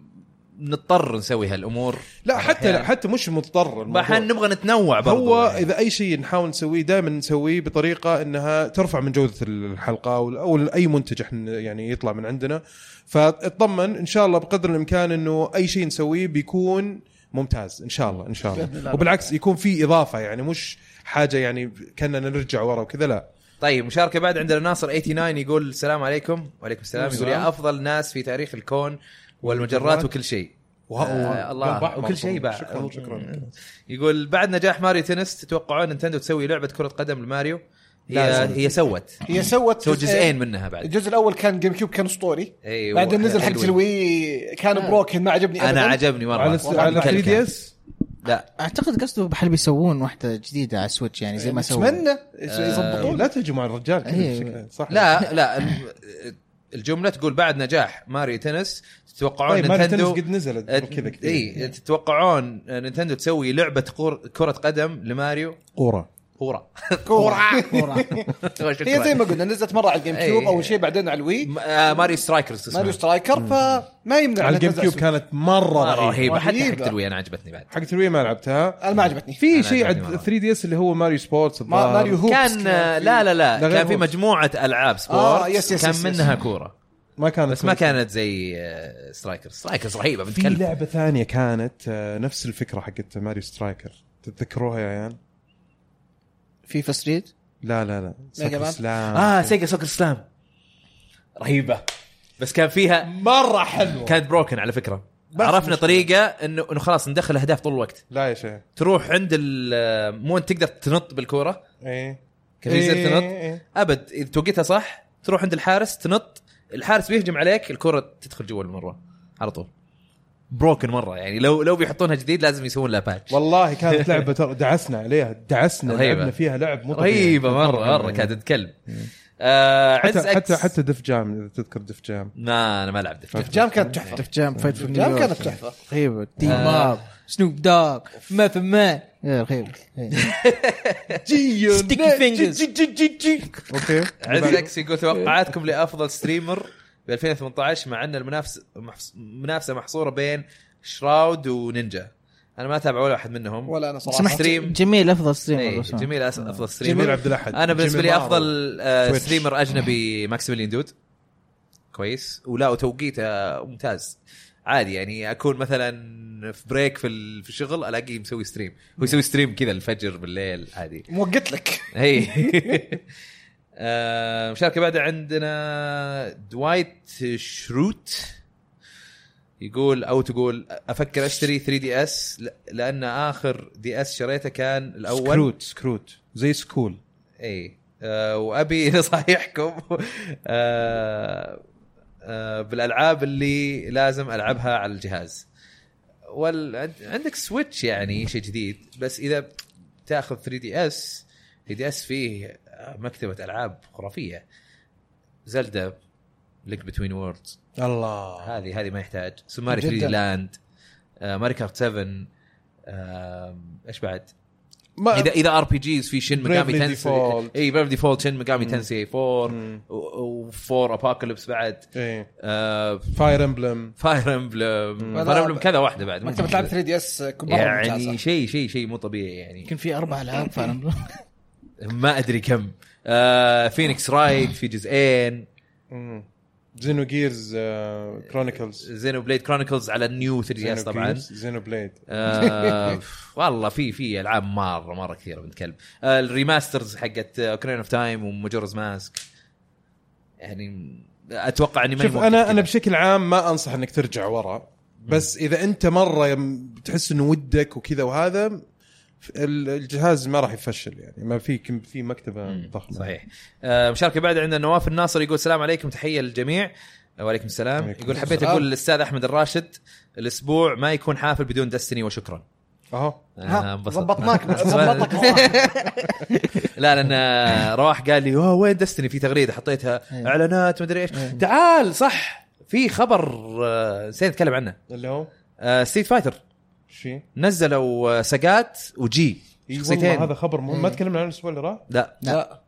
S2: نضطر نسوي هالامور
S1: لا حتى
S2: يعني
S1: لا حتى مش مضطر الموضوع.
S2: احنا نبغى نتنوع برضو
S1: هو
S2: يعني.
S1: اذا اي شيء نحاول نسويه دائما نسويه بطريقه انها ترفع من جوده الحلقه او أو اي منتج احنا يعني يطلع من عندنا فاطمن ان شاء الله بقدر الامكان انه اي شيء نسويه بيكون ممتاز ان شاء الله ان شاء الله وبالعكس يكون في اضافه يعني مش حاجه يعني كاننا نرجع ورا وكذا لا
S2: طيب مشاركه بعد عندنا ناصر 89 يقول السلام عليكم وعليكم السلام يقول يا افضل ناس في تاريخ الكون والمجرات وكل شيء آه، الله.
S1: بحبح
S2: وكل شيء بعد.
S1: شكرا شكرا
S2: يقول بعد نجاح ماريو تنس تتوقعون نينتندو تسوي لعبه كره قدم لماريو هي
S1: لازم.
S2: هي سوت
S4: هي سوت
S2: سوت
S4: جزء-
S2: جزئين منها بعد
S4: الجزء الاول كان جيم كيوب كان اسطوري
S2: ايوه
S4: بعدين نزل حق
S2: حلوين.
S4: الوي كان بروكن ما عجبني
S2: انا
S4: أبداً.
S2: عجبني مره
S1: على
S2: والله
S1: على 3
S2: مكلكع.
S1: دي اس
S2: لا
S3: اعتقد قصده بحال بيسوون واحده جديده على السويتش يعني زي ما سووا
S4: اتمنى
S1: طيب،
S4: يضبطون
S1: لا تهجموا على الرجال كذا
S3: أيوة.
S1: بشكل- صح
S2: آه، إيه. لا لا ال- الجمله تقول بعد نجاح ماريو تنس تتوقعون
S1: طيب ماري تنس
S2: نينتندو
S1: قد نزلت
S2: آه،
S1: قبل كذا كثير
S2: اي تتوقعون نينتندو تسوي لعبه كور- كره قدم لماريو
S1: قوره
S2: كوره
S4: كوره هي زي
S2: شكراً.
S4: ما قلنا نزلت مره على الجيم كيوب
S2: أي.
S4: اول شيء بعدين على الوي
S2: م- آه، ماريو سترايكرز اسمها.
S4: ماريو سترايكر فما يمنع
S1: على
S4: إنها
S1: الجيم
S4: تنزل
S1: كيوب
S4: سويتش.
S1: كانت مره
S2: مره
S1: رهيبه
S2: رهيبه آه، حتى
S4: رهيبة.
S2: حق الوي انا عجبتني بعد
S1: حق 3 ما لعبتها
S4: انا ما عجبتني
S1: في
S2: أنا
S1: شيء عند
S2: عجبني مرة.
S1: 3 دي اس اللي هو ماريو سبورتس
S4: ما- ماريو هوبس
S2: كان آه، لا لا لا
S1: لا، غير
S2: كان في
S1: هوبس.
S2: مجموعه العاب
S4: آه، يس،
S2: سبورت
S4: يس،
S2: كان
S4: يس، يس.
S2: منها كوره
S1: ما كانت
S2: بس ما كانت زي آه، سترايكرز سترايكرز رهيبه بنت
S1: في
S2: كلب
S1: لعبه ثانيه كانت آه، نفس الفكره حقت ماريو سترايكر تتذكروها يا عيال
S3: فيفا ستريت
S1: لا لا لا
S4: ميجا مان؟
S1: سلام
S2: اه سيجا سوكر سلام رهيبه بس كان فيها
S1: مره حلوه
S2: كانت بروكن على فكره عرفنا طريقه انه انه خلاص ندخل اهداف طول الوقت
S1: لا يا شيخ
S2: تروح عند ال- مو انت تقدر تنط بالكوره
S1: ايه
S2: كان في زر
S1: إيه،
S2: تنط
S1: إيه.
S2: ابد اذا توقيتها صح تروح عند الحارس تنط الحارس بيهجم عليك الكره تدخل جوا المروه على طول بروكن مره يعني لو لو بيحطونها جديد لازم يسوون لها باتش
S1: والله كانت لعبه ترى دعسنا عليها دعسنا
S2: رهيبة.
S1: لعبنا فيها لعب مو طبيعي.
S2: رهيبه مره مره
S1: يعني.
S2: كانت كلب آه عز
S1: حتى
S2: اكس
S1: حتى حتى دف جام اذا تذكر دف جام
S2: ما انا ما لعبت
S1: طيب.
S4: جام كانت تحفه
S3: دف جام فايت فور
S4: جام
S3: نيويورك
S4: كانت تحفه
S3: رهيبه تيم
S2: آه.
S3: اب سنوب دوغ ماث مان رهيب إيه. ستيكي فينجرز
S1: اوكي
S2: عز اكس يقول توقعاتكم لافضل ستريمر ب 2018 مع ان المنافسه منافسه محصوره بين شراود ونينجا انا ما اتابع ولا واحد منهم
S4: ولا انا صراحه
S2: سمحت
S4: سمحت
S2: ستريم.
S3: جميل افضل
S2: إيه،
S3: ستريمر بس.
S2: جميل أس- افضل ستريمر
S1: جميل عبد الاحد
S2: انا بالنسبه
S1: جميل
S2: لي
S1: معروف.
S2: افضل آه،
S1: تويتش.
S2: ستريمر اجنبي ماكسيميليان دود كويس ولا وتوقيته ممتاز عادي يعني اكون مثلا في بريك في ال- في الشغل الاقيه مسوي ستريم هو يسوي ستريم كذا الفجر بالليل عادي
S4: موقت لك
S2: هي آه، مشاركه بعدها عندنا دوايت شروت يقول او تقول افكر اشتري 3 دي اس لان اخر دي اس شريته كان الاول
S1: سكروت سكروت زي سكول
S2: اي آه وابي نصايحكم آه آه بالالعاب اللي لازم العبها على الجهاز وال عند- عندك سويتش يعني شيء جديد بس اذا تاخذ 3 دي اس 3 دي اس فيه مكتبه العاب خرافيه زلدا لينك بتوين ووردز
S1: الله
S2: هذه هذه ما يحتاج سماري 3
S4: جداً.
S2: دي لاند آه ماري كارت 7 آه، ايش بعد؟
S1: ما
S2: اذا اذا ار بي جيز في شن ميجامي
S1: Bravely
S2: تنسي
S1: Default. Mm.
S2: اي بريف ديفولت شن ميجامي تنسي 4
S1: مم.
S2: و4 ابوكاليبس بعد آه،
S1: ايه
S2: فاير
S1: فاير امبلم
S2: امبلم
S1: Mm.
S4: مم.
S2: فاير امبلم كذا واحده بعد
S4: مكتبه لعب 3 دي اس
S2: يعني شيء شيء شيء مو طبيعي يعني
S3: يمكن في اربع العاب فعلا
S2: ما ادري كم آه، فينيكس رايد في جزئين
S1: زينو جيرز uh, كرونيكلز
S2: زينو بليد كرونيكلز على النيو 3 دي اس طبعا
S1: زينو بليد
S2: آه، والله في في العاب مره مره كثيره بنت كلب آه، الريماسترز حقت اوكرين اوف تايم ومجورز ماسك يعني اتوقع اني ما
S1: شوف انا انا بشكل عام ما انصح انك ترجع ورا بس اذا انت مره يم- بتحس انه ودك وكذا وهذا ف- ال- الجهاز ما راح يفشل يعني ما في كم- في مكتبه ضخمه
S2: صحيح آه، مشاركه بعد عندنا نواف الناصر يقول السلام عليكم تحيه للجميع وعليكم السلام
S1: وعليكم
S2: يقول حبيت
S4: السلام.
S2: اقول للاستاذ احمد الراشد الاسبوع ما يكون حافل بدون دستني وشكرا
S1: اهو
S2: أنا آه، انبسطت.
S4: ضبطناك ضبطناك
S2: لا لان آه، رواح قال لي "أوه، وين دستني في تغريده حطيتها
S3: إيه.
S2: اعلانات مدري ايش تعال صح في خبر آه، نسينا نتكلم عنه
S1: اللي هو
S2: ستريت فايتر
S1: شيء
S2: آه، نزلوا آه، سقات وجي
S1: إي
S2: شخصيتين.
S1: والله هذا خبر مهم ما
S3: إيه.
S1: تكلمنا عنه الاسبوع اللي راح
S2: لا
S4: لا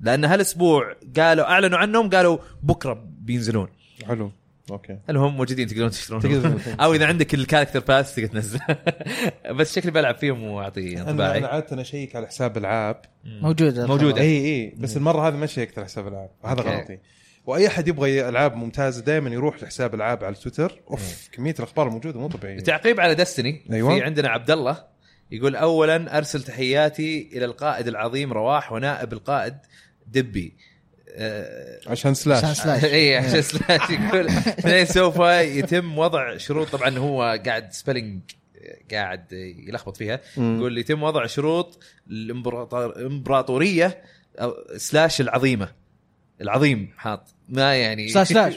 S2: لان هالاسبوع قالوا اعلنوا عنهم قالوا بكره بينزلون
S1: حلو اوكي
S2: هل هم موجودين تقدرون تشترون
S1: تقدر.
S2: او اذا عندك الكاركتر باس تقدر تنزل بس شكلي بلعب فيهم واعطيه
S1: انا انا
S2: انطباعي
S1: عاده اشيك على حساب العاب
S3: موجوده
S2: موجودة.
S1: إيه، اي اي بس المره هذه ما شيكت على حساب العاب هذا
S2: آه. إيه. أوكي.
S1: غلطي واي احد يبغى العاب ممتازه دائما يروح لحساب العاب على تويتر اوف
S2: إيه.
S1: كميه الاخبار الموجوده مو طبيعيه
S2: تعقيب على دستني
S1: أيوة.
S2: في عندنا عبد الله يقول اولا ارسل تحياتي الى القائد العظيم رواح ونائب القائد دبي آه،
S1: عشان سلاش
S3: سلاش.
S2: اي إيه، عشان سلاش يقول اثنين سوف يتم وضع شروط طبعا هو قاعد سبيلنج قاعد يلخبط فيها
S1: مم.
S2: يقول يتم وضع شروط الامبراطور- الامبراطوريه أو سلاش العظيمه العظيم حاط ما يعني
S3: سلاش سلاش.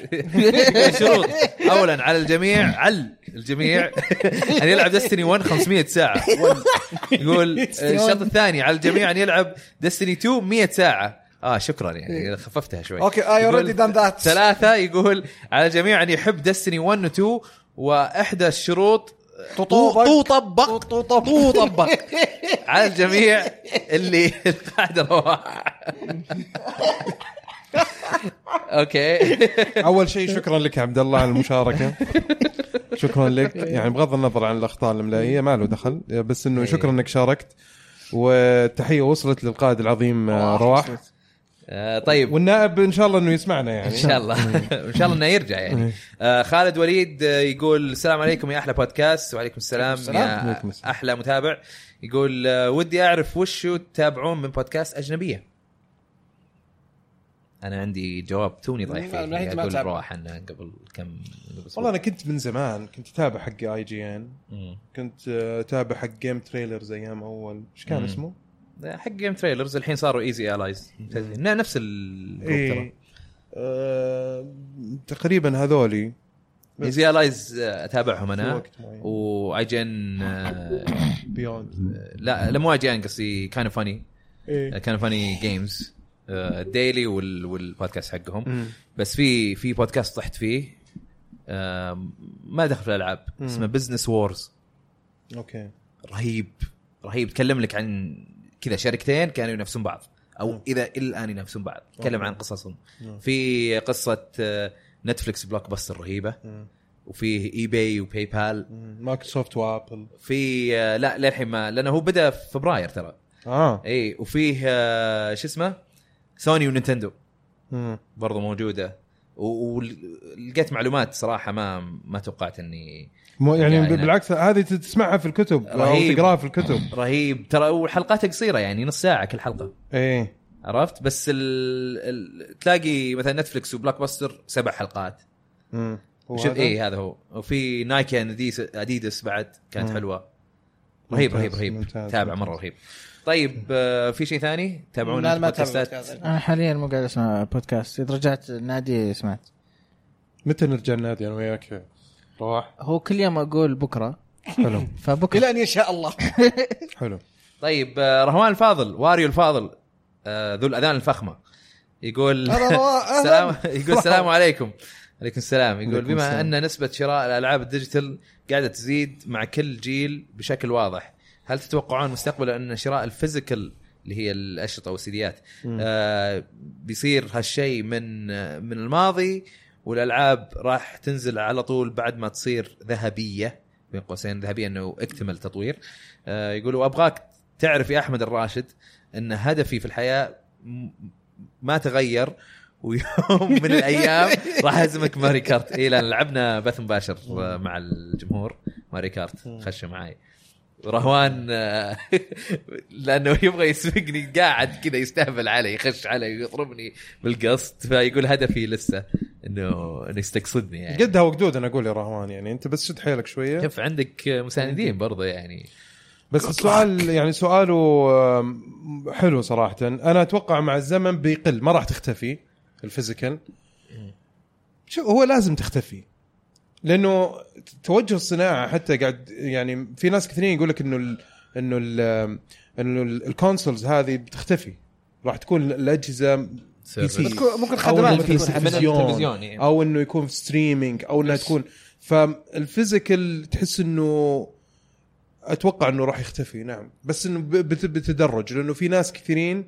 S2: شروط اولا على الجميع على الجميع ان يلعب دستني 1 500 ساعه يقول الشرط الثاني على الجميع ان يلعب دستني 2 100 ساعه اه شكرا يعني خففتها شوي
S4: اوكي اي
S2: يقول
S4: اوريدي دان ذات
S2: ثلاثة يقول على الجميع أن يحب دستني 1 و 2 وإحدى الشروط
S4: تطوبك.
S2: تو طبق تو طبق على الجميع اللي القاعدة رواح اوكي
S1: اول شيء شكرا لك يا عبد الله على المشاركه شكرا لك
S2: إيه.
S1: يعني بغض النظر عن الاخطاء الاملائيه ما له دخل بس انه شكرا انك شاركت والتحيه وصلت للقائد العظيم آه، رواح
S2: آه، طيب
S1: والنائب ان شاء الله انه يسمعنا يعني
S2: ان شاء الله ان شاء الله انه يرجع يعني آه خالد وليد آه، يقول السلام عليكم يا احلى بودكاست وعليكم السلام يا
S1: وعليكم السلام.
S2: احلى متابع يقول آه، ودي اعرف وشو تتابعون من بودكاست اجنبيه انا عندي جواب توني رايح
S4: لا،
S2: فيه يعني
S4: لا، أنت ما
S2: اقول
S4: تتابع.
S2: روح عنه قبل كم قبل أسبوع.
S1: والله انا كنت من زمان كنت اتابع حق اي جي ان
S2: مم.
S1: كنت آه، اتابع حق جيم تريلرز ايام اول ايش كان
S2: مم.
S1: اسمه؟
S2: حق جيم تريلرز الحين صاروا ايزي الايز نفس الجروب
S1: اي إيه، آه، تقريبا هذولي
S2: ترى ايزي الايز اتابعهم
S1: في
S2: انا
S1: وقت معين
S2: واي جي ان
S1: بيوند
S2: آه، لا لا مو اي جي ان قصدي كان فاني
S1: إيه.
S2: كان فاني جيمز الديلي uh, وال- والبودكاست حقهم
S1: مم.
S2: بس في في بودكاست طحت فيه آم، ما دخل في الالعاب
S1: مم.
S2: اسمه بزنس وورز
S1: اوكي
S2: رهيب رهيب تكلم لك عن كذا شركتين كانوا ينافسون بعض او اذا الان ينافسون بعض تكلم عن قصصهم
S1: مم.
S2: في قصه آه، نتفلكس بلوك باستر رهيبه
S1: مم.
S2: وفيه اي باي وباي بال
S1: مم. مايكروسوفت وابل
S2: في آه، لا للحين ما لانه هو بدا في فبراير ترى
S1: اه
S2: اي وفيه آه، شو اسمه سوني ونينتندو
S1: مم.
S2: برضو موجوده و- ولقيت معلومات صراحه ما ما توقعت اني
S1: مو يعني
S2: يعني-
S1: بالعكس هذه تسمعها في الكتب او
S2: رهيب.
S1: تقراها في الكتب
S2: رهيب ترى وحلقاتها قصيره يعني نص ساعه كل حلقه
S1: ايه
S2: عرفت بس ال... ال... تلاقي مثلا نتفلكس وبلاك باستر سبع حلقات
S1: مم. هو
S2: شوف إيه،
S1: هذا؟
S2: اي هذا هو وفي نايكي أنديس... اديدس بعد كانت
S1: مم.
S2: حلوه رهيب رهيب
S1: ممتاز،
S2: رهيب
S1: ممتاز،
S2: تابع
S1: ممتاز.
S2: مره رهيب طيب آه في شيء ثاني تابعونا
S4: لا، ما أتابع
S2: البودكاستات
S4: بودكاست.
S3: انا حاليا مو قاعد اسمع بودكاست اذا رجعت النادي سمعت
S1: متى نرجع النادي انا وياك رواح
S3: هو كل يوم اقول بكره
S1: حلو
S3: فبكره
S4: الى ان يشاء الله
S1: حلو
S2: طيب آه رهوان الفاضل واريو الفاضل آه ذو الاذان الفخمه يقول
S4: هلا رواح، أهلاً.
S2: سلام يقول السلام عليكم عليكم السلام يقول
S1: عليكم
S2: بما
S1: السلام.
S2: ان نسبه شراء الالعاب الديجيتال قاعده تزيد مع كل جيل بشكل واضح هل تتوقعون مستقبلا ان شراء الفيزيكال اللي هي الاشرطه والسيديات آه بيصير هالشيء من آه، من الماضي والالعاب راح تنزل على طول بعد ما تصير ذهبيه بين قوسين ذهبيه انه اكتمل تطوير آه يقولوا ابغاك تعرف يا احمد الراشد ان هدفي في الحياه م- ما تغير ويوم من الايام راح اهزمك ماري كارت اي لان لعبنا بث مباشر آه، مع الجمهور ماري كارت خشوا معاي رهوان آه، لانه يبغى يسبقني قاعد كذا يستهبل علي يخش علي ويضربني بالقصد فيقول هدفي لسه انه انه يستقصدني يعني
S1: قدها وقدود انا اقول يا رهوان يعني انت بس شد حيلك شويه
S2: شوف عندك مساندين برضه يعني
S1: بس السؤال يعني سؤاله آم، حلو صراحه انا اتوقع مع الزمن بيقل ما راح تختفي الفيزيكال شو هو لازم تختفي لانه توجه الصناعه حتى قاعد يعني في ناس كثيرين يقول لك انه ال انه ال انه ال- الكونسولز هذه بتختفي راح تكون الاجهزه بي سي
S2: سيرفر.
S4: بتكون- ممكن
S1: او
S4: خدمات
S1: انه
S4: بتكون
S1: في
S2: حتى من
S1: تلفزيون
S2: التلفزيون يعني.
S1: او انه يكون في ستريمينج او انها تكون فالفيزيكال تحس انه اتوقع انه راح يختفي نعم بس انه ب- بت- بتدرج لانه في ناس كثيرين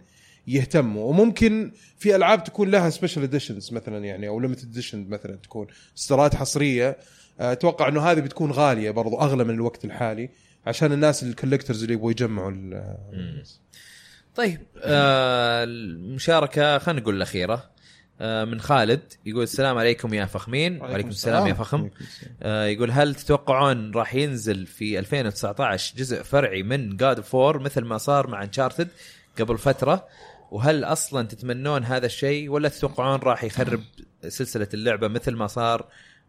S1: يهتموا وممكن في العاب تكون لها سبيشال اديشنز مثلا يعني او ليمتد اديشن مثلا تكون اصدارات حصريه اتوقع انه هذه بتكون غاليه برضو اغلى من الوقت الحالي عشان الناس الكولكترز اللي يبغوا يجمعوا ال-
S2: مم. طيب آه المشاركه خلينا نقول الاخيره آه، من خالد يقول السلام عليكم يا فخمين وعليكم السلام يا فخم
S1: عليكم السلام.
S2: آه، يقول هل تتوقعون راح ينزل في 2019 جزء فرعي من جاد اوف وور مثل ما صار مع انشارتد قبل فتره وهل اصلا تتمنون هذا الشيء ولا تتوقعون راح يخرب سلسله اللعبه مثل ما صار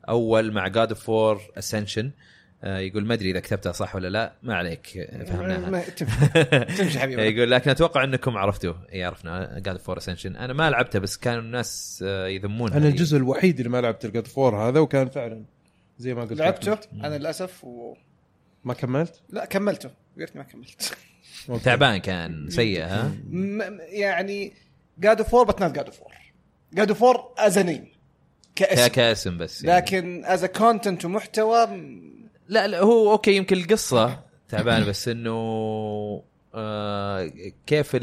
S2: اول مع جاد اوف وور اسنشن آه، يقول ما ادري اذا كتبتها صح ولا لا ما عليك آه، فهمناها
S4: ما- تمشي تمشي حبيبي
S2: يقول لكن اتوقع انكم عرفتوه اي عرفنا جاد فور اسنشن انا ما لعبته بس كانوا الناس آه، يذمونها
S1: انا الجزء الوحيد اللي ما لعبت الجود فور هذا وكان فعلا زي ما قلت لك.
S4: لعبته انا للاسف و...
S1: ما كملت؟
S4: لا كملته يا ريتني ما كملت
S1: أوكي.
S2: تعبان كان سيء ها
S4: م... م- يعني جاد اوف وور بس نوت جاد اوف وور جاد اوف وور از نيم
S2: ك-
S4: كاسم
S2: كاسم بس يعني.
S4: لكن از كونتنت ومحتوى م-
S2: لا لا هو اوكي يمكن القصه تعبان بس انه آه كيف ال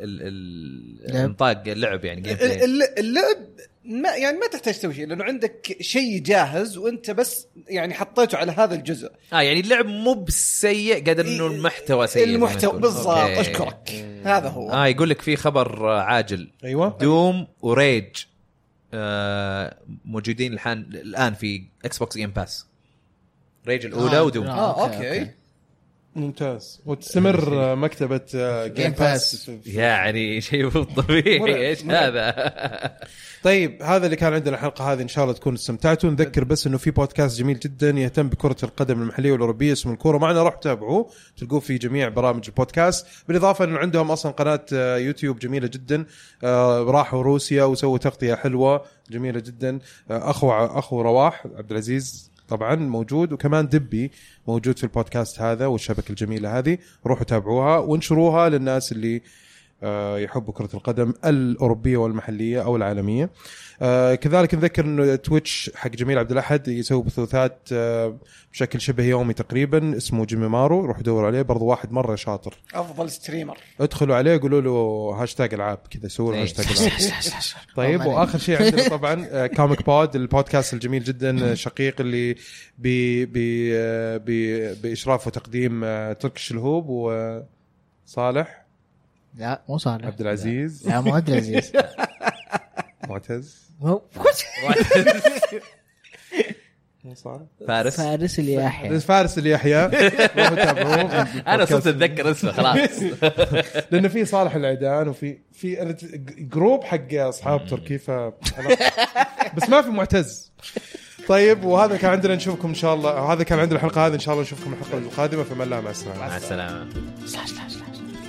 S2: ال ال
S3: لعب.
S2: انطاق اللعب يعني جيم
S4: الل-
S2: بلاي
S4: الل- اللعب ما يعني ما تحتاج تسوي شيء لانه عندك شيء جاهز وانت بس يعني حطيته على هذا الجزء
S2: اه يعني اللعب مو بسيء قد انه المحتوى سيء زي ما
S4: المحتوى
S2: تقول. إيه.
S4: بالضبط
S2: أوكي.
S4: اشكرك هذا هو
S2: اه يقول لك في خبر آه، عاجل
S1: ايوه
S2: دوم وريج آه موجودين الحين الان في اكس بوكس جيم باس ريج الاولى
S3: آه،
S2: ودوم
S3: آه.
S4: اه
S3: أوكي،
S4: اوكي
S1: ممتاز وتستمر آه، مكتبه آه، جيم باس
S2: يعني شيء مو طبيعي ايش هذا
S1: طيب هذا اللي كان عندنا الحلقه هذه ان شاء الله تكونوا استمتعتوا نذكر بس انه في بودكاست جميل جدا يهتم بكره القدم المحليه والاوروبيه اسمه الكوره معنا روح تابعوه تلقوه في جميع برامج البودكاست بالاضافه انه عندهم اصلا قناه آه، يوتيوب جميله جدا آه، راحوا روسيا وسووا تغطيه حلوه جميله جدا آه، اخو اخو رواح عبد العزيز طبعا موجود وكمان دبي موجود في البودكاست هذا والشبكه الجميله هذه روحوا تابعوها وانشروها للناس اللي آه، يحبوا كرة القدم الأوروبية والمحلية أو العالمية آه، كذلك نذكر أنه تويتش حق جميل عبد الأحد يسوي بثوثات آه، بشكل شبه يومي تقريبا اسمه جيمي مارو روح دوروا عليه برضو واحد مرة شاطر
S4: افضل ستريمر
S1: ادخلوا عليه قولوا له هاشتاج العاب كذا سووا له
S2: إيه.
S1: هاشتاج العاب طيب واخر شيء عندنا طبعا كوميك بود البودكاست الجميل جدا آه، شقيق اللي بي بي آه، بي باشراف وتقديم آه، ترك الشلهوب وصالح
S3: لا مو صالح
S1: عبد العزيز
S3: لا مو عبد العزيز
S1: معتز
S3: مو
S1: مو صالح
S2: فارس
S3: فارس الياحيى
S1: فارس اللي يحيى روحوا تابعوه.
S2: انا صرت
S1: بودكاست.
S2: اتذكر اسمه خلاص
S1: لانه في صالح العيدان وفي في أنا ت- جروب حق اصحاب تركي ف بس ما في معتز طيب وهذا كان عندنا نشوفكم ان شاء الله هذا كان عندنا الحلقه هذه ان شاء الله نشوفكم الحلقه القادمه فما الله مع السلامه
S2: مع السلامه
S3: سلاش سلاش سلاش